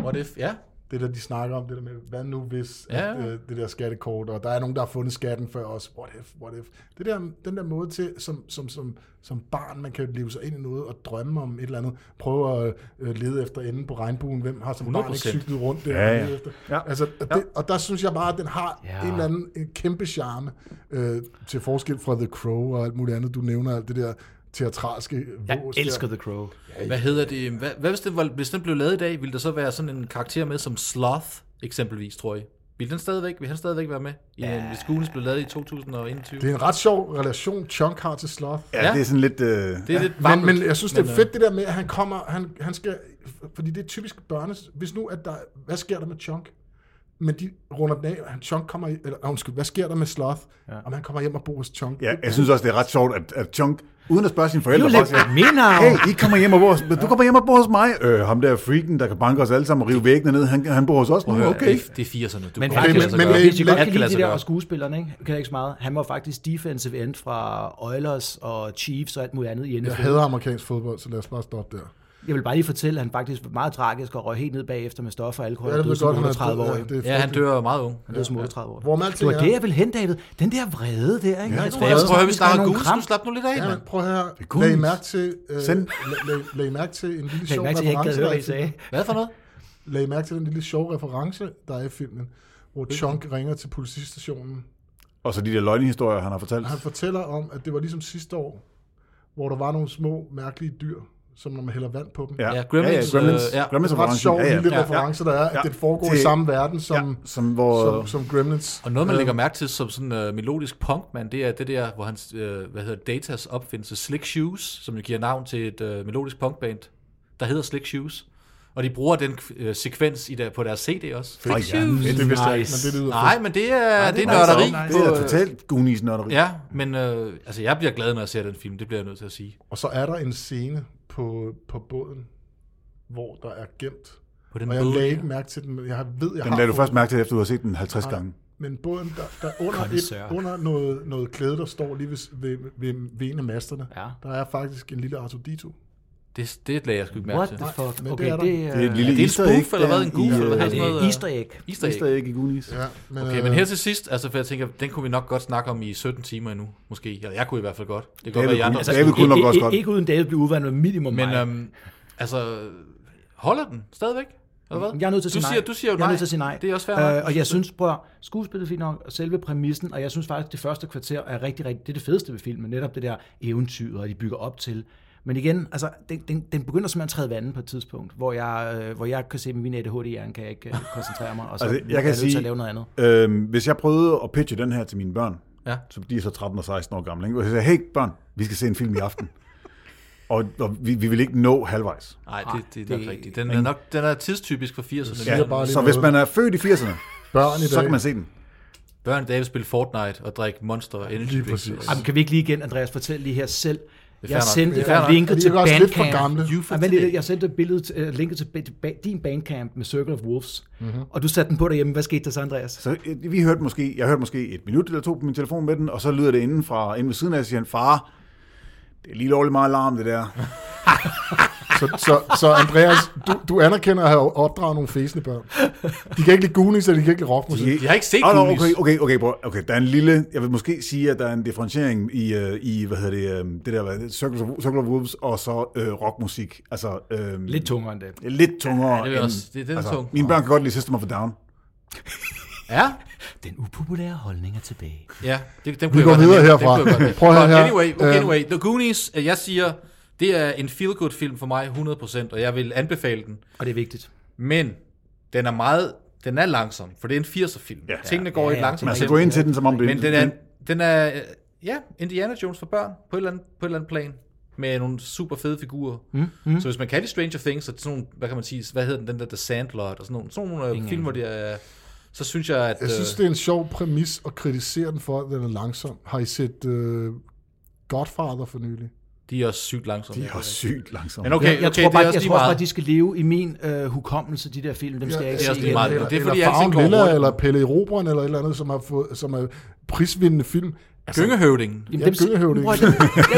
S3: What if? Ja.
S2: Det der, de snakker om, det der med, hvad nu hvis
S3: Ja.
S2: ja. at, øh, det der skattekort, og der er nogen, der har fundet skatten før os. What if, what if. Det der, den der måde til, som, som, som, som barn, man kan leve sig ind i noget og drømme om et eller andet. Prøve at øh, lede efter enden på regnbuen. Hvem har som barn ikke
S3: 100%.
S2: cyklet rundt der?
S1: Ja,
S2: og
S1: ja.
S2: lede efter?
S1: Ja.
S2: Altså, og det, og der synes jeg bare, at den har
S4: Ja.
S2: ja. en eller anden en kæmpe charme øh, til forskel fra The Crow og alt muligt andet. Du nævner alt det der teatralske
S4: jeg
S2: vås der.
S4: elsker The Crow.
S3: Hvad hedder det? Hvad, hvad hvis, den var, hvis den blev lavet i dag, ville der så være sådan en karakter med som Sloth, eksempelvis, tror jeg? Vil, den stadigvæk, vil han stadigvæk være med, i, ja. hvis Goonies blev lavet i 2021?
S2: Det er en ret sjov relation, Chunk har til Sloth.
S1: Ja,
S3: Ja.
S1: det er sådan lidt... Øh,
S3: det er lidt
S2: Men,
S3: varmt.
S2: men jeg synes, det
S3: men,
S2: er
S3: øh,
S2: fedt det der med, at han kommer, han, han skal, fordi det er typisk børnes, hvis nu, at der, hvad sker der med Chunk? Men de runder den af, og han Chunk kommer, i- eller undskyld, hvad sker der med Sloth? Ja. Om han kommer hjem og bor hos Chunk.
S1: ja, jeg synes også, det er ret sjovt, at, at Chunk, uden at spørge sine forældre,
S4: Du
S1: bare
S4: lidt
S1: siger,
S4: min
S1: hey,
S4: navn.
S1: I kommer hjem og bor hos, du kommer hjem og bor hos mig. Øh, ham der freaken, der kan banke os alle sammen og rive væggene ned, han, han bor hos os nu,
S3: Hør,
S1: okay.
S3: Det, det er 80'erne. Du
S4: Men
S3: kan
S4: faktisk,
S3: ikke lade sig
S4: men,
S2: men-
S3: gøre.
S4: men, hvis I godt
S3: Alt
S4: kan lide
S3: lade
S4: de
S3: sig
S4: der
S3: gøre.
S4: og skuespillerne, ikke? kan jeg ikke så meget. Han var faktisk defensive end fra Oilers og Chiefs og alt muligt andet i NFL.
S2: Jeg hader amerikansk fodbold, så lad os bare stoppe der.
S4: Jeg vil bare lige fortælle, at han faktisk var meget tragisk og røg helt ned bagefter med stoffer og alkohol.
S2: Ja,
S4: Ja,
S2: jeg
S4: døde
S2: ved
S4: som
S2: godt, han er
S4: 38 år.
S2: død.
S4: Han
S2: det er
S3: Ja, han dør meget ung.
S4: døde som 38 år.
S2: Hvor man
S4: Det
S2: altid
S4: var
S2: er.
S4: det, jeg ville hen, David. Den der vrede der, ikke?
S1: Ja,
S4: Jeg
S1: det
S4: tror,
S3: Jeg
S4: jeg
S3: tror, at vi
S4: skal have
S3: snakker
S4: nogle
S3: Goonies.
S4: kram.
S3: Du slap nu lidt af,
S2: Ja,
S3: mand.
S2: men prøv at høre,
S1: er Goonies.
S2: lag I mærke til, øh,
S1: Send.
S2: lag- lag- lag I mærke til en lille
S4: Jeg
S2: sjov
S4: mærke, at jeg ikke gad
S2: reference,
S4: høre,
S2: der er i
S4: hvad I sagde.
S3: Hvad for noget?
S2: Lagde I mærke til den lille sjove reference, der er i filmen, hvor Chunk ringer til politistationen.
S1: Og så de der løgnehistorier, han har fortalt.
S2: Han fortæller om, at det var ligesom sidste år, hvor der var nogle små, mærkelige dyr, som når man hælder vand på dem.
S1: Ja,
S3: Ja, Gremlins,
S1: ja, Gremlins,
S3: øh, ja.
S1: Gremlins
S2: Det er en ret sjov
S1: ja, ja.
S2: lille
S1: Ja,
S2: reference, der er, at
S1: Ja.
S2: det foregår i
S1: Det-
S2: samme verden som,
S1: ja, som hvor...
S2: som, som Gremlins.
S3: Og noget, man lægger mærke til som sådan uh, melodisk punk, man, det er det der, hvor hans, øh, hvad hedder det, Datas opfindelse, Slick Shoes, som jo giver navn til et øh, melodisk punkband, der hedder Slick Shoes. Og de bruger den øh, sekvens i der, på deres CD også.
S1: Ej,
S3: Slick
S1: ja,
S3: Shoes.
S1: fedt.
S2: det vidste jeg ikke,
S4: Nice.
S2: men det lyder
S3: Nej, men det er, det er
S1: Nej, så-
S3: nørderi.
S1: Det er
S3: på, øh,
S1: totalt Goonies nørderi.
S3: Ja, men øh, altså, jeg bliver glad, når jeg ser den film, det bliver jeg nødt til at sige.
S2: fedt. Og så er der en scene på, på båden, hvor der er gemt.
S3: På den
S2: Og jeg
S3: måde.
S2: lagde ikke mærke til den, men jeg ved, jeg
S1: Den
S2: har
S1: lader du
S2: fået
S1: først mærke til, efter du har set den 50 gange.
S2: Men båden, der, der under,
S4: Kondensør.
S2: et, under noget, noget klæde, der står lige ved, ved, ved, ved en af masterne,
S4: Ja.
S2: der er faktisk en lille Artudito.
S3: Det, det lagde jeg sgu ikke mærke
S4: What
S3: til.
S4: the fuck?
S2: men det
S4: Okay,
S2: er der.
S4: det
S1: Det er
S4: er...
S1: et lille
S3: det en
S1: easter
S3: spoof,
S1: egg.
S3: eller hvad?
S1: der
S3: En goof,
S1: i,
S3: eller hvad?
S1: øh,
S4: Er
S3: sådan noget,
S4: det
S3: øh,
S4: easter egg?
S3: Easter egg.
S1: Easter egg i Goonies.
S2: Ja, men, øh,
S3: Okay, men her til sidst, altså for jeg tænker, den kunne vi nok godt snakke om i 17 timer endnu, måske. Eller jeg kunne i hvert fald godt. Det kan godt
S1: David
S3: være,
S1: kunne-
S3: jeg andre...
S1: Altså, David kunne nok
S4: Ikke-
S1: også
S4: ikke-
S1: godt.
S4: Ikke uden David blive uvandet med minimum
S3: Men
S4: mig.
S3: øhm, altså, holder den stadigvæk? Eller hvad?
S4: Jeg er nødt til at
S3: du
S4: sige nej.
S3: siger, Du siger jo
S4: jeg
S3: nej.
S4: er nødt til at sige nej.
S3: Det er også fair.
S4: Øh, og jeg synes, prøv at høre, skuespillet er fint nok, og selve præmissen, og jeg synes faktisk, det første kvarter er rigtig, rigtig, det er det fedeste ved filmen, netop det der eventyr, og de bygger op til. Men igen, altså, den, den, den begynder simpelthen at træde vandet på et tidspunkt, hvor jeg, øh, hvor jeg kan se, at med min ADHD-hjerne kan jeg ikke øh, koncentrere mig, og så
S1: Altså,
S4: altså,
S1: jeg kan
S4: jeg kan nødt til
S1: sige-
S4: at lave noget andet.
S1: Øhm, hvis jeg prøvede at pitche den her til mine børn,
S3: Ja.
S1: så de er så 13 og 16 år gamle, ikke? og jeg sagde, hey børn, vi skal se en film i aften. og og vi, vi vil ikke nå halvvejs.
S3: Nej, det, det, er nok
S4: Ah, det-
S3: rigtigt. Den er, nok, den er tidstypisk for 80'erne.
S2: siger
S3: Ja,
S2: bare lige
S1: så hvis
S2: noget.
S1: man er født i 80'erne,
S2: Børn i
S1: så
S2: dag.
S1: kan man se den.
S3: Børn David spille Fortnite og drikke Monster Energy
S2: Lige
S3: drinks.
S2: præcis.
S4: Jamen, kan vi ikke lige igen, Andreas, fortælle lige her selv?
S3: fair
S4: Jeg
S3: nok.
S4: sendte
S3: Det er
S4: et
S3: fair nok.
S2: Er
S4: linket
S2: de
S4: til
S2: ikke også lidt for
S4: Bandcamp.
S2: gamle?
S3: You for
S4: Ej, vent lidt,
S3: today.
S4: jeg sendte et billede, til- øh, linket til ba- ba- din Bandcamp med Circle of Wolves,
S3: Mhm.
S4: mm-hmm. og du satte den på derhjemme. Hvad skete der så, Andreas?
S1: Så øh, vi hørte måske, jeg hørte måske et minut eller to på min telefon med den, og så lyder det inden fra inden ved siden af, siger han, far, det er lige lovligt meget larm, det der.
S2: Så, så, så Andreas, du, du anerkender at have opdraget nogle fæsende børn. De kan ikke lide Goonies, og de kan ikke lide rockmusik.
S3: De har ikke set
S1: oh,
S3: Goonies.
S1: Okay, okay, okay, bror. okay, der er en lille, jeg vil måske sige, at der er en differentiering i, øh, i hvad hedder det, øh, det der, hvad, Circle, of, Circle of Wolves og så øh, rockmusik. Altså, øh,
S4: Lidt tungere end det.
S1: lidt tungere. altså,
S3: det er også- det er den tung.
S1: Mine børn kan godt lide System of a Down.
S3: Ja,
S4: Den upopulære holdning er tilbage.
S3: ja. Det, dem
S2: Vi går videre herfra. Prøv
S3: Prøv
S2: at høre her.
S3: Anyway, okay,
S2: Øhm.
S3: anyway, The Goonies, øh, jeg siger, det er en feel-good film for mig 100%, og jeg vil anbefale den.
S4: Og det er vigtigt.
S3: Men den er meget, den er langsom, for det er en 80'er film. Ja. Tingene går
S4: Ja,
S3: i et
S4: ja,
S3: langsomt
S4: det
S1: Man
S4: er
S1: skal
S4: rigtigt.
S1: altså, gå ind til den, som om det
S3: Men den er, den er øh, ja, Indiana Jones for børn på et eller andet, på et eller andet plan med nogle super fede figurer. Mm, mm. Så hvis man kan lide Stranger Things og sådan nogle, hvad kan man sige, hvad hedder den, den der The Sandlot og sådan nogle, sådan nogle øh, film, hvor det er, så synes jeg, at
S2: Jeg synes,
S3: øh,
S2: det er en sjov præmis at kritisere den for, at den er langsom. Har I set uh, Godfather for nylig?
S3: de er også sygt langsomme.
S1: Det er også sygt langsomt.
S3: Men okay,
S4: jeg, jeg
S3: okay,
S4: tror
S3: det
S4: bare,
S3: er også
S4: jeg
S3: lige
S4: tror også bare,
S3: meget.
S4: de skal leve i min øh, hukommelse, de der film. Dem skal jeg ikke
S3: det er
S4: se
S3: også lige
S4: igen.
S3: meget.
S2: Eller,
S3: det er,
S2: eller
S3: fordi alting
S2: Farven
S3: går
S2: Lilla,
S3: hurtigt.
S2: eller Pelle Erobren, eller et eller andet, som er, fået, som er prisvindende film. Altså,
S3: Gyngehøvdingen.
S4: Jamen,
S2: Ja,
S4: dem, se-
S2: gyngehøvding.
S4: Prøv at- ja,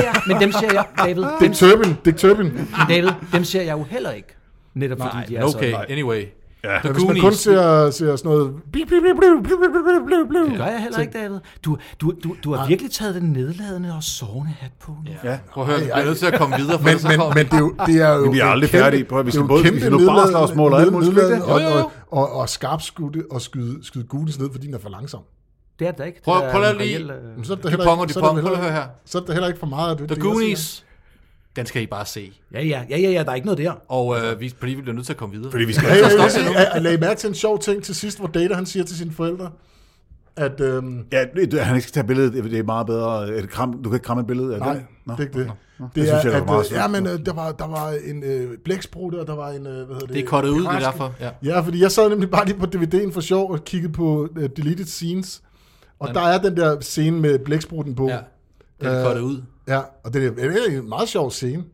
S4: ja, men dem ser jeg, David, dem,
S2: Dick Turbin, Dick Turbin.
S4: David, dem ser jeg jo heller ikke. Netop fordi
S3: Nej,
S4: de
S3: men
S4: er
S2: altså,
S3: okay,
S4: så...
S3: anyway.
S1: Ja.
S3: The
S2: Hvis man kun
S3: Goonies,
S2: ser, ser sådan noget... blip, blip, blip, blip, blip, blip, blip, blip, blip.
S4: Det gør jeg heller ikke, David. Du, du, du, du har virkelig taget den nedladende og sovende hat på nu. Ja.
S1: Ja.
S3: prøv at høre, vi er nødt til at komme videre, for
S2: Men,
S3: ellers så
S2: men,
S3: kommer-
S2: men det er jo, det er jo
S1: Vi bliver
S2: en
S1: aldrig
S2: kæmpe-
S1: færdige. Prøv at vi
S2: det er jo
S1: skal både-
S2: kæmpe
S1: vi skal nå
S2: nedladende-
S1: barslagsmål og alt muligt, skal vi ikke det?
S2: nedladende
S3: Jo, jo,
S2: Og, og, og, og skarpt skudte og skyde, skyde Goonies ned, fordi den er for langsom.
S4: Det er det da ikke. Det
S3: Prøv-
S4: er
S3: prøv
S4: en
S3: lige-
S4: reel, øh,
S2: Men så er det da
S3: De
S2: heller
S3: ponger,
S2: ikke-
S3: de
S2: så er det da
S3: ponger.
S2: heller
S3: Prøv at høre
S2: ikke- Så er det da heller ikke for meget, at du
S3: The Goonies, den skal I bare se.
S4: øh- Ja, ja, ja, ja, ja, der er ikke noget der.
S3: Og
S2: Altså-
S3: øh, vi, fordi vi bliver nødt til at komme videre.
S1: Fordi vi skal
S2: Hey,
S1: altså
S2: hey,
S1: stoppe.
S2: hey, hey, lagde I mærke til en sjov ting til sidst, hvor Data han siger til sine forældre, at øhm,
S1: Ja, det- han ikke skal tage billedet, det er meget bedre. Et kram, du kan ikke kramme et billede af
S2: nej,
S1: den. Nå.
S2: det er ikke det.
S1: Det
S2: Det
S1: synes jeg,
S2: er,
S1: der var meget
S2: at, øh,
S1: sødt.
S2: ja, men øh, der var, der var en øh, blæksprutte, og der var en, øh, hvad hedder det?
S3: Det er kottet ud, det er
S2: piratske-
S3: derfor, ja.
S2: Ja, fordi jeg sad nemlig bare lige på DVD'en for sjov og kiggede på øh, deleted scenes, og der er den der scene med blæksprutten på.
S3: Ja, den er
S2: Øh,
S3: kottet ud.
S2: Ja, og det er, det er en meget sjov scene.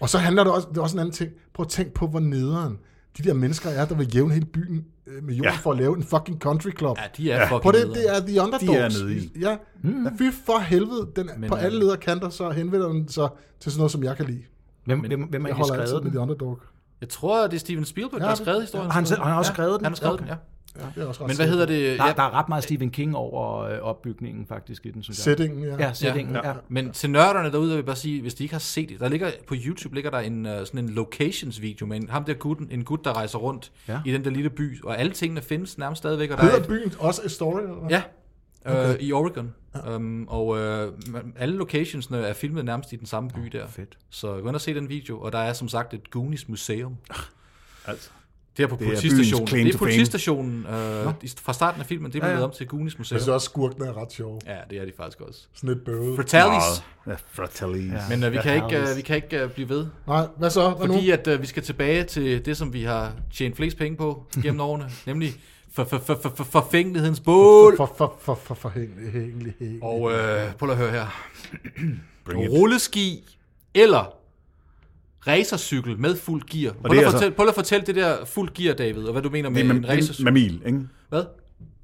S2: Og så handler det også, det er også en anden ting. Prøv at tænke på, hvor nederen de der mennesker er, der vil jævne hele byen øh, med jorden ja.
S1: Ja.
S2: for at lave en fucking country club.
S3: Ja, de er ja, fucking
S2: Prøv det,
S3: nederen.
S2: det er The Underdogs.
S1: De er nede i.
S2: Ja, mm. fy for helvede. Den, Men, på
S3: øh,
S2: alle leder kanter, så henvender den sig til sådan noget, som jeg kan lide.
S4: Hvem, hvem, hvem har
S2: Jeg
S4: egentlig
S2: holder altid
S4: skrevet
S2: med
S4: den?
S2: The Underdog.
S3: Jeg tror, det er Steven Spielberg, der
S2: Ja,
S3: har
S2: det-
S3: skrevet historien.
S4: Har han selv- har han også skrevet den?
S3: Han har skrevet
S4: Okay.
S3: den, ja.
S2: Ja, det er også ret
S3: Men hvad hedder det?
S4: Der,
S3: Ja,
S4: der er ret meget Stephen King over øh, opbygningen faktisk i den, synes jeg.
S2: Settingen, ja.
S4: Ja, sætningen, ja. ja.
S3: men til nørderne derude, vil jeg bare sige, hvis de ikke har set det, der ligger på YouTube ligger der en øh, sådan en locations video med en, ham der gutten, en gut der rejser rundt
S4: Ja.
S3: ja. i den der lille by, og alle tingene findes nærmest stadigvæk, og der er
S2: Hedder
S3: et,
S2: byen også Astoria? Eller? hvad?
S3: ja, okay. øh, i Oregon. Ja. Um, og øh, man- alle locationsne er filmet nærmest i den samme by der.
S4: fedt.
S3: Så gå ind og se den video, og der er som sagt et Goonies museum.
S1: Altså.
S3: Det er på
S1: er byens
S3: politistationen.
S1: claim
S3: Det
S1: to
S3: er
S1: fame.
S3: politistationen øh, i- fra starten af filmen, det blev ja, ja. lavet om til Goonies museum.
S2: Jeg synes også, skurken er ret sjov.
S3: Ja, det er de faktisk også.
S2: Sådan lidt bøvet.
S3: Fratalis.
S1: Meget. Ja, Fratellis. Ja.
S3: Men øh, vi, kan ikke,
S4: Fratalis.
S3: øh, vi kan ikke øh, blive ved,
S2: Nej, hvad så? Hvad nu?
S3: fordi at, øh, vi skal tilbage til det, som vi har tjent flest penge på gennem årene, nemlig for, for, for, for, for, forfængelighedens bål.
S2: For, for, for, for, for, hængelig, hængelig, hængelig.
S3: Og øh, prøv lige at høre her.
S1: Bring it.
S3: Rulleski eller racercykel med fuld gear. Prøv
S1: det
S3: lige
S1: er
S3: at
S1: altså-
S3: fortælle, prøv lige at fortælle det der fuld gear, David, og hvad du mener
S1: Det
S3: med
S1: er
S3: en
S1: mam-
S3: racercykel.
S1: mamil, ikke?
S3: Hvad?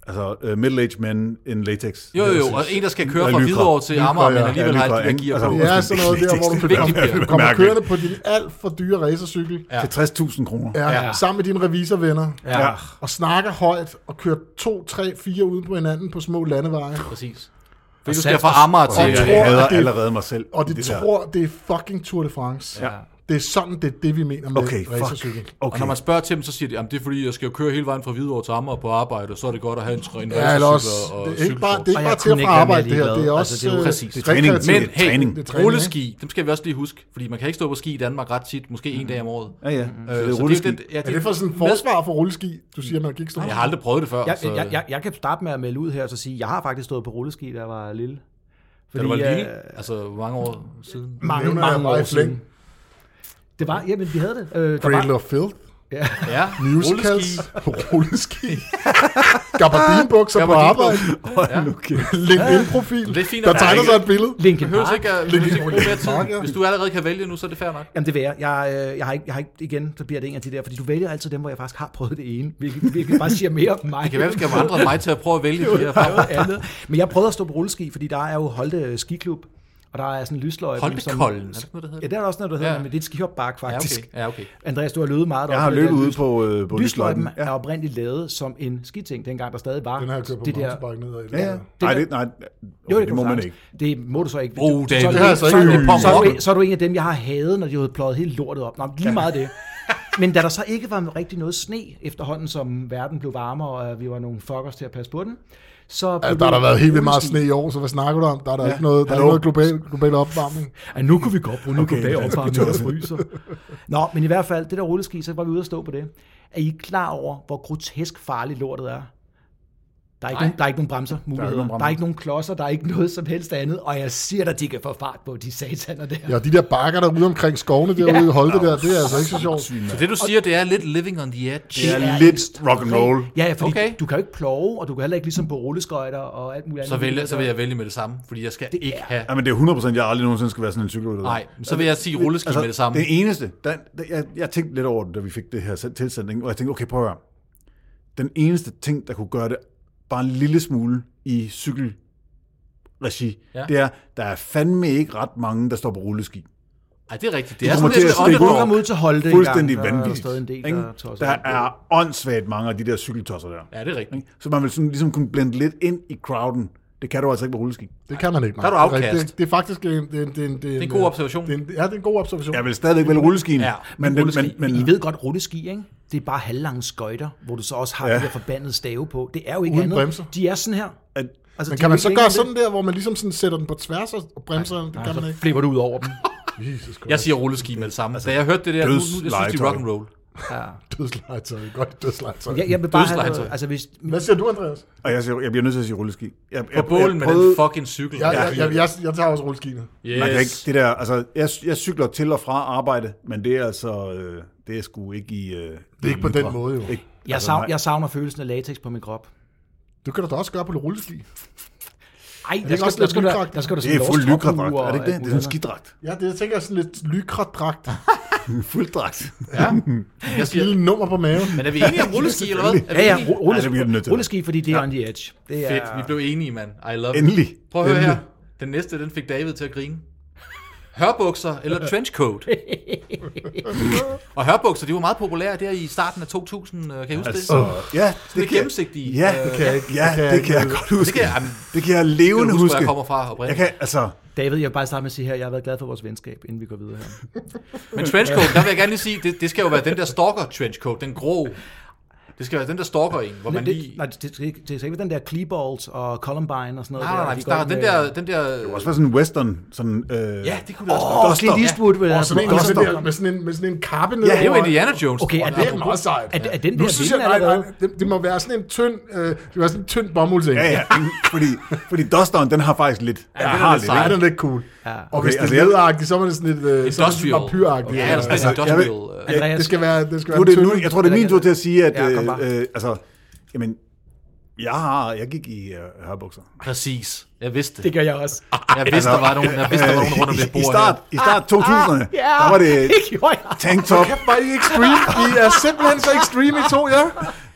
S1: Altså uh, middle-aged men in latex.
S3: Jo, jo, jo, og en, der skal køre fra Hvidovre til Amager, men
S2: ja.
S3: alligevel
S1: Ja,
S3: har de
S1: Lykra,
S3: der
S1: ikke?
S3: gear
S1: Altså,
S3: på.
S2: Det er sådan noget der, hvor du
S1: Vigtigt,
S2: kommer,
S3: vigtigt.
S2: du kommer
S1: Mærkeligt.
S2: kørende på din alt for dyre racercykel, ja.
S1: Til 60.000 kroner.
S2: Ja,
S3: Ja.
S2: sammen med dine revisorvenner, ja.
S1: Ja.
S2: og snakker højt, og kører to, tre, fire uden på hinanden på små landeveje,
S3: Præcis. Fordi
S4: Og
S3: du skal
S4: sats-
S3: fra Amager
S1: Og
S3: til...
S1: jeg
S2: tror,
S1: hader
S2: at det-
S1: allerede mig selv.
S2: og
S1: i
S2: de det
S1: der.
S2: tror, det er fucking Tour de France.
S1: Ja.
S2: Det er sådan, det er det, vi mener med
S1: Okay,
S2: racercykel.
S1: fuck.
S3: Og
S1: Okay.
S3: når man spørger til dem, så siger de, at det er fordi, jeg skal jo køre hele vejen fra Hvidovre til Amager på arbejde, og så er det godt at have en, tr- en
S2: Ja, eller også,
S3: racercykel og,
S2: det
S3: og
S2: er ikke bare, det er
S4: Og
S2: ikke
S4: jeg
S2: bare til
S4: kunne
S2: at
S4: ikke
S2: fra
S4: være mere
S2: arbejde, det her. Det er
S4: ligeglad.
S2: også
S4: Altså, det er jo
S2: øh,
S3: præcis.
S2: det er
S1: Træning.
S2: rekreativt.
S3: Men
S1: Det er træning.
S3: hey,
S2: Det er træning,
S3: rulleski, dem skal vi også lige huske, fordi man kan ikke stå på ski i Danmark ret tit, måske
S2: Mm.
S3: en dag om året.
S1: Ja, ja. Så
S3: Øh,
S1: det
S3: så
S1: er rulleski.
S3: jo den- ja,
S2: Er det for sådan en forsvar for rulleski? Du siger, man kan ikke stå
S3: Jeg har aldrig prøvet det før.
S4: Jeg,
S3: så-
S4: jeg, jeg, jeg kan starte med at melde ud her og så sige, jeg har faktisk stået på rulleski, da jeg var lille.
S3: Da du var lille,
S4: øh,
S3: altså hvor mange år siden.
S4: mange,
S2: Nævner jeg
S4: mange
S2: bare
S4: år
S2: i flæng.
S4: siden. Det var, jamen vi havde det. Øh, der var,
S2: Cradle of Filth,
S3: Ja,
S2: musicals,
S3: rulleski.
S2: rulleski. Gabardinbukser på arbejde.
S1: Hold nu kæft.
S2: LinkedIn-profil.
S3: Det er fint,
S2: Der
S3: at der
S2: tegner
S3: ikke-
S2: sig et billede.
S4: Linkin
S3: Behøves
S4: Park.
S3: ikke at
S2: Linkin
S3: behøves ikke at bruge mere
S2: Park, ja.
S3: tid. Hvis du allerede kan vælge nu, så er det fair nok.
S4: Jamen det vil jeg. Jeg, øh, jeg, har ikke, jeg har ikke, igen, så bliver det en af de der, fordi du vælger altid dem, hvor jeg faktisk har prøvet det ene, hvilket, hvilket bare siger mere om mig.
S3: Det kan være, vi skal have andre mig til at prøve at vælge de her farver.
S4: andet. Men jeg prøvede at stå på rulleski, fordi der er jo Holte øh, Skiklub, og der er sådan en lysløjpe.
S3: Holtekollen, er det ikke noget, det hedder?
S4: Ja, der er også noget, der hedder,
S3: Ja.
S4: ja. men det er et skihopbakke
S3: Ja,
S4: faktisk.
S3: okay. Ja, okay.
S4: Andreas, du har løbet meget
S1: Jeg har
S4: deroppe med
S1: løbet
S4: den
S1: ude
S4: lys-
S1: på, øh, på
S4: Lysløjpen
S1: Lysløjpen.
S4: er oprindeligt lavet som en skiting, dengang der stadig var
S2: Den har jeg kørt på
S4: det der...
S2: mountainbike ned ad.
S1: Ja, ja. Nej, det, nej,
S4: Jo,
S1: jo,
S4: det,
S1: det må man ikke.
S4: Det må du så ikke.
S3: Oh,
S4: så, er
S3: David.
S4: du
S3: Det har
S4: en,
S3: jeg
S4: så,
S3: så
S4: er
S3: ikke
S4: du-
S3: gjort. Pom,
S4: så, er du
S3: pom.
S4: en- så er du en af dem, jeg har hadet, når de havde pløjet hele lortet op. Nå, men lige meget det. Men da der så ikke var rigtig noget sne efterhånden, som verden blev varmere, og vi var nogle fuckers til at passe på den, så...
S2: Ja,
S4: blev
S2: Altså, der har
S4: det-
S2: der været helt vildt meget sne i år, så hvad snakker du om? Der er der ikke noget, der er ikke
S1: hallo.
S2: noget global, global opvarmning.
S4: Ej, nu kunne vi godt bruge, nu okay, kunne vi
S1: ja,
S4: opvarme, når det fryser. Nå, men i hvert fald, det der rulleski, så var vi ude at stå på det. Er I klar over, hvor grotesk farligt lortet er? Der er, ikke
S3: Nej.
S4: nogen, der er ikke nogen bremser muligheder. Der er,
S1: nogen bremser.
S4: der er ikke nogen klodser, der er ikke noget som helst andet, og jeg siger dig, de kan få fart på, de sataner der.
S2: Ja, de der bakker der ude omkring skovene derude i Holte der, det er altså ikke så sjovt.
S3: Så det, du siger, det er lidt living on the edge.
S1: Det er
S4: Det er
S1: lidt rock and roll.
S4: Ja, ja, fordi
S3: Okay.
S4: okay. du kan jo ikke plove, og du kan heller ikke ligesom på rulleskøjter og alt muligt
S3: Så,
S4: andet.
S3: vælger, så vil jeg vælge med det samme, fordi jeg skal ikke have...
S1: Ja, men altså- det er altså- 100 jeg aldrig nogensinde skal være sådan en cykelrytter.
S3: Nej, så vil jeg sige rulleski med det samme.
S1: Altså, Det eneste, der, der, jeg, jeg tænkte lidt over det, da vi fik det her selv- tilsending, og jeg tænkte, okay, prøv at høre. Den eneste ting, der kunne gøre det bare en lille smule i cykelregi,
S3: Ja.
S1: ja. det er, der er fandme ikke ret mange, der står på rulleski.
S3: Ej, det er rigtigt. Det er
S1: kommer
S3: sådan
S1: til
S3: lidt
S1: at stikke
S4: Du
S3: underdog.
S1: over.
S4: kommer ud til Holte
S1: Fuldstændig
S4: engang, der er der
S1: vanvittigt.
S4: stadig en del,
S1: ikke?
S4: der tosser
S1: der
S4: rundt på det.
S1: er åndssvagt mange af de der cykeltosser der.
S3: Ja, det er rigtigt.
S1: Så man vil sådan, ligesom kunne blende lidt ind i crowden. Det kan du altså ikke på rulleski.
S2: Det kan man ikke. nej.
S3: Der er du
S2: Det rigtigt.
S3: outcast.
S2: Det, det, er faktisk en, det, er en- det, er en- det,
S3: er en god observation.
S2: Det er en, ja, det er en god observation.
S1: Jeg vil stadigvæk vælge rulleskien.
S3: Ja,
S1: men, den, men, men,
S4: Men I ved godt, rulleski, ikke? Det er bare halvlange skøjter, hvor du så også har ja. de der forbandede stave på. Det er jo ikke
S2: Uden
S4: andet.
S2: bremser.
S4: De er sådan her.
S1: at,
S4: Altså,
S2: Men
S4: de
S2: kan
S4: er
S2: man
S4: ikke
S2: så
S4: længere
S2: gøre
S4: end
S2: sådan der, hvor man ligesom sådan sætter den på tværs og og bremser den? Det kan man
S4: det.
S2: ikke.
S4: Så flipper du ud over dem.
S2: Jesus Christ.
S3: Jeg siger rulleski med det samme.
S1: Altså,
S3: Da jeg hørte det der, nu, nu jeg synes jeg, det er rock and roll.
S4: Ja.
S2: Dødslejtøj. Godt dødslejtøj.
S4: Jeg, jeg vil bare have
S3: Dødslegetøj.
S4: noget, altså hvis,
S2: Hvad siger du, Andreas?
S1: og jeg, siger, jeg bliver nødt til at sige rulleski. Jeg,
S3: På
S1: jeg,
S3: bålen med den fucking cykel.
S2: Jeg, jeg, jeg, jeg, jeg tager også rulleskiene.
S1: Man kan ikke,
S3: Yes.
S1: det der, altså, jeg, jeg cykler til og fra arbejde, men det er altså, øh, det er sgu ikke i... Øh, det
S2: er ikke på den måde, jo.
S1: Ikke,
S4: jeg,
S1: altså,
S4: savner,
S1: nej.
S4: jeg savner følelsen af latex på min krop.
S2: Du kan du da også gøre på det rulleski.
S4: Ej, der
S2: ikke
S4: skal,
S2: også
S4: der
S2: lidt
S4: skal, der,
S2: lyddragt?
S4: der skal der
S1: Det er fuld lykkerdragt,
S4: og
S1: er det ikke det?
S4: alt
S1: Det er sådan en
S4: muligt
S1: skidragt.
S2: Ja, det jeg tænker sådan lidt lykra-dragt.
S1: fuld dragt.
S3: Ja. Jeg siger,
S2: Lille nummer på maven.
S3: men er vi enige om rulleski, eller hvad? Er
S4: andet.
S3: vi
S4: Ja, ja,
S3: enige?
S4: ru-
S1: Ej, det bliver den nødt til.
S4: rulleski, rulleski, fordi det er on the edge. Det er,
S3: Fedt, vi blev enige, mand. I love it.
S1: Endelig.
S3: Prøv at høre her.
S1: Endelig.
S3: Den næste, den fik David til at grine. Hørbukser eller trenchcoat? og hørbukser, de var meget populære der i starten af 2000, øh, kan I huske
S1: Altså,
S3: det?
S1: ja,
S3: Det er
S1: kan-
S3: gennemsigtige.
S1: Ja,
S3: øh,
S1: det kan jeg, ja,
S2: kan jeg
S1: det kan jeg
S2: ikke.
S1: godt huske.
S3: Det kan jeg, jamen,
S1: det kan jeg
S3: kan
S1: levende
S3: du huske,
S1: huske.
S3: hvor jeg kommer fra
S1: Jeg
S3: oprindeligt.
S1: kan, altså,
S4: David, jeg vil bare starte med at sige her, jeg har været glad for vores venskab, inden vi går videre her.
S3: Men trenchcoat, der vil jeg gerne lige sige, det, det skal jo være den der stalker trenchcoat, den grå. Det skal være den der stalker en, hvor man
S4: Men
S3: lige...
S4: det, nej, det, det, skal ikke- det skal ikke være den der Kleeballs og Columbine og sådan noget.
S3: Nej, nej, nej,
S4: de
S3: vi
S4: går
S3: snakker den
S4: med-
S3: der... Den der
S1: det var sådan en western, sådan... Øh,
S3: ja, det kunne det også
S4: Åh,
S3: godt.
S1: Duster.
S4: Clint Eastwood vil
S2: Og sådan en,
S4: have-
S2: med sådan, der,
S4: Duster.
S2: med, sådan en, med sådan en kappe
S1: det
S3: Det er jo
S2: nedover.
S3: Indiana Jones.
S4: Okay,
S3: tror
S4: er
S3: jeg.
S2: Det er meget sejt.
S4: Er, er den
S2: Nu
S4: der
S2: synes jeg,
S4: vinden
S2: nej, nej,
S4: allerede?
S2: det, det må være sådan en tynd, øh, det må være sådan en tynd bomuldsen.
S1: Ja, ja, fordi, fordi Dusteren, den har faktisk lidt. Ja,
S3: den er
S1: har
S3: lidt sej.
S2: Ja, den er lidt cool.
S4: Ja.
S2: Og hvis
S1: altså,
S2: det er
S1: jeg-
S2: lederagtigt, så er det sådan lidt øh, så er det sådan
S3: Industrial.
S2: vampyragtigt.
S3: Ja, eller sådan
S2: Altså,
S3: lidt
S1: jeg ved-
S3: industrial. øh.
S4: Andreas,
S2: det skal være, det
S1: Nu
S2: skal være
S1: er
S2: en
S1: det,
S2: tynd.
S1: nu, jeg tror, det er min tur til at sige, at
S4: Ja,
S1: ja,
S4: kom bare.
S1: øh, øh, altså, jamen, jeg har, jeg gik i øh, hørbukser.
S3: Præcis. Jeg vidste
S4: Det
S3: det.
S4: gør jeg også.
S3: Jeg vidste, der var nogen, jeg vidste, der var nogen rundt om det
S1: Øh, I
S3: bord
S1: start,
S3: her.
S1: i start 2000'erne, der var det
S4: Det gjorde jeg.
S1: tanktop,
S2: Kæft, var I extreme? I er simpelthen så extreme, I to, ja?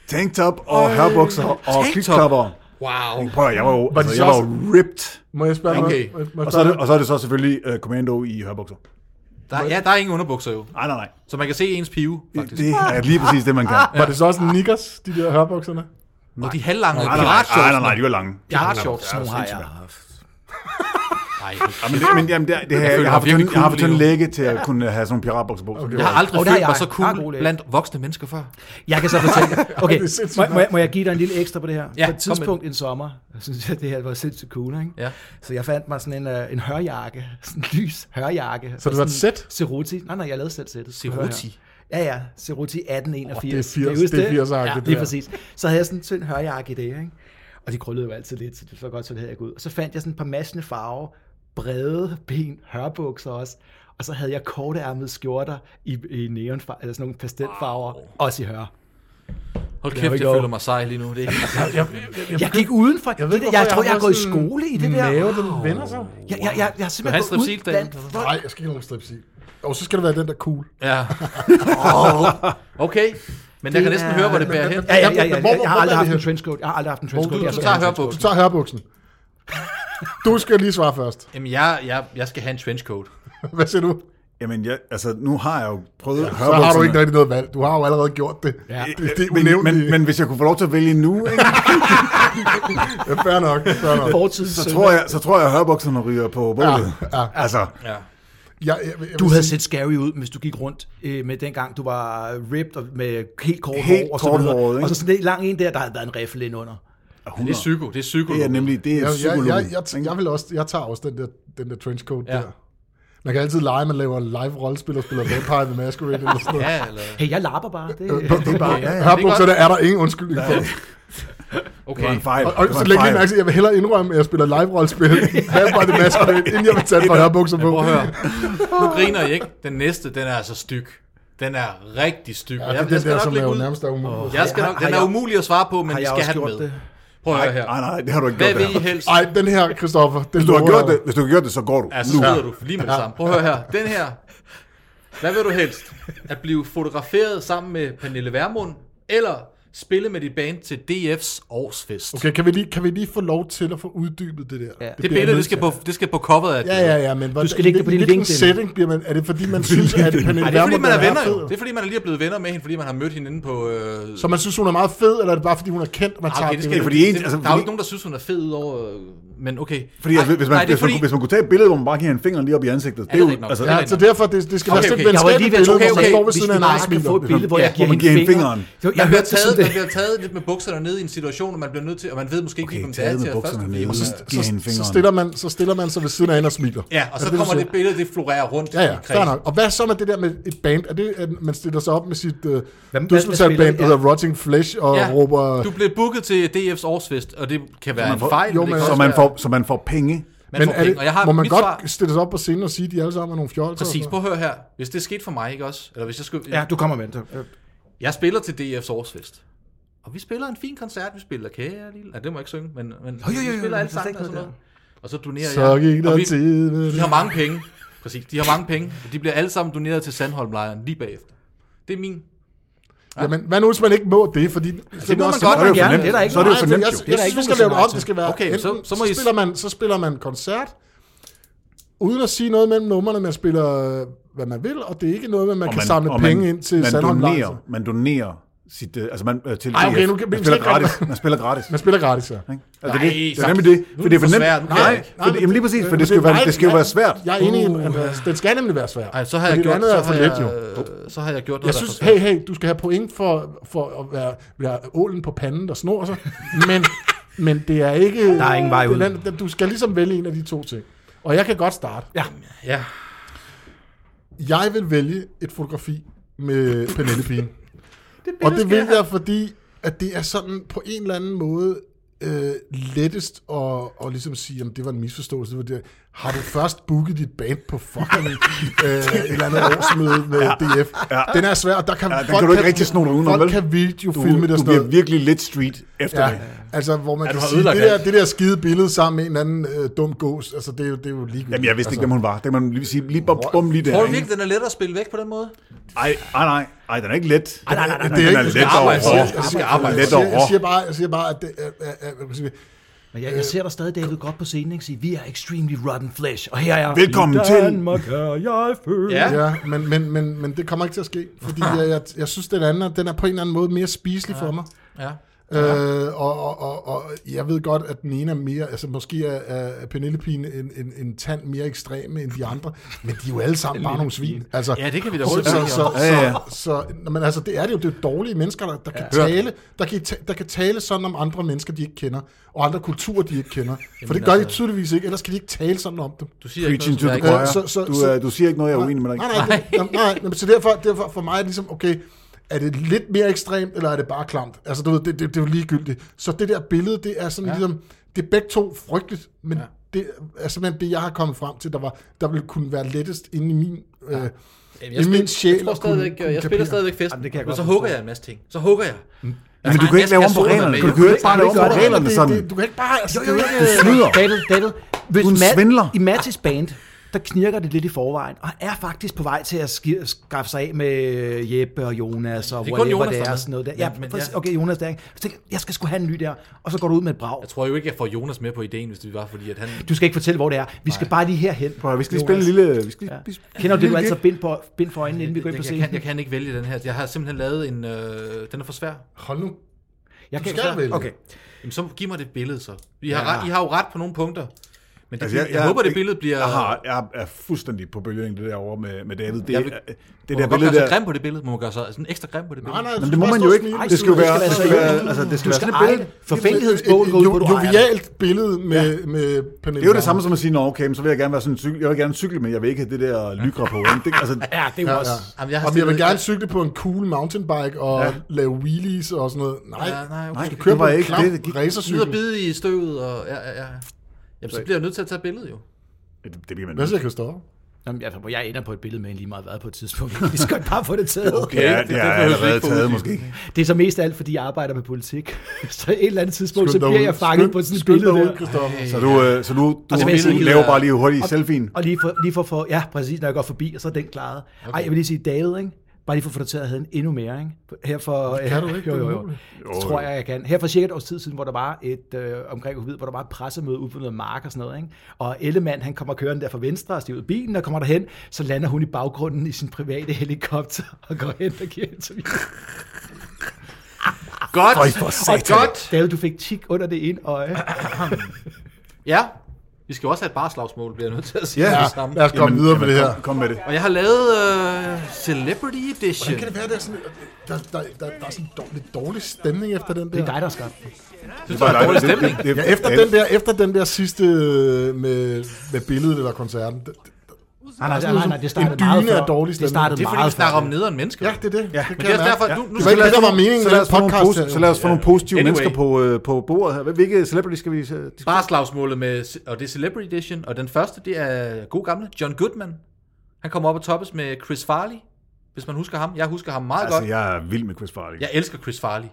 S1: tanktop og hørbukser og
S3: tanktop.
S1: kvikklapper.
S3: Wow.
S1: Prøv at høre, jeg var jo, altså,
S2: de så
S1: jeg var jo
S2: også-
S1: ripped.
S2: Må jeg spørge
S3: Okay.
S2: noget? Må jeg- må jeg
S1: Og så, er
S2: spørge
S1: det, og så er det så selvfølgelig uh, Commando i hørbukser.
S3: Der, ja, der er ingen underbukser jo.
S1: Nej, nej, nej.
S3: Så man kan se ens pive, faktisk.
S1: Det er lige præcis det, man kan. Nej,
S2: Var det så også niggers, de der hørbukserne?
S3: Og de halvlange
S1: nej, nej, nej, nej,
S3: piratshorts.
S1: nej, de var lange.
S4: Jeg har
S3: Piratshorts.
S4: sådan har jeg haft.
S3: Nej,
S1: Men, det, men jamen, det, det, her,
S3: føler
S1: jeg,
S3: mig
S1: har for
S3: virkelig
S1: tynd- jeg har for
S3: cool lige
S1: tynd
S3: nu.
S1: læge til at kunne have sådan nogle piratbukser på. så det
S3: jeg
S1: var-
S3: har aldrig
S4: Og der er
S3: følt mig
S4: jeg.
S3: så
S4: Der er
S3: cool
S4: god læge.
S3: blandt voksne mennesker før.
S4: Jeg kan så fortælle Okay,
S2: er sindssygt
S4: må, må,
S2: meget.
S4: jeg, må jeg give dig en lille ekstra på det her?
S3: Ja,
S4: på
S3: kom
S4: et tidspunkt en sommer, jeg synes jeg, det her var sindssygt cool, ikke?
S3: Ja.
S4: Så jeg fandt mig sådan en, øh, en hørjakke, sådan en lys hørjakke.
S2: Så det var et
S4: Sådan
S2: sæt?
S4: Ceruti. Nej, nej, jeg lavede selv sættet.
S3: Ceruti?
S4: Hørjakke. Ja, ja, Ceruti 1881.
S2: Åh, det er 80,
S4: Kan I huske
S2: det er 80-agtigt,
S4: Ja,
S2: det
S4: lige
S2: der.
S4: præcis. Så havde jeg sådan en tynd hørjakke i det, ikke? Og de krøllede jo altid lidt, så det var godt, så det havde jeg gået ud. Og så fandt jeg sådan et par massende farver, brede ben, hørbukser også. Og så havde jeg kortærmede skjorter i, i neonfarver, eller sådan nogle pastelfarver, også i hør.
S3: Hold
S2: Jeg er jo
S3: kæft,
S2: ikke
S3: jeg føler
S2: over-
S3: mig sej lige nu. Det er
S2: Jeg, jeg, jeg, jeg,
S4: Jeg gik udenfor. Jeg,
S2: Jeg ved
S4: det,
S2: ikke,
S4: der,
S2: hvorfor
S4: jeg
S2: jeg
S4: tror, jeg
S2: har
S4: har gået i
S2: sådan
S4: skole i det der.
S2: mave,
S4: Jeg,
S2: den vender sig.
S4: jeg, jeg, jeg har
S3: Vil
S4: simpelthen
S3: du have en
S4: gået ud
S3: strepsil,
S4: blandt
S3: Dan?
S4: folk.
S2: Nej, jeg skal ikke have nogen stripsil. Og så skal det være den, der er cool.
S3: Ja. Okay, men jeg kan næsten høre, hvor det bærer hen.
S4: Ja, ja, ja,
S2: Men
S4: ja,
S2: hvor-
S4: jeg, jeg har
S2: hvor
S4: aldrig
S2: er
S4: haft
S2: det
S4: en
S2: her?
S4: trenchcoat. Jeg har aldrig haft en
S3: Du,
S4: trenchcoat. Jeg
S3: du
S4: skal
S3: tager
S4: have en
S2: Du
S3: hørbuksen.
S2: tager hørbuksen. Du skal lige svare først.
S3: Jamen, jeg, jeg, jeg skal have en trenchcoat.
S2: Hvad siger du?
S1: Jamen, jeg, altså, nu har jeg jo prøvet ja,
S2: Så har du ikke rigtig noget valg. Du har jo allerede gjort det. Ja. Det, det er
S1: men,
S2: unævnligt.
S1: men, men, hvis jeg kunne få lov til at vælge nu, ikke,
S2: Ja, fair nok. Fair nok.
S4: Fortidens
S1: så,
S4: søn.
S1: tror jeg, så tror jeg, at hørbukserne ryger på bålet.
S2: ja.
S1: Altså,
S3: Ja.
S2: Jeg, jeg, jeg, jeg
S4: Du
S2: vil
S4: havde
S2: sige-
S4: set scary ud, hvis du gik rundt øh, med dengang, du var ripped og med helt kort
S1: Helt
S4: hår og så
S1: kort
S4: videre.
S1: håret, ikke?
S4: Og så sådan en lang en der, der havde været en riffel ind under.
S3: Det er psyko, det er psyko.
S1: det er nemlig det er
S2: jeg, jeg,
S1: psykologi.
S2: jeg, jeg, jeg, jeg, vil også, jeg tager også den der, den der trenchcoat
S3: Ja.
S2: ja. der. Man kan altid lege, man laver live rollespil og spiller Vampire the Masquerade eller sådan noget. Øh,
S3: Ja, eller...
S4: Hey, jeg lapper bare. Det,
S1: Det er bare, ja, ja.
S2: Hørbukserne er der ingen undskyldning for.
S1: Det var
S3: Okay,
S1: en fejl.
S2: Og, og
S1: Det var
S2: så
S1: en
S2: læg lige
S1: fejl.
S2: mærke til, at jeg vil hellere indrømme, at jeg spiller live rollespil end Vampire the Masquerade, inden jeg vil tage et par hørbukser på.
S3: prøv at høre. Nu griner I ikke. Den næste, den er altså styg. Den er rigtig styg.
S2: Ja, det er den der, som er jo nærmest er umulig.
S3: Jeg skal
S4: Har-
S3: nok,
S4: har
S3: den er
S4: jeg-
S3: umulig at svare på, men
S4: har
S3: vi
S4: jeg
S3: skal
S4: også
S3: have den
S4: gjort
S3: med.
S4: det?
S3: Prøv at høre her.
S1: Nej, nej, det har du ikke
S3: Hvad
S1: gjort.
S3: vil I
S1: det her.
S3: helst?
S2: Ej, den her, Christoffer, den
S1: Hvis du, har
S2: lover
S1: gjort
S2: jeg.
S1: det, hvis du har gjort det, så går du.
S3: Altså, Ja, så
S1: altså, nu.
S3: skyder du lige med det samme. Prøv at høre her. Den her. Hvad vil du helst? At blive fotograferet sammen med Pernille Vermund, eller spille med dit band til DF's årsfest?
S2: Okay, kan vi, lige, kan vi lige få lov til at få uddybet det der?
S4: Ja.
S3: Det billede, det skal, på, det skal på coveret af
S2: Ja, ja, ja, men hvordan,
S4: Du skal lægge det på din
S2: i hvilken
S4: LinkedIn.
S2: setting bliver man... Er det fordi, man synes, at
S3: Ej,
S2: Pernille
S3: det er fordi,
S2: Vermund
S3: man er venner
S2: fed?
S3: jo. Det er fordi, man er lige er blevet venner med hende, fordi man har mødt hende inde på... Øh...
S2: Så man synes, hun er meget fed, eller er det bare fordi, hun er kendt, og man
S3: Ah,
S2: tager
S3: Okay, det skal,
S2: billedet?
S1: fordi en-
S3: det,
S1: altså,
S3: der er jo
S1: fordi-
S3: ikke nogen, der synes, hun er fed udover... øh, Men okay.
S1: Fordi
S3: Ej,
S1: altså, hvis, man,
S3: nej, det er
S1: hvis, man,
S3: fordi...
S1: kunne- hvis man kunne tage et billede, hvor man bare giver en finger lige op i ansigtet. Det
S3: det
S1: er
S3: er
S1: jo,
S3: nok.
S1: altså,
S3: Ja.
S1: ja.
S2: Ja, så derfor, det, det skal
S3: Okay,
S2: være sådan
S3: okay.
S2: et
S4: Jeg var
S2: venskabeligt
S4: lige ved at
S2: billede,
S4: tro,
S3: okay,
S2: hvor man
S3: okay.
S2: står ved
S4: hvis
S2: siden
S4: vi
S2: af en
S4: bare
S2: og
S4: kan få et
S2: smiler.
S4: billede, hvor
S3: Ja,
S4: jeg giver
S1: hvor man
S4: hende
S1: giver hende
S4: fingeren.
S1: fingeren.
S4: Jeg
S3: man, bliver
S4: hørte det
S3: taget,
S4: sådan,
S3: man bliver taget lidt med bukserne ned i en situation, og man bliver nødt til, og man ved måske ikke,
S1: okay,
S3: hvem det er
S1: taget
S3: til
S1: med
S3: at
S1: bukserne
S3: først-
S1: ned, og så giver hende
S2: Så
S1: fingeren.
S2: stiller, man, så stiller man sig ved siden af hende og smiler.
S3: Ja, og så
S2: Er det,
S3: kommer
S2: du
S3: det billede, det florerer rundt
S2: Ja, ja,
S3: i
S2: fair
S3: kredsen.
S2: nok. Og hvad så med det der med et band? Er det, at man stiller sig op med sit uh,
S4: hvad
S2: dødsmetalband,
S4: spiller-
S2: der hedder Rotting Flesh, og
S3: Ja,
S2: råber...
S3: Du blev booket til DF's årsfest, og det kan være
S1: man
S3: en
S1: får-
S3: fejl,
S2: jo,
S3: men det
S2: men-
S3: kan
S1: så
S3: også
S1: man
S3: være-
S1: får, så man får penge.
S3: man får
S2: er
S3: penge. Og jeg har
S2: må man
S3: mit
S2: godt
S3: svar-
S2: stille sig op på scenen og sige, at de alle sammen er nogle fjolser? og
S3: Præcis,
S2: sådan
S3: prøv at høre her. Hvis det skete for mig, ikke også? Eller hvis jeg skulle...
S4: Ja, du kommer med det.
S3: Jeg spiller til DF's årsfest. Og vi spiller en fin koncert. Vi spiller kære lille... Ja, det må jeg ikke synge, men, men
S4: jo, jo,
S3: vi spiller
S4: jo, jo,
S3: alle
S4: der er
S3: sammen
S4: ikke
S3: og sådan
S4: noget
S3: noget. Og så donerer
S2: noget? Så
S3: jeg.
S2: gik
S3: og
S2: der tid.
S3: de har mange penge. Præcis, de har mange penge. Og de bliver alle sammen doneret til Sandholmlejren lige bagefter. Det er min.
S2: Jamen, hvad nu, hvis man ikke må det? Fordi, altså,
S3: må man
S1: Så
S3: godt,
S1: er det jo
S4: Ja,
S1: fornemt.
S4: det er der ikke
S1: Så er det jo
S4: meget.
S1: fornemt,
S2: jeg,
S1: jo.
S2: jeg, jeg
S4: der ikke
S2: synes, vi skal
S4: nogen,
S2: lave det om.
S4: der siger nej
S2: Det skal være,
S3: Okay,
S2: enten,
S3: så-
S2: så, så,
S3: så må I s-
S2: spiller man, så spiller man koncert, uden at sige noget mellem numrene, man spiller, øh, hvad man vil, og det er ikke noget, med, man
S1: Og
S2: kan samle
S1: og
S2: penge ind til
S1: man
S2: Sandholm
S1: donerer,
S2: Larsen.
S1: man donerer sit, øh, altså man, øh, til
S2: Ej, okay,
S1: DF.
S2: nu kan-
S1: man
S2: vi
S1: spiller
S2: skal ikke
S1: gratis, man spiller gratis.
S2: Man spiller gratis, ja.
S1: Ikke? Altså det, det er
S3: sagt.
S1: nemlig det.
S3: Nu
S1: For
S3: er
S1: det
S3: den
S1: er
S3: for
S1: for
S3: svær,
S1: nemt.
S3: nu kan jeg
S1: Nej,
S3: ikke.
S1: for,
S2: men-
S1: jamen lige præcis, for
S2: men
S1: det skal jo være,
S2: nej,
S1: det skal jo
S2: nej,
S1: være svært.
S2: Jeg er enig, i,
S3: Uh.
S2: Andreas. Den skal nemlig være svær.
S3: Ej, så har jeg
S2: Fordi
S3: gjort,
S2: det andet
S3: så
S2: er for
S3: har
S2: let, jo.
S3: jeg, øh, så har jeg gjort noget,
S2: Jeg
S3: der
S2: synes,
S3: er for svært.
S2: hey, hey, du skal have point for, for at være, være ålen på panden, der snor sig, men, men det er ikke...
S4: Der er ingen vej ud.
S2: Den, den, du skal ligesom vælge en af de to ting. Og jeg kan godt starte.
S4: Ja,
S3: Ja.
S2: Jeg vil vælge et fotografi med Pernille Pien. og det vil jeg, fordi at det er sådan på en eller anden måde øh, lettest at, at ligesom sige, at det var en misforståelse. Det var det. Har du først booket dit band på fucking øh, et eller andet årsmøde med DF? Ja. Den er svær, og der kan,
S1: Ja, den kan du ikke rigtig sno dig udenom,
S2: folk
S1: vel?
S2: kan
S1: Du,
S2: videofilme det
S1: du
S2: og sådan
S1: bliver
S2: noget.
S1: virkelig lidt street efter
S2: Ja,
S1: det.
S2: altså hvor man
S3: Ja, du
S2: kan
S3: har
S2: sige, det
S3: ødelagt
S2: der,
S3: alt.
S2: det der skide billede sammen med en eller anden øh, dum gås, altså det er jo, det er jo ligegyldigt.
S1: Jamen jeg vidste ikke, hvem hun var. Det kan man lige sige, lige bum, bum lige der.
S3: Tror du
S1: ikke?
S3: virkelig, den er let at spille væk på den måde?
S1: Ej, ej, nej, ej, den er ikke let.
S4: Ej, nej, nej, nej,
S1: Den
S2: nej,
S1: er
S2: du skal
S1: let
S3: arbejde for
S1: over.
S3: det. Du skal arbejde
S2: Jeg,
S3: Lidt
S1: Let
S2: siger, jeg,
S1: over.
S2: siger bare, jeg siger bare, at det er, er, er, er,
S4: men jeg, jeg ser dig stadig, David, godt på scenen, ikke? Sige, vi er extremely rotten flesh, og her er jeg.
S1: Velkommen til.
S3: Ja.
S2: ja. ja men, men, men, men det kommer ikke til at ske, fordi jeg, jeg, jeg synes, den anden den er på en eller anden måde mere spiselig ja. for mig.
S3: Ja.
S2: Ja. Øh, og, og, og, og jeg ved godt, at den ene er mere, altså måske er, er Penelope en, en, en tand mere ekstrem end de andre, men de er jo alle sammen bare nogle svin. Altså,
S3: Ja, det kan vi da
S2: så,
S3: hurtigt
S2: så,
S3: blive
S2: så,
S3: enige
S2: så,
S1: Ja, ja.
S2: så, så, men altså, det er det jo, det er jo dårlige mennesker, der, der, kan
S3: Hørt.
S2: tale, der, kan, ta- der kan tale sådan om andre mennesker, de ikke kender, og andre kulturer, de ikke kender. For det
S3: altså-
S2: gør de tydeligvis ikke, ellers kan de ikke tale sådan om dem.
S3: Du siger
S1: Preaching
S3: ikke
S1: to the
S3: noget, som jeg
S2: choir.
S1: choir.
S3: ikke...
S2: så- så-
S1: Du,
S2: så-
S1: øh, du siger ikke noget, jeg er uenig med dig.
S2: Nej, nej, det, nej, nej, nej. Så derfor, derfor for mig er det ligesom, okay, er det lidt mere ekstremt, eller er det bare klamt? Altså, du ved, det, det, det er jo ligegyldigt. Så det der billede, det er sådan ja. ligesom, det er begge to frygteligt, men ja. det er simpelthen det, jeg har kommet frem til, der, var, der ville kunne være lettest inde i min... Ja. Øh,
S3: Jeg,
S2: Det er min
S3: spil-
S2: sjæl
S3: jeg, tror
S2: at kunne-
S3: stadigvæk, øh,
S2: kunne
S3: jeg spiller
S2: kapere.
S3: stadigvæk festen,
S4: Jamen, det kan jeg
S3: men
S4: godt
S3: så
S4: forstå.
S3: hugger jeg en masse ting. Så hugger jeg.
S1: men du kan ikke lave om på reglerne. Du kan jo ikke bare lave om på
S2: det,
S1: reglerne
S2: det-
S1: sådan.
S2: det- Du kan ikke bare... Altså,
S1: Jo,
S2: det er
S1: jo,
S2: jo
S1: jo.
S2: ikke...
S1: Du snyder.
S4: David, David, hvis
S1: Du er en
S4: Matt-
S1: svindler.
S4: I Mattis band, der knirker det lidt i forvejen, og han er faktisk på vej til at ski- skaffe sig af med Jeppe og Jonas og
S3: Det er
S4: whatever
S3: kun Jonas,
S4: det
S3: der er
S4: er.
S3: med.
S4: Sådan noget der.
S3: Men-
S4: Ja,
S3: men
S4: præcis.
S3: ja.
S4: okay, Jonas der. ikke? Så tænker jeg, jeg skal sgu have en ny der. Og så går du ud med et brag.
S3: Jeg tror jo ikke, jeg får Jonas med på ideen, hvis det var, fordi at han...
S4: Du skal ikke fortælle, hvor det er. Vi skal bare lige herhen.
S1: Prøv, at- vi skal lige spille en lille... Vi skal lige,
S4: Ja. Kender du det, du altid har bind, på, bind for øjnene, inden vi går ind på
S3: jeg,
S4: scenen?
S3: kan, jeg kan ikke vælge den her. Jeg har simpelthen lavet en... Øh, den er for svær.
S2: Hold nu.
S4: Jeg
S2: Du skal vælge.
S4: Okay.
S3: Jamen, så giv mig det billede, så. I har,
S4: Ja.
S3: ret, I har jo ret på nogle punkter. Men det, altså, jeg, jeg, jeg, håber, det billede bliver...
S1: Jeg, har, jeg er fuldstændig på bølgelængde derovre med, med David. Det,
S3: Jeg
S1: jeg
S3: vil-
S1: det,
S3: må
S1: det
S3: man
S1: der
S3: godt
S1: billede
S3: gøre sig
S1: der...
S3: grim på det billede? Må man gøre sig sådan ekstra grim på det billede?
S2: Nej, nej, du
S1: Men
S2: skal
S1: det må
S2: bare
S1: man
S2: stå
S1: jo
S2: og
S1: ikke.
S2: smile.
S1: Det skal jo
S4: du
S1: være, det
S4: skal være
S1: skal
S4: seriøs.
S1: være, altså, det skal
S4: Du
S1: være
S4: skal
S1: sådan et
S4: eje
S1: billede.
S4: det. Forfængelighedsbål går ud, hvor du ejer det.
S2: jovialt billede med, med Pernille.
S1: Det er jo det samme som at sige, nå okay, men så vil jeg gerne være sådan en cykel. Jeg vil gerne cykle, men jeg vil ikke have det der lygra på. ikke? Det, altså,
S4: Ja,
S2: Ja,
S4: det er jo
S2: ja.
S4: også...
S3: Jamen, jeg har
S2: Om jeg vil
S3: stillet-
S2: gerne cykle på en cool mountainbike og
S1: Ja.
S2: ja. lave wheelies og sådan noget. Nej,
S3: Ja, nej, okay.
S1: nej,
S2: du kører
S1: det var
S2: på en
S1: ikke
S2: klam
S1: det. Det, gik,
S3: Nyd og
S2: racercykel.
S3: bide i støvet, og ja, ja, ja. Jamen, så bliver jeg nødt til at tage billedet, jo.
S1: det, det bliver man
S2: Hvad
S1: nødt
S2: siger Christoffer?
S4: Jamen, jeg, altså, jeg ender på et billede med en lige meget været på et tidspunkt. Vi skal bare få det taget.
S1: til. Ja, det,
S3: det
S1: er
S3: behøver vi
S1: allerede
S3: ikke få
S1: taget
S3: uddybet.
S1: måske.
S4: Det er så mest af alt, fordi jeg arbejder med politik. så et eller andet tidspunkt, så
S2: Skynd dig
S4: bliver
S2: ud.
S4: jeg fanget
S2: Skynd-
S4: på sådan et
S2: skynd
S4: billede
S2: dig ud,
S4: der.
S2: Christoffer.
S1: Så du, øh, så du, du,
S4: Og så vil jeg
S1: du
S4: sige-
S1: laver bare lige hurtigt i selfien.
S4: Og lige for, lige for, for, ja, præcis, når jeg går forbi, og så er den klaret. Okay. Ej, jeg vil lige sige, David, ikke? Bare lige for at få dig til at have en endnu mere, ikke? Her for,
S2: kan du ikke,
S4: jo,
S2: det er
S4: jo, jo.
S2: umuligt.
S4: Det tror jeg, jeg kan. Her for cirka et års tid siden, hvor der var et, øh, omkring Covid, hvor der var et pressemøde ude på noget mark og sådan noget, ikke? Og Ellemann, han kommer kørende der fra venstre og stiger ud i bilen og kommer derhen, så lander hun i baggrunden i sin private helikopter og går hen og giver interview.
S3: Godt!
S1: satan.
S3: Godt!
S4: David, du fik tik under det ene øje.
S3: Ja, vi skal jo også have et barslagsmål, bliver jeg nødt til at sige.
S1: Ja,
S3: med
S2: Ja,
S3: det samme.
S2: lad os komme
S1: Jamen,
S2: videre med det
S1: jamen,
S2: her.
S1: Kom, kom med det.
S3: Og jeg har lavet uh, Celebrity Edition.
S2: Kan det være, der er sådan, der, der, der, der er sådan dårlig, lidt dårlig stemning efter den der?
S4: Det er dig, der har skabt den.
S3: Synes du, der er dårlig stemning?
S1: Det, det,
S2: Ja,
S1: det,
S2: efter den der, efter den der sidste øh, med, med billedet eller koncerten. Det- det-
S4: Nej,
S1: Altså,
S2: Altså,
S4: nej, nej, nej, nej, det
S2: en
S4: startede
S2: dyne
S4: meget
S2: er
S4: før.
S2: dårlig
S4: det
S2: stemning.
S4: startede
S3: Det er fordi, vi
S4: meget
S3: snakker
S4: før.
S3: om nederen mennesker.
S2: Ja, det er det. Ja. det
S3: Men det er også
S2: jeg
S3: derfor,
S2: mærke.
S3: at nu, nu
S2: Det var
S3: skal
S2: ikke
S3: vi
S2: det, der var meningen
S1: så
S2: med
S1: lad
S2: den
S1: os få nogle,
S2: podcast.
S1: posi- så lad os få nogle positive
S3: Anyway.
S1: mennesker på, øh, på bordet her. Hvilke celebrity skal vi... øh, diskutere?
S3: Barslagsmålet med, og det er Celebrity Edition, og den første, det er god gamle John Goodman. Han kommer op og toppes med Chris Farley, hvis man husker ham. Jeg husker ham meget altså,
S1: Altså,
S3: godt. Jeg...
S1: jeg er vild med Chris Farley.
S3: jeg elsker Chris Farley.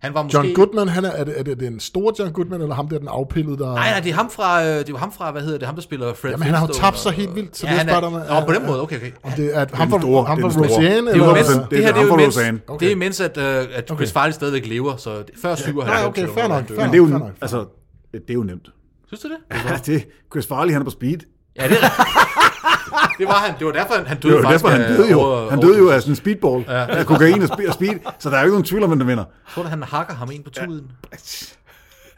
S3: Han var måske...
S2: John Goodman, han er, er, det, er det den store John Goodman, eller ham der, den afpillede, der...
S3: Nej, nej, det er ham fra, øh, det er jo ham fra, hvad hedder det, ham der spiller Fred
S2: Jamen, han har jo
S3: Flintstone
S2: tabt sig
S3: og-
S2: helt vildt, så
S3: ja,
S2: det er
S3: han er,
S2: spørgsmålet, om-
S3: Nå, på den
S2: ja,
S3: måde, okay, okay.
S2: Om det er at ham
S1: Den
S2: fra,
S1: store,
S2: ham
S1: det er
S2: fra
S1: den store. Det
S2: Roseanne,
S3: Det,
S1: er
S2: eller...
S3: var
S1: jo
S3: mens,
S1: den-
S3: det, her det er
S1: ham
S3: jo
S1: fra
S3: mens,
S1: Lausanne.
S3: okay. det er mens at, øh, at Chris Farley stadigvæk lever, så det- før 97.
S2: Nej, okay, fair nok. Fair
S1: Men det er jo,
S2: fair nok.
S1: altså, det er jo nemt.
S3: Synes du det?
S1: Ja, det, Chris Farley, han er på speed.
S3: Ja, det er det. var han. Det var derfor, han, han
S1: Det
S3: døde
S1: var jo
S3: faktisk.
S1: derfor, han
S3: af
S1: døde jo.
S3: over-
S1: Han døde jo
S3: over-
S1: af sådan en speedball. Ja. Kokain og spe- og speed. Så der er jo ikke nogen tvivl om, hvem der vinder.
S3: Tror du, han hakker ham ind på tuden?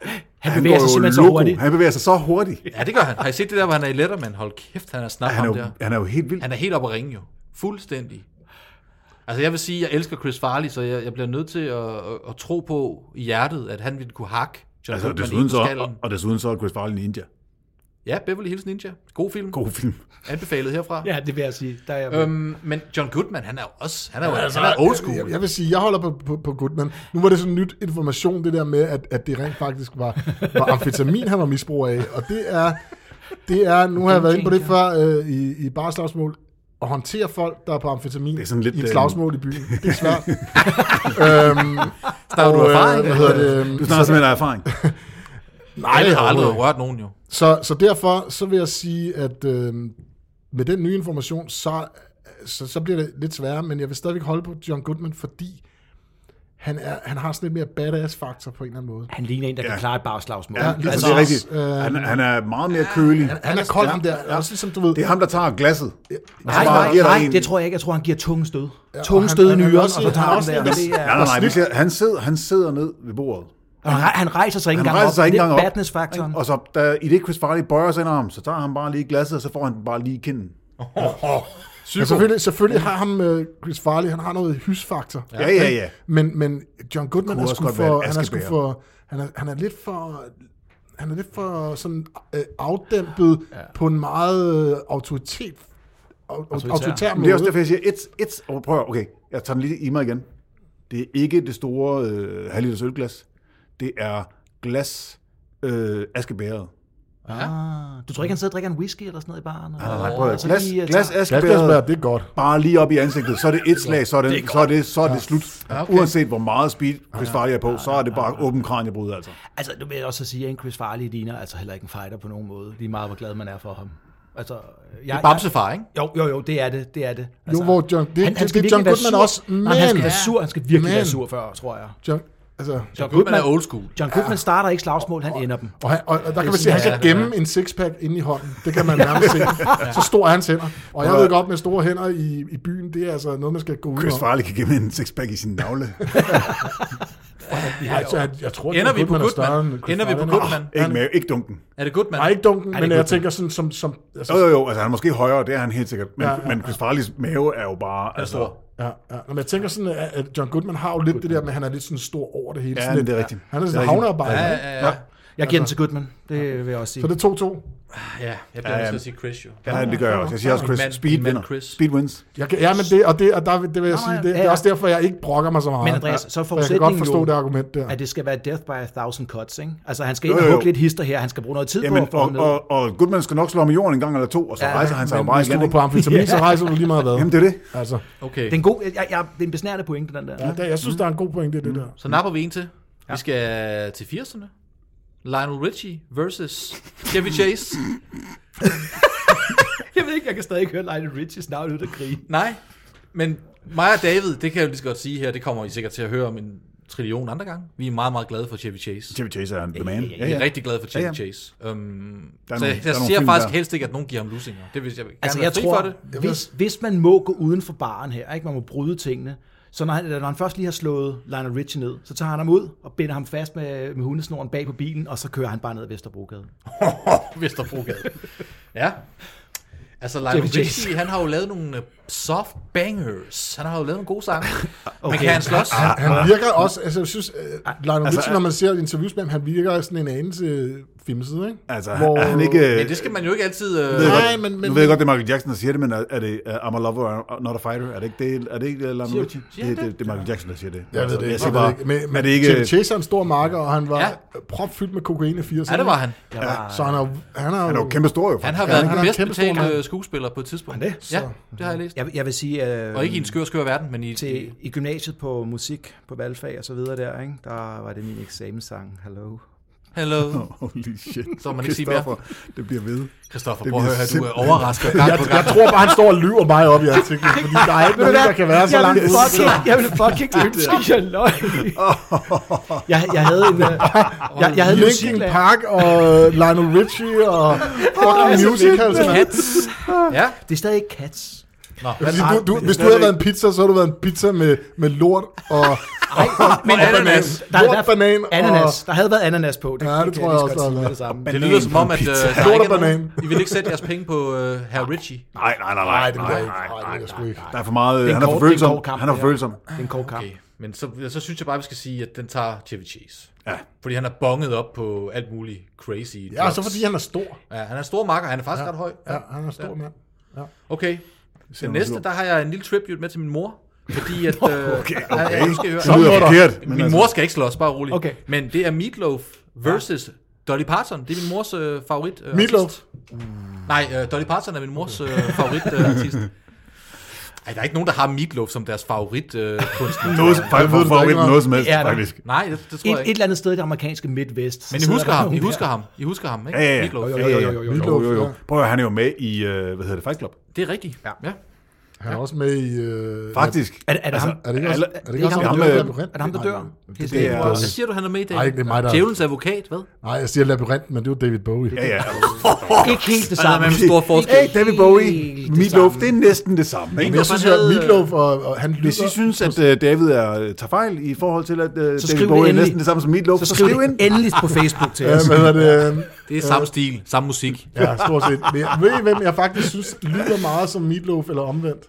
S4: Han
S1: Han går
S4: bevæger sig
S1: jo
S4: simpelthen så
S1: loco.
S4: hurtigt.
S1: Han bevæger sig så hurtigt.
S3: Ja, det gør han. Har I set det der, hvor han er i Letterman? Hold kæft, han er snart
S1: Han er
S3: ham
S1: jo,
S3: der.
S1: han er jo helt vild.
S3: Han er helt oppe at ringe jo. Fuldstændig. Altså jeg vil sige, jeg elsker Chris Farley, så jeg, jeg bliver nødt til at, at, at tro på i hjertet, at han ville kunne hakke John
S1: Altså,
S3: altså,
S1: og
S3: Goodman
S1: desuden,
S3: ind
S1: så,
S3: på
S1: og,
S3: skallen.
S1: og desuden så er Chris Farley en ninja.
S3: Ja, Beverly Hills Ninja. God film. God.
S1: God film.
S3: Anbefalet herfra.
S4: Ja, det vil jeg sige. Der er jeg med.
S3: Øhm, men John Goodman, han er jo også, han er jo altså, han er old school.
S2: Jeg, jeg vil sige, jeg holder på, på, på Goodman. Nu var det sådan nyt information, det der med, at, at det rent faktisk var, var amfetamin, han var misbrug af. Og det er, det er nu har jeg været inde på det før øh, i, i bare slagsmål, at håndtere folk, der er på amfetamin det
S1: er sådan lidt,
S2: i et
S1: øh,
S2: slagsmål i byen. Det er svært. øhm,
S3: Snakker du
S2: og, øh,
S3: erfaring?
S2: Hvad hedder det? øhm,
S1: Du snakker simpelthen af erfaring.
S3: Nej,
S2: Nej,
S3: det har aldrig rørt nogen jo.
S2: Så, så derfor så vil jeg sige, at øh, med den nye information, så, så, så bliver det lidt sværere, men jeg vil stadigvæk holde på John Goodman, fordi han, er, han har sådan lidt mere badass-faktor på en eller anden måde.
S4: Han ligner en, der ja. kan
S1: Ja.
S4: klare et bagslagsmål.
S2: Ja,
S4: Ja,
S2: lige
S1: Altså,
S4: altså,
S1: det er
S2: også,
S1: rigtigt.
S2: øh,
S1: Han, han er meget mere kølig.
S2: Han er kold, ham der. Ja. Også ligesom, du ved,
S1: Det er ham, der tager glasset. bare
S4: nej, nej,
S1: giver dig
S4: nej,
S1: en-
S4: det tror jeg ikke. Jeg tror, han giver tunge stød. Ja,
S2: han-
S4: tunge stød i
S2: han er
S4: nyeren, og
S2: også-
S4: så tager
S2: han er
S4: han der.
S2: også-
S4: Det
S1: Nej,
S4: er,
S1: nej, nej. vi siger- Han sidder, han sidder ned ved bordet.
S4: og han, han rejser sig ikke
S1: Han
S4: engang
S1: rejser sig
S4: op.
S1: ikke engang op.
S4: Det er badness-faktoren.
S1: Og så, da, i det Chris Farley bøjer sig ind om, så tager han bare lige glasset, og så får han den bare lige i kinden.
S2: ja, selvfølgelig, selvfølgelig har ham øh, Chris Farley, han har noget hysfaktor.
S1: Ja, ja, ja.
S2: Men, men John Goodman
S1: Kunne
S2: er
S1: også
S2: sgu
S1: godt være
S2: for,
S1: en
S2: han er sgu
S1: askebæger.
S2: for, han er, han er lidt for, han er lidt for sådan øh, afdæmpet ja. på en meget øh, autoritet, au, autoritær. autoritær
S1: Men
S2: måde.
S1: det er også derfor, jeg siger, et, et, oh, prøv at- okay, jeg tager den lige i mig igen. Det er ikke det store øh, halvliters ølglas. Det er glas øh, askebæret.
S4: Ah, du tror ikke, han sidder og drikker en whisky eller sådan noget i baren?
S1: Nej,
S4: Og-
S1: nej, prøv at
S4: og så
S1: høre. glas,
S4: lige, øh,
S1: glas
S4: tager-
S2: Glasbær,
S1: askebær,
S2: det er godt.
S1: bare lige op i ansigtet, så er det et slag, så er det, det, er så er det, så er det slut.
S3: Ja,
S1: Ja,
S3: okay.
S1: okay. Uanset hvor meget speed Chris Farley er på, så er det bare åben kranjebrud, altså.
S4: Altså, du vil jeg også sige, at en Chris Farley ligner altså heller ikke en fighter på nogen måde. Lige meget, hvor glad man er for ham. Altså, jeg,
S3: Bamsefar, ikke?
S4: Jeg, jo, jo, jo, det er det, det er det.
S2: Jo,
S4: Altså,
S2: hvor John, det,
S4: han, han
S2: det,
S4: skal
S2: det er
S4: virkelig
S2: John
S4: være
S2: Goodman
S4: sur.
S2: også, men...
S4: Nej, han skal være sur, han skal virkelig
S2: Men-
S4: være sur før, tror jeg.
S2: John, altså,
S4: John
S3: Goodman
S4: Goodman,
S3: er old school.
S4: John Goodman starter ikke slagsmål, han ender dem.
S2: og, han, og, og der kan man
S4: sådan,
S2: se, at han
S3: ja,
S2: kan gemme en sixpack inde i hånden. Det kan man nærmest se. Så stor er hans hænder. Og jeg ved godt, med store hænder i, i byen, det er altså noget, man skal gå ud
S1: Chris
S2: over.
S1: Farley kan gemme en sixpack i sin navle.
S2: Ja, altså, jeg, jeg tror, at
S3: Ender
S2: John
S3: vi på
S2: Goodman er større
S3: Goodman?
S2: end Chris
S3: Ender vi på
S2: Farley.
S3: Goodman?
S1: Ah, ikke, med, ikke dunken.
S3: Er det Goodman?
S2: Nej, ikke dunken, men jeg
S4: Goodman?
S2: tænker sådan som... som altså,
S1: Jo, jo, jo, altså han er måske højere, det er han helt sikkert. Men,
S2: Ja,
S1: ja,
S2: ja,
S1: ja. men Chris Farleys mave er jo bare... Altså,
S3: stor.
S2: Ja, ja. Nå, Men jeg tænker sådan, at- at John Goodman har jo lidt det der med, at han er lidt sådan stor over det hele.
S1: Ja,
S2: sådan lidt,
S1: det er rigtigt.
S2: Han er
S1: Det er
S2: sådan en
S1: rigtigt.
S2: havnearbejder.
S3: Ja,
S2: ikke?
S3: ja, ja.
S4: Jeg giver den
S1: Altså-
S4: til Goodman, det vil jeg også sige.
S2: Så det er 2-2.
S3: ja jeg bliver nødt til
S1: ja.
S3: at sige Chris, jo.
S1: ja, det gør jeg også. Jeg siger også, Chris
S3: En mand-
S1: Speed
S3: en mand
S1: vinder.
S3: Chris.
S1: Speed wins.
S2: Jeg kan, ja, men det, og det, og der, vil- det vil jeg
S4: Nå,
S2: sige,
S4: ja,
S2: det,
S4: ja,
S2: det er
S4: ja.
S2: også derfor, jeg ikke brokker mig så meget.
S4: Men Andreas,
S2: Ja,
S4: så er
S2: for Jeg kan godt
S4: forudsætningen
S2: forstå
S4: jo,
S2: det argument der.
S4: at det skal være death by a thousand cuts, ikke? Altså, han skal
S1: Jo,
S4: ind og
S1: jo, jo.
S4: hugge lidt hister her, han skal bruge noget tid på
S1: Jamen,
S4: at få
S1: og,
S4: ham ned.
S1: og, og Goodman skal nok slå ham i jorden en gang eller to, og så
S4: Ja,
S1: rejser han sig jo
S2: Men
S1: bare
S2: hvis
S1: igen.
S2: du er på
S1: ikke?
S2: amfetamin, så rejser du lige meget hvad.
S1: Jamen, det er det.
S2: Altså,
S3: Okay,
S4: Det er en god, jeg, jeg, det er en besnærende pointe, den der.
S2: ja, der, jeg synes, der er en god point i det der.
S3: så
S1: Mm.
S3: napper vi en til. Vi skal til 80'erne. Lionel Richie versus Chevy Chase.
S4: Jeg ved ikke, jeg kan stadig høre Lionel Richie snart ud af krigen.
S3: Nej, men mig og David, det kan jeg jo lige så godt sige her, det kommer I sikkert til at høre om en trillion andre gange. Vi er meget, meget glade for Chevy Chase.
S1: Chevy Chase er en the man. Ja,
S3: Jeg er
S1: ja.
S3: rigtig glad for Chevy
S1: Ja, ja.
S3: Chase. Um,
S1: Der er
S3: så
S1: nogle-
S3: jeg,
S1: der
S3: jeg
S1: er nogle
S3: ser
S1: film
S3: faktisk
S1: der.
S3: helst ikke, at nogen giver ham lusinger. Det vil jeg, jeg
S4: Altså,
S3: gerne være
S4: jeg
S3: fri for
S4: tror,
S3: det.
S4: hvis, hvis man må gå uden for baren her, ikke? man må bryde tingene, så når han, når han først lige har slået Lionel Richie ned, så tager han ham ud og binder ham fast med, med hundesnoren bag på bilen, og så kører han bare ned ad Vesterbrogade.
S3: Vesterbrogade. ja. Altså, Lionel
S4: Chevy Chase.
S3: Richie, han har jo lavet nogle øh, soft bangers. Han har jo lavet nogle gode sange. okay. Men
S4: Okay.
S3: kan han slås?
S1: Ah,
S2: Han virker også, altså jeg synes, øh, Lionel
S1: altså,
S2: Richie, når man ser et interview med ham, han virker sådan en anelse øh, filmside, ikke?
S1: Altså, han, er han ikke...
S3: Men det skal man jo ikke altid... Øh,
S1: Jeg ved
S2: Nej,
S1: godt,
S2: men- men-
S1: nu ved jeg godt, det er Michael Jackson, der siger det, men er, er det uh, I'm a lover, I'm not a fighter? Er det ikke det, er det ikke uh, Lionel Richie?
S3: siger
S1: Det,
S3: han
S1: det, det, er Michael Jackson, der siger det.
S2: Jeg ved det ikke.
S1: Altså, Jeg siger
S2: Jeg ved
S1: bare,
S2: det ikke. Men, men
S1: er det ikke...
S2: Chevy Chase er en stor marker, og han var
S3: Ja.
S2: ja. propfyldt med kokain i 80'erne.
S3: ja, det var han.
S4: Jeg var,
S2: Så han er, jo- han er,
S1: Han er jo
S2: jo-
S1: kæmpe stor, jo.
S3: Han
S1: faktisk.
S3: har været
S2: han
S3: den
S2: er en
S3: bedst
S2: kæmpe stor
S3: betalte
S2: mand.
S3: skuespiller på et tidspunkt.
S4: Han det?
S3: Ja, det har jeg læst.
S4: jeg, vil- jeg vil sige, øh,
S3: Og ikke i en skør, skør verden, men i...
S4: til, i gymnasiet på musik, på valgfag og så videre der, ikke? der var det min eksamenssang, Hello.
S3: Hello,
S1: Holy shit.
S3: Så må man ikke sige
S1: Christoffer, Det bliver ved.
S3: Christoffer,
S1: Det
S3: prøv at høre
S1: bliver
S3: her, du er
S1: simpelthen-
S3: overrasket gang
S2: jeg,
S3: på
S2: jeg
S3: gang.
S2: tror bare, han står og lyver mig op i ansigtet, fordi der er ikke noget, der kan være så langt
S4: jeg vil
S2: ude.
S4: fucking, jeg vil fucking ønske, jeg løg. jeg, jeg havde en, øh, jeg, jeg havde en
S2: Linkin
S4: musiklærer.
S2: Park og Lionel Richie og fucking musicals. mand.
S3: Cats. Ja,
S4: Det er stadig ikke Cats.
S3: nå.
S2: Jeg vil sige, Du, du, Altså, hvis du havde været en pizza, så havde du været en pizza med, med lort og
S4: Nej, men
S3: ananas.
S4: Der havde
S2: Lort,
S4: været
S2: banan og-
S4: ananas. Der havde været ananas på.
S2: Ja, det tror
S4: kan
S2: jeg
S4: lige så
S2: også, der
S4: godt sige
S2: har
S4: med det samme.
S3: Det lyder som om, at øh, der
S2: Lort og
S3: ikke er nogen,
S2: banan.
S3: I vil ikke sætte jeres penge på uh, herr Ritchie.
S1: Nej, nej, nej, nej,
S2: det ved
S1: nej,
S2: jeg ikke.
S1: nej,
S2: Nej, det ved
S1: nej,
S2: jeg sgu ikke.
S1: Der er for meget...
S4: Det er en
S1: Han er
S4: kort-
S1: for
S4: det er en
S1: følsom.
S4: kort kamp,
S1: Han er for
S4: det her.
S1: følsom.
S4: Det er en kort kamp.
S3: Okay, men så, så synes jeg bare, vi skal sige, at den tager Chevy Chase.
S1: Ja.
S3: Fordi han er bonget op på alt muligt crazy.
S2: Ja, og så fordi han er stor.
S3: ja, han er en stor makker, han er faktisk ja. ret høj.
S2: Ja, han er stor mand.
S3: Okay,
S1: man
S3: den næste,
S1: sur.
S3: der har jeg en lille tribute med til min mor. Fordi at... øh,
S1: Okay,
S3: ja,
S1: okay.
S3: jeg skal høre-
S1: Det lyder forkert.
S3: Min altså... mor skal ikke slås, bare roligt.
S4: Okay.
S3: Men det er Meatloaf versus ja. Dolly Parton. Det er min mors øh, favorit. Øh,
S2: Meatloaf.
S3: artist. Nej, øh, Dolly Parton er min mors øh, favorit øh, artist. Ej, der er ikke nogen, der har Meatloaf som deres favorit øh, kunstner.
S1: Noget, faktisk,
S2: ved du da
S1: for
S2: ikke
S1: ikke
S2: noget.
S1: noget som helst,
S4: Ja, der-
S1: faktisk.
S3: Nej, det, det tror
S4: Et,
S3: jeg
S4: et
S3: ikke.
S4: eller andet sted i det amerikanske midtvest.
S3: Men I husker ham, I husker ham, I husker ham, ikke?
S1: Ja, ja, ja.
S3: Meatloaf.
S4: Jo, jo, jo, jo, jo.
S1: Jo, jo, jo.
S2: Ja.
S1: Prøv at høre, han er jo med i, øh, hvad hedder det, Fight Club?
S3: Det er rigtigt. Ja. ja.
S2: Han er også med i... Øh,
S1: Faktisk.
S4: Er, er det ham?
S2: Er det ikke også,
S1: Alle-
S2: er det
S4: det
S2: ikke
S4: er
S2: også
S4: ham,
S2: ham,
S1: der
S2: der
S1: dør.
S2: labyrint?
S4: Er det ham, der
S2: Nej,
S4: dør?
S2: nej,
S4: Helt
S1: det er-
S4: sikkert.
S3: Hvad siger du, han er med i dag?
S2: Nej, ikke det er mig, der-
S3: Djævelens advokat, hvad?
S2: Nej, jeg siger labyrint, men det er jo David Bowie.
S1: Ja, ja.
S4: Ikke helt det
S3: Altså,
S4: samme.
S3: med en stor forskel.
S1: Hey, David Bowie,
S4: Helt det
S1: Meatloaf,
S4: samme.
S1: det er næsten det samme,
S2: Men
S1: ikke?
S2: jeg synes,
S3: han
S2: at
S3: havde-
S2: Meatloaf og, og han
S1: Hvis I
S2: lyder...
S1: synes, at øh, David er, tager fejl i forhold til, at øh, David
S4: skriv
S1: Bowie er
S4: endelig.
S1: næsten det samme som Meatloaf,
S4: Så skriv det endelig på Facebook til
S2: Ja,
S4: os.
S2: hvad hedder det?
S3: Det er samme stil, samme musik.
S2: Ja, stort set. Men jeg, ved I, hvem jeg faktisk synes lyder meget som Meatloaf, eller omvendt?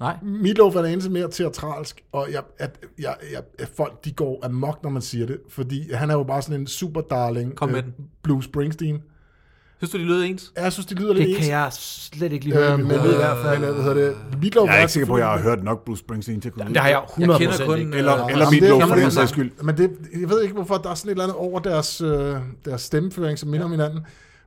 S3: Nej.
S2: Meatloaf er en anelse mere teatralsk, og jeg, at, jeg, jeg, at folk de går amok, når man siger det, fordi han er jo bare sådan en super darling.
S3: Kom med den.
S2: Blue Springsteen.
S3: Synes du, de lød ens?
S2: Ja, jeg synes, de lyder lidt
S4: Det
S2: ens.
S4: kan jeg slet ikke lige høre.
S1: Øhm,
S2: Øh, men jeg ved i hvert fald, hvad hedder det? Meatloaf
S1: Jeg er
S2: er
S1: ikke sikker på, at jeg har hørt nok Bruce Springsteen til at kunne
S4: Det har jeg
S3: Jeg
S4: 100%
S3: kender kun...
S4: ikke.
S1: Eller,
S3: øh,
S1: eller
S2: Jamen, det
S1: Meatloaf,
S2: er
S1: for
S2: gammel
S1: den
S2: mand.
S1: sags skyld.
S2: Men det, jeg ved ikke, hvorfor der er sådan et eller andet over deres, øh, deres stemmeføring, som minder om hinanden.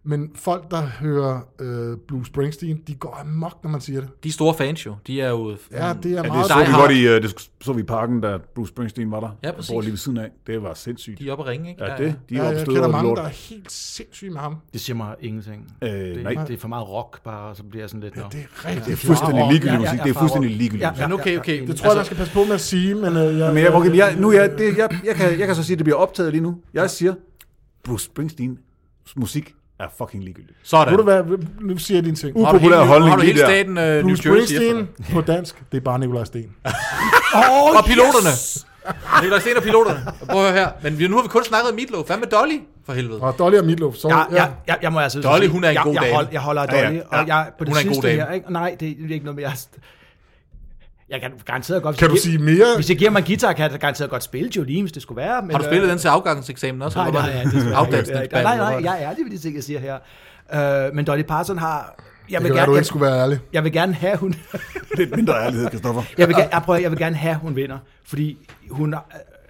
S2: Men folk, der hører øh, Bruce Springsteen, de går amok, når man siger det.
S3: De er store fans jo. De er jo...
S2: Ja, det er
S1: Ja,
S2: meget...
S1: det så
S3: Die
S1: vi
S3: Hard.
S1: godt i, øh, det så vi i parken, da Bruce Springsteen var der.
S3: Ja,
S1: Jeg
S3: præcis.
S1: bor lige ved siden af. Det var sindssygt.
S3: De er oppe at ringe, ikke?
S1: Ja, det. De er
S2: ja,
S1: ja,
S2: jeg
S1: opstået
S2: kender
S1: og
S2: mange,
S1: lort.
S2: der er helt sindssyge med ham.
S4: Det siger mig ingenting.
S1: Øh,
S4: det,
S1: nej,
S4: det er for meget rock bare, og så bliver jeg sådan lidt... Ja,
S2: Det er rigtig
S1: det er fuldstændig
S2: flot.
S1: ligegyldigt
S4: Ja, ja,
S1: musik.
S4: ja,
S1: Det er
S4: fra
S1: fuldstændig
S4: rock.
S1: ligegyldigt musik.
S3: Men altså, okay, okay.
S2: Det tror jeg, man skal passe på med at sige, men... Øh, jeg,
S1: Men jeg, okay, men jeg, nu, jeg, det, jeg, jeg, kan, jeg kan så sige, at det bliver optaget lige nu. Jeg siger, Bruce Springsteens musik er fucking ligegyldig.
S3: Sådan.
S2: Ved du hvad, nu siger jeg din ting.
S3: Har du
S1: Upopulær
S3: hele-
S1: holdning
S3: Har du
S1: lige
S3: hele
S1: der.
S3: staten øh, New
S2: Bruce
S3: Jersey efter
S2: Springsteen
S3: dig?
S2: på dansk, det er bare Nikolaj Sten.
S3: Og
S4: Oh,
S3: piloterne. Nikolaj Sten og piloterne. Prøv at høre her. Men vi- nu har vi kun snakket om Meatloaf. Hvad med Dolly? For helvede.
S2: Og Dolly og Midlof, så...
S4: Ja, ja, ja, jeg må altså
S3: Dolly, hun er en
S4: jeg,
S3: god
S4: jeg,
S3: dame.
S4: hold, jeg holder af
S1: Ja, ja.
S4: Dolly, ja, ja. og jeg, på det
S3: Hun er en god
S4: sidste
S3: dame.
S4: her, ikke? nej, det, det er ikke noget med, jeg, jeg kan garanteret godt...
S2: Kan du
S4: hvis jeg-
S2: sige mere?
S4: Hvis jeg giver mig en guitar, kan jeg garanteret godt spille Jolene, hvis det skulle være. Men, øh,
S3: Har du spillet den til afgangseksamen også?
S4: Nej,
S3: eller
S4: nej,
S3: var
S4: nej,
S3: det-
S4: det skal jeg
S3: Afdansningsband,
S4: ikke. nej, nej,
S3: eller hvad?
S4: jeg er ærlig ved de ting, jeg siger her. Øh, men Dolly Parton har... Jeg
S2: Det
S4: vil,
S2: kan være,
S4: gerne,
S2: du
S4: jeg,
S2: ikke skulle være ærlig.
S4: jeg vil gerne have, hun...
S1: Lidt mindre ærlighed, Kristoffer.
S4: Jeg vil, gerne, jeg, prøver, jeg vil gerne have, at hun vinder, fordi hun...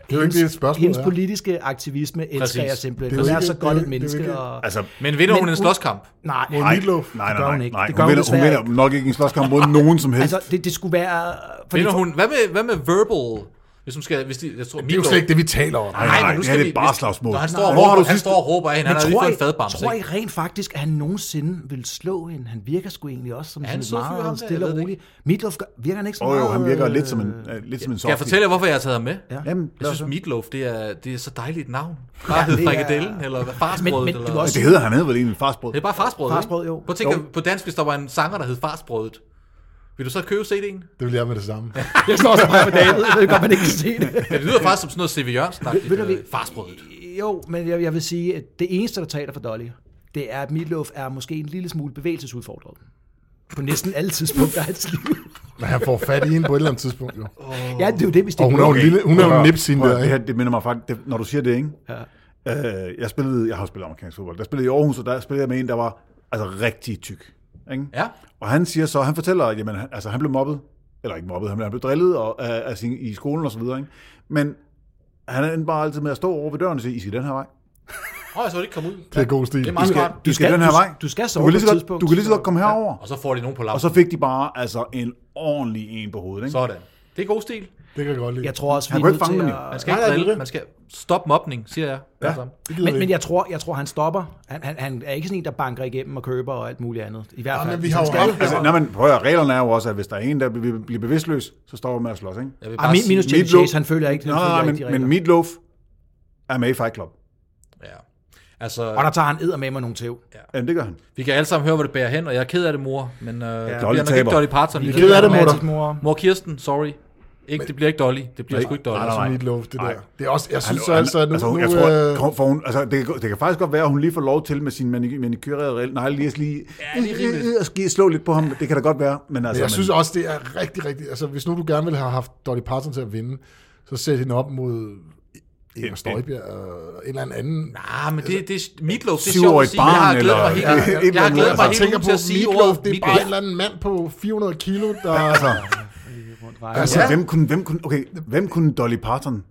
S4: Det
S2: jo ikke det, et spørgsmål
S4: Hendes
S2: er.
S4: politiske aktivisme elsker
S3: Præcis.
S4: jeg simpelthen.
S2: Det er jo
S4: Hun er
S2: ikke-
S4: så
S2: det er
S4: godt
S2: jo
S4: et
S2: ikke- det er jo
S4: menneske.
S2: ikke-
S4: Og,
S1: Altså,
S3: Men vinder hun en
S4: Men hun-
S3: slåskamp?
S4: nej,
S1: nej,
S2: Meatloaf,
S1: nej,
S4: det gør
S1: nej,
S4: hun
S1: nej,
S4: ikke.
S1: nej.
S4: Det
S1: Hun
S4: gør hun
S1: vinder, hun
S4: desværre
S1: vinder nok ikke en slåskamp mod nogen som helst.
S4: altså, det, det skulle være... Fordi
S3: Vinder hun... Hvad med, hvad med Verbal? Hvis hun skal... Hvis de, jeg tror,
S2: Det er jo slet ikke det, vi taler om.
S1: Nej, nej, det her, det er bare slagsmål.
S3: Når han står,
S1: Nej.
S3: og
S1: Hvor har
S3: råber,
S1: du
S3: han
S1: sidst-
S3: står og råber af hende, han har lige
S4: tror,
S3: fået en
S4: I,
S3: fadbamse.
S4: tror I rent faktisk, at han nogensinde vil slå hende? Han virker sgu egentlig også som
S3: Er han
S4: sådan
S3: en sød fyr,
S4: meget
S3: ham der?
S4: stille
S3: Jeg ved
S4: og
S3: det
S4: rolig. Midtlof virker han ikke så
S1: Åh
S4: meget...
S1: jo, han virker
S4: øh,
S1: lidt som en, øh, lidt som en
S3: Skal jeg fortælle jer, hvorfor jeg har taget ham med?
S4: Ja.
S1: Jamen,
S3: Jeg
S1: lad os
S3: synes,
S1: høre.
S3: Meatloaf, det er, det er så dejligt et navn. Bare hed
S4: det er-
S3: Frikadellen, eller hvad,
S4: Men-
S3: Farsbrødet,
S4: men det
S3: eller...
S4: var også-
S1: det hedder han hedder vel egentlig farsbrød.
S3: Det er bare farsbrødet,
S4: Farsbrød,
S3: ikke?
S4: jo.
S3: Prøv at tænke, på dansk, hvis der var en sanger, der hed Farsbrødet. Vil du så købe CD'en?
S2: Det vil jeg med det samme.
S4: Jeg står også bare på David, så det kan man ikke kan se det.
S3: Ja, det lyder faktisk som sådan noget C.V. Jørgensen.
S4: Ved du, vi-
S3: Farsbrødet.
S4: Jo, men jeg, jeg vil sige, at det eneste, der taler for Dolly, det er, at Midtlof er måske en lille smule bevægelsesudfordret. På næsten alle tidspunkter af hans liv.
S2: Men han får fat i hende på et eller andet tidspunkt, jo.
S4: Ja, det er jo det, hvis det
S2: Og hun er jo en lille, hun er jo en nipsin
S1: Prøv at-
S2: der,
S1: Det
S2: ikke?
S1: her, det minder mig faktisk, det, når du siger det, ikke?
S4: Ja.
S1: Øh, jeg spillede, jeg har spillet amerikansk fodbold, der spillede jeg i Aarhus, og der spillede jeg med en, der var altså rigtig tyk. Ikke?
S3: Ja.
S1: Og han siger så, han fortæller, at jamen, han, altså, han blev mobbet, eller ikke mobbet, han blev, han blev drillet og, af, af sin, i skolen og så videre, ikke? Men han endte bare altid med at stå over ved døren og sige, I skal den her vej.
S3: Åh, jeg så det ikke komme ud.
S2: Det er god stil.
S3: Det er meget
S1: I skal,
S3: smart.
S1: du skal, den her
S4: du,
S1: vej.
S4: Du skal
S1: Du
S4: sove
S1: kan lige så
S4: på et
S1: godt,
S4: tidspunkt.
S1: du kan lige så godt komme herover.
S3: Og så får de nogen på
S1: Og
S3: lampen.
S1: så fik de bare altså, en ordentlig en på hovedet. Ikke?
S3: Sådan. Det er god stil.
S2: Det kan jeg godt lide.
S4: Jeg tror også,
S1: Han
S4: vi
S1: kunne
S4: er
S1: ikke fange
S4: nødt
S1: dem jo.
S4: til
S3: Man
S4: at...
S3: skal
S2: Nej, nej, det er
S3: ikke drille,
S2: det.
S3: man skal stoppe mobning, siger jeg. Altså. Ja.
S2: Det gider
S4: Men,
S2: vi
S4: men
S2: ikke.
S4: jeg tror, jeg tror, han stopper. Han, han, han er ikke sådan en, der banker igennem og køber og alt muligt andet. I hvert
S2: Ja,
S4: fald.
S2: men vi
S4: hvis
S2: har
S4: han
S2: jo
S4: skal-
S2: haft-
S1: Altså, når man prøver, reglerne er jo også, at hvis der er en, der bliver bliver bevidstløs, så står man med at slås. Ikke?
S3: Jeg vil
S4: Ah,
S3: bare
S4: min,
S3: sige,
S4: minus Jimmy
S1: Meatloaf-
S4: Chase, han følger ikke, han
S1: Nå,
S4: følger
S1: men,
S4: ikke de
S1: men
S4: regler.
S1: Meatloaf er med i Fight Club.
S3: ja. Altså,
S4: Og der tager han edder med mig nogle tæv.
S1: Jamen, det gør han.
S3: vi kan alle sammen høre, hvor det bærer hen, og jeg er ked af det, mor. Men øh, det
S1: Dolly
S3: bliver nok
S1: taber.
S3: ikke Dolly Parton. Vi
S2: er ked af det,
S4: Mads'
S2: mutter.
S4: mor.
S3: Mor Kirsten, sorry. Ikke, det bliver ikke Dolly. Det bliver sgu ikke Dolly.
S1: Nej, nej, nej.
S2: Meatloaf, det der. Det er også, jeg
S1: Han-
S2: synes så
S1: han-
S2: altså, at nu...
S1: altså, hun,
S2: nu,
S1: jeg tror,
S2: øh,
S1: kom- for hun, altså, det, kan- det kan faktisk godt være, at hun lige får lov til med sin manik- manikyrerede regel. Nej, lige, lige,
S3: Ja, det er rimeligt.
S1: lige, lige slå lidt på ham. Det kan da godt være. Men altså,
S2: Jeg synes
S1: men,
S2: også, det er rigtig, rigtig... Altså, hvis nu du gerne ville have haft Dolly Parton til at vinde, så sæt hende op mod Inger Støjbjerg og en eller anden anden.
S3: Ah, men det, det er Meatloaf, det er sjovt at
S1: Syvårigt
S3: sige, men jeg har
S1: barn,
S3: glædet mig
S1: eller-
S3: helt,
S1: Ja, et eller
S3: jeg
S1: andet.
S3: har glædet
S1: Altså,
S3: mig
S2: Jeg
S1: Bare
S3: helt
S2: tænker
S3: ugen
S2: på
S3: til at sige
S2: Meatloaf,
S3: ordet
S2: det er bare en eller anden mand på 400 kilo, der...
S1: altså, altså,
S2: Ja.
S1: hvem, kunne, hvem, kunne, okay, hvem kunne Dolly Parton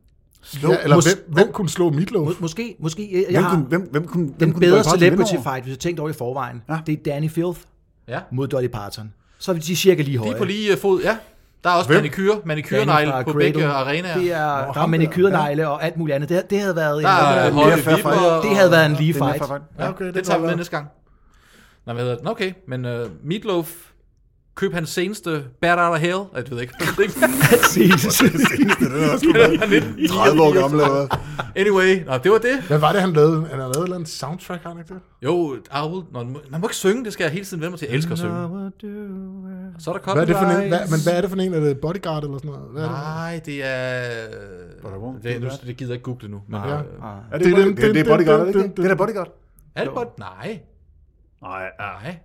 S1: slå?
S2: Ja, eller
S1: Mås-
S2: hvem, hvem kunne slå Meatloaf?
S4: Måske, måske, jeg, jeg
S1: hvem,
S4: har
S1: kunne, hvem, hvem kunne, hvem
S4: den
S1: kunne
S4: bedre
S1: Dolly Parton vinde
S4: celebrity
S1: over?
S4: fight, hvis jeg tænkte over i forvejen.
S1: Ja.
S4: Det er Danny Filth
S3: Ja,
S4: mod Dolly Parton. Så er vi de cirka lige
S3: de
S4: høje.
S3: er på lige øh, fod, ja. Der er også
S2: Hvem?
S3: manikyr, manikyrenegle
S4: Danny fra
S3: på begge
S4: Cradle.
S3: arenaer.
S4: Det er, der er
S2: ham der.
S4: manikyrenegle og alt muligt andet. Det, det havde været en,
S3: Der er
S1: er
S4: det,
S1: mere
S3: høje
S1: fair fight.
S3: vipper.
S4: det havde været en lige
S1: Det er
S4: fight.
S1: mere fair
S3: Ja,
S2: okay,
S3: okay, det,
S2: det
S3: det tager
S2: kan
S3: vi
S2: være.
S3: med næste gang. Nå, hvad hedder det? Nå, Okay, men uh, Meatloaf, køb hans seneste Bad Out of Hell. Ej, det ved jeg ikke. Det er ikke-
S4: Præcis.
S3: Han er lidt-
S1: 30 år gammel eller hvad?
S3: anyway, nå, det var det.
S2: Hvad var det, han lavede? Han har lavet et eller andet soundtrack, har han ikke det?
S3: Jo, Arvel, nå, man må ikke synge, det skal jeg hele tiden vende mig til. Jeg elsker at synge. Så er der
S2: Hvad er det for en,
S3: copyright.
S2: hvad, men hvad er det for en? Er det Bodyguard eller sådan noget? Hvad er det?
S3: Nej, det er...
S1: Won't
S3: Det,
S1: Do
S3: nu,
S1: That.
S3: det gider jeg ikke google nu. Men,
S2: Ja.
S3: øh,
S1: Er det, det, det, det er bodyguard, er det ikke? Det er da bodyguard.
S3: er det bare... Nej,
S1: Nej, ja.
S3: nej.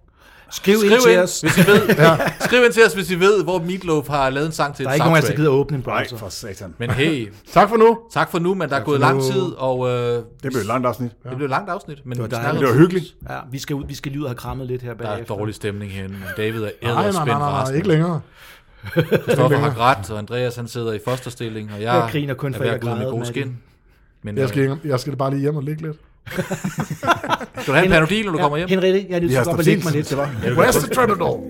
S4: Skriv,
S3: Skriv
S4: ind til
S3: ind,
S4: os.
S3: hvis I ved, skriv ind til os, hvis I ved, hvor Meatloaf har lavet en sang til
S4: Der
S3: et
S4: er ikke nogen af os, der
S3: soundtrack.
S4: gider åbne en
S1: Nej,
S4: browser.
S1: for satan.
S3: Men hey,
S2: Tak for nu.
S3: tak for nu, men der er gået lang tid, og øh,
S1: Det blev et langt afsnit.
S3: Det blev et langt afsnit, men det
S4: var
S3: var,
S4: dejligt.
S1: Men det var hyggeligt.
S4: Ja, vi skal, ud, vi skal lige ud og have krammet lidt her
S3: Der er
S4: bagefter.
S3: dårlig stemning herinde, men David er
S2: Nej,
S3: æder
S2: nej, nej,
S3: spændt
S2: nej, nej,
S3: resten.
S2: ikke længere.
S3: Stoffer har grædt, og Andreas han sidder i fosterstilling, og jeg,
S4: Jeg griner kun,
S3: er
S4: for
S3: ved
S4: jeg
S3: at gå ud med
S4: græder,
S3: god
S4: Maddie.
S3: skin. Men øh,
S2: Jeg
S3: jeg
S2: skal, jeg skal bare lige hjem og ligge lidt.
S3: Skal du have en panodil, når du kommer hjem?
S4: Henriette, jeg er nødt til
S1: Ja,
S4: at gå op og lægge mig
S1: Staffelsen,
S4: lidt.
S1: det var.
S2: Where's the Troubadour?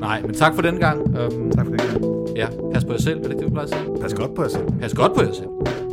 S3: Nej, men tak for den gang. Øhm,
S4: Tak for det.
S3: ja, pas på jer selv, er det ikke det, vi plejer at sige?
S1: Pas godt på jer selv.
S3: Pas godt på jer selv.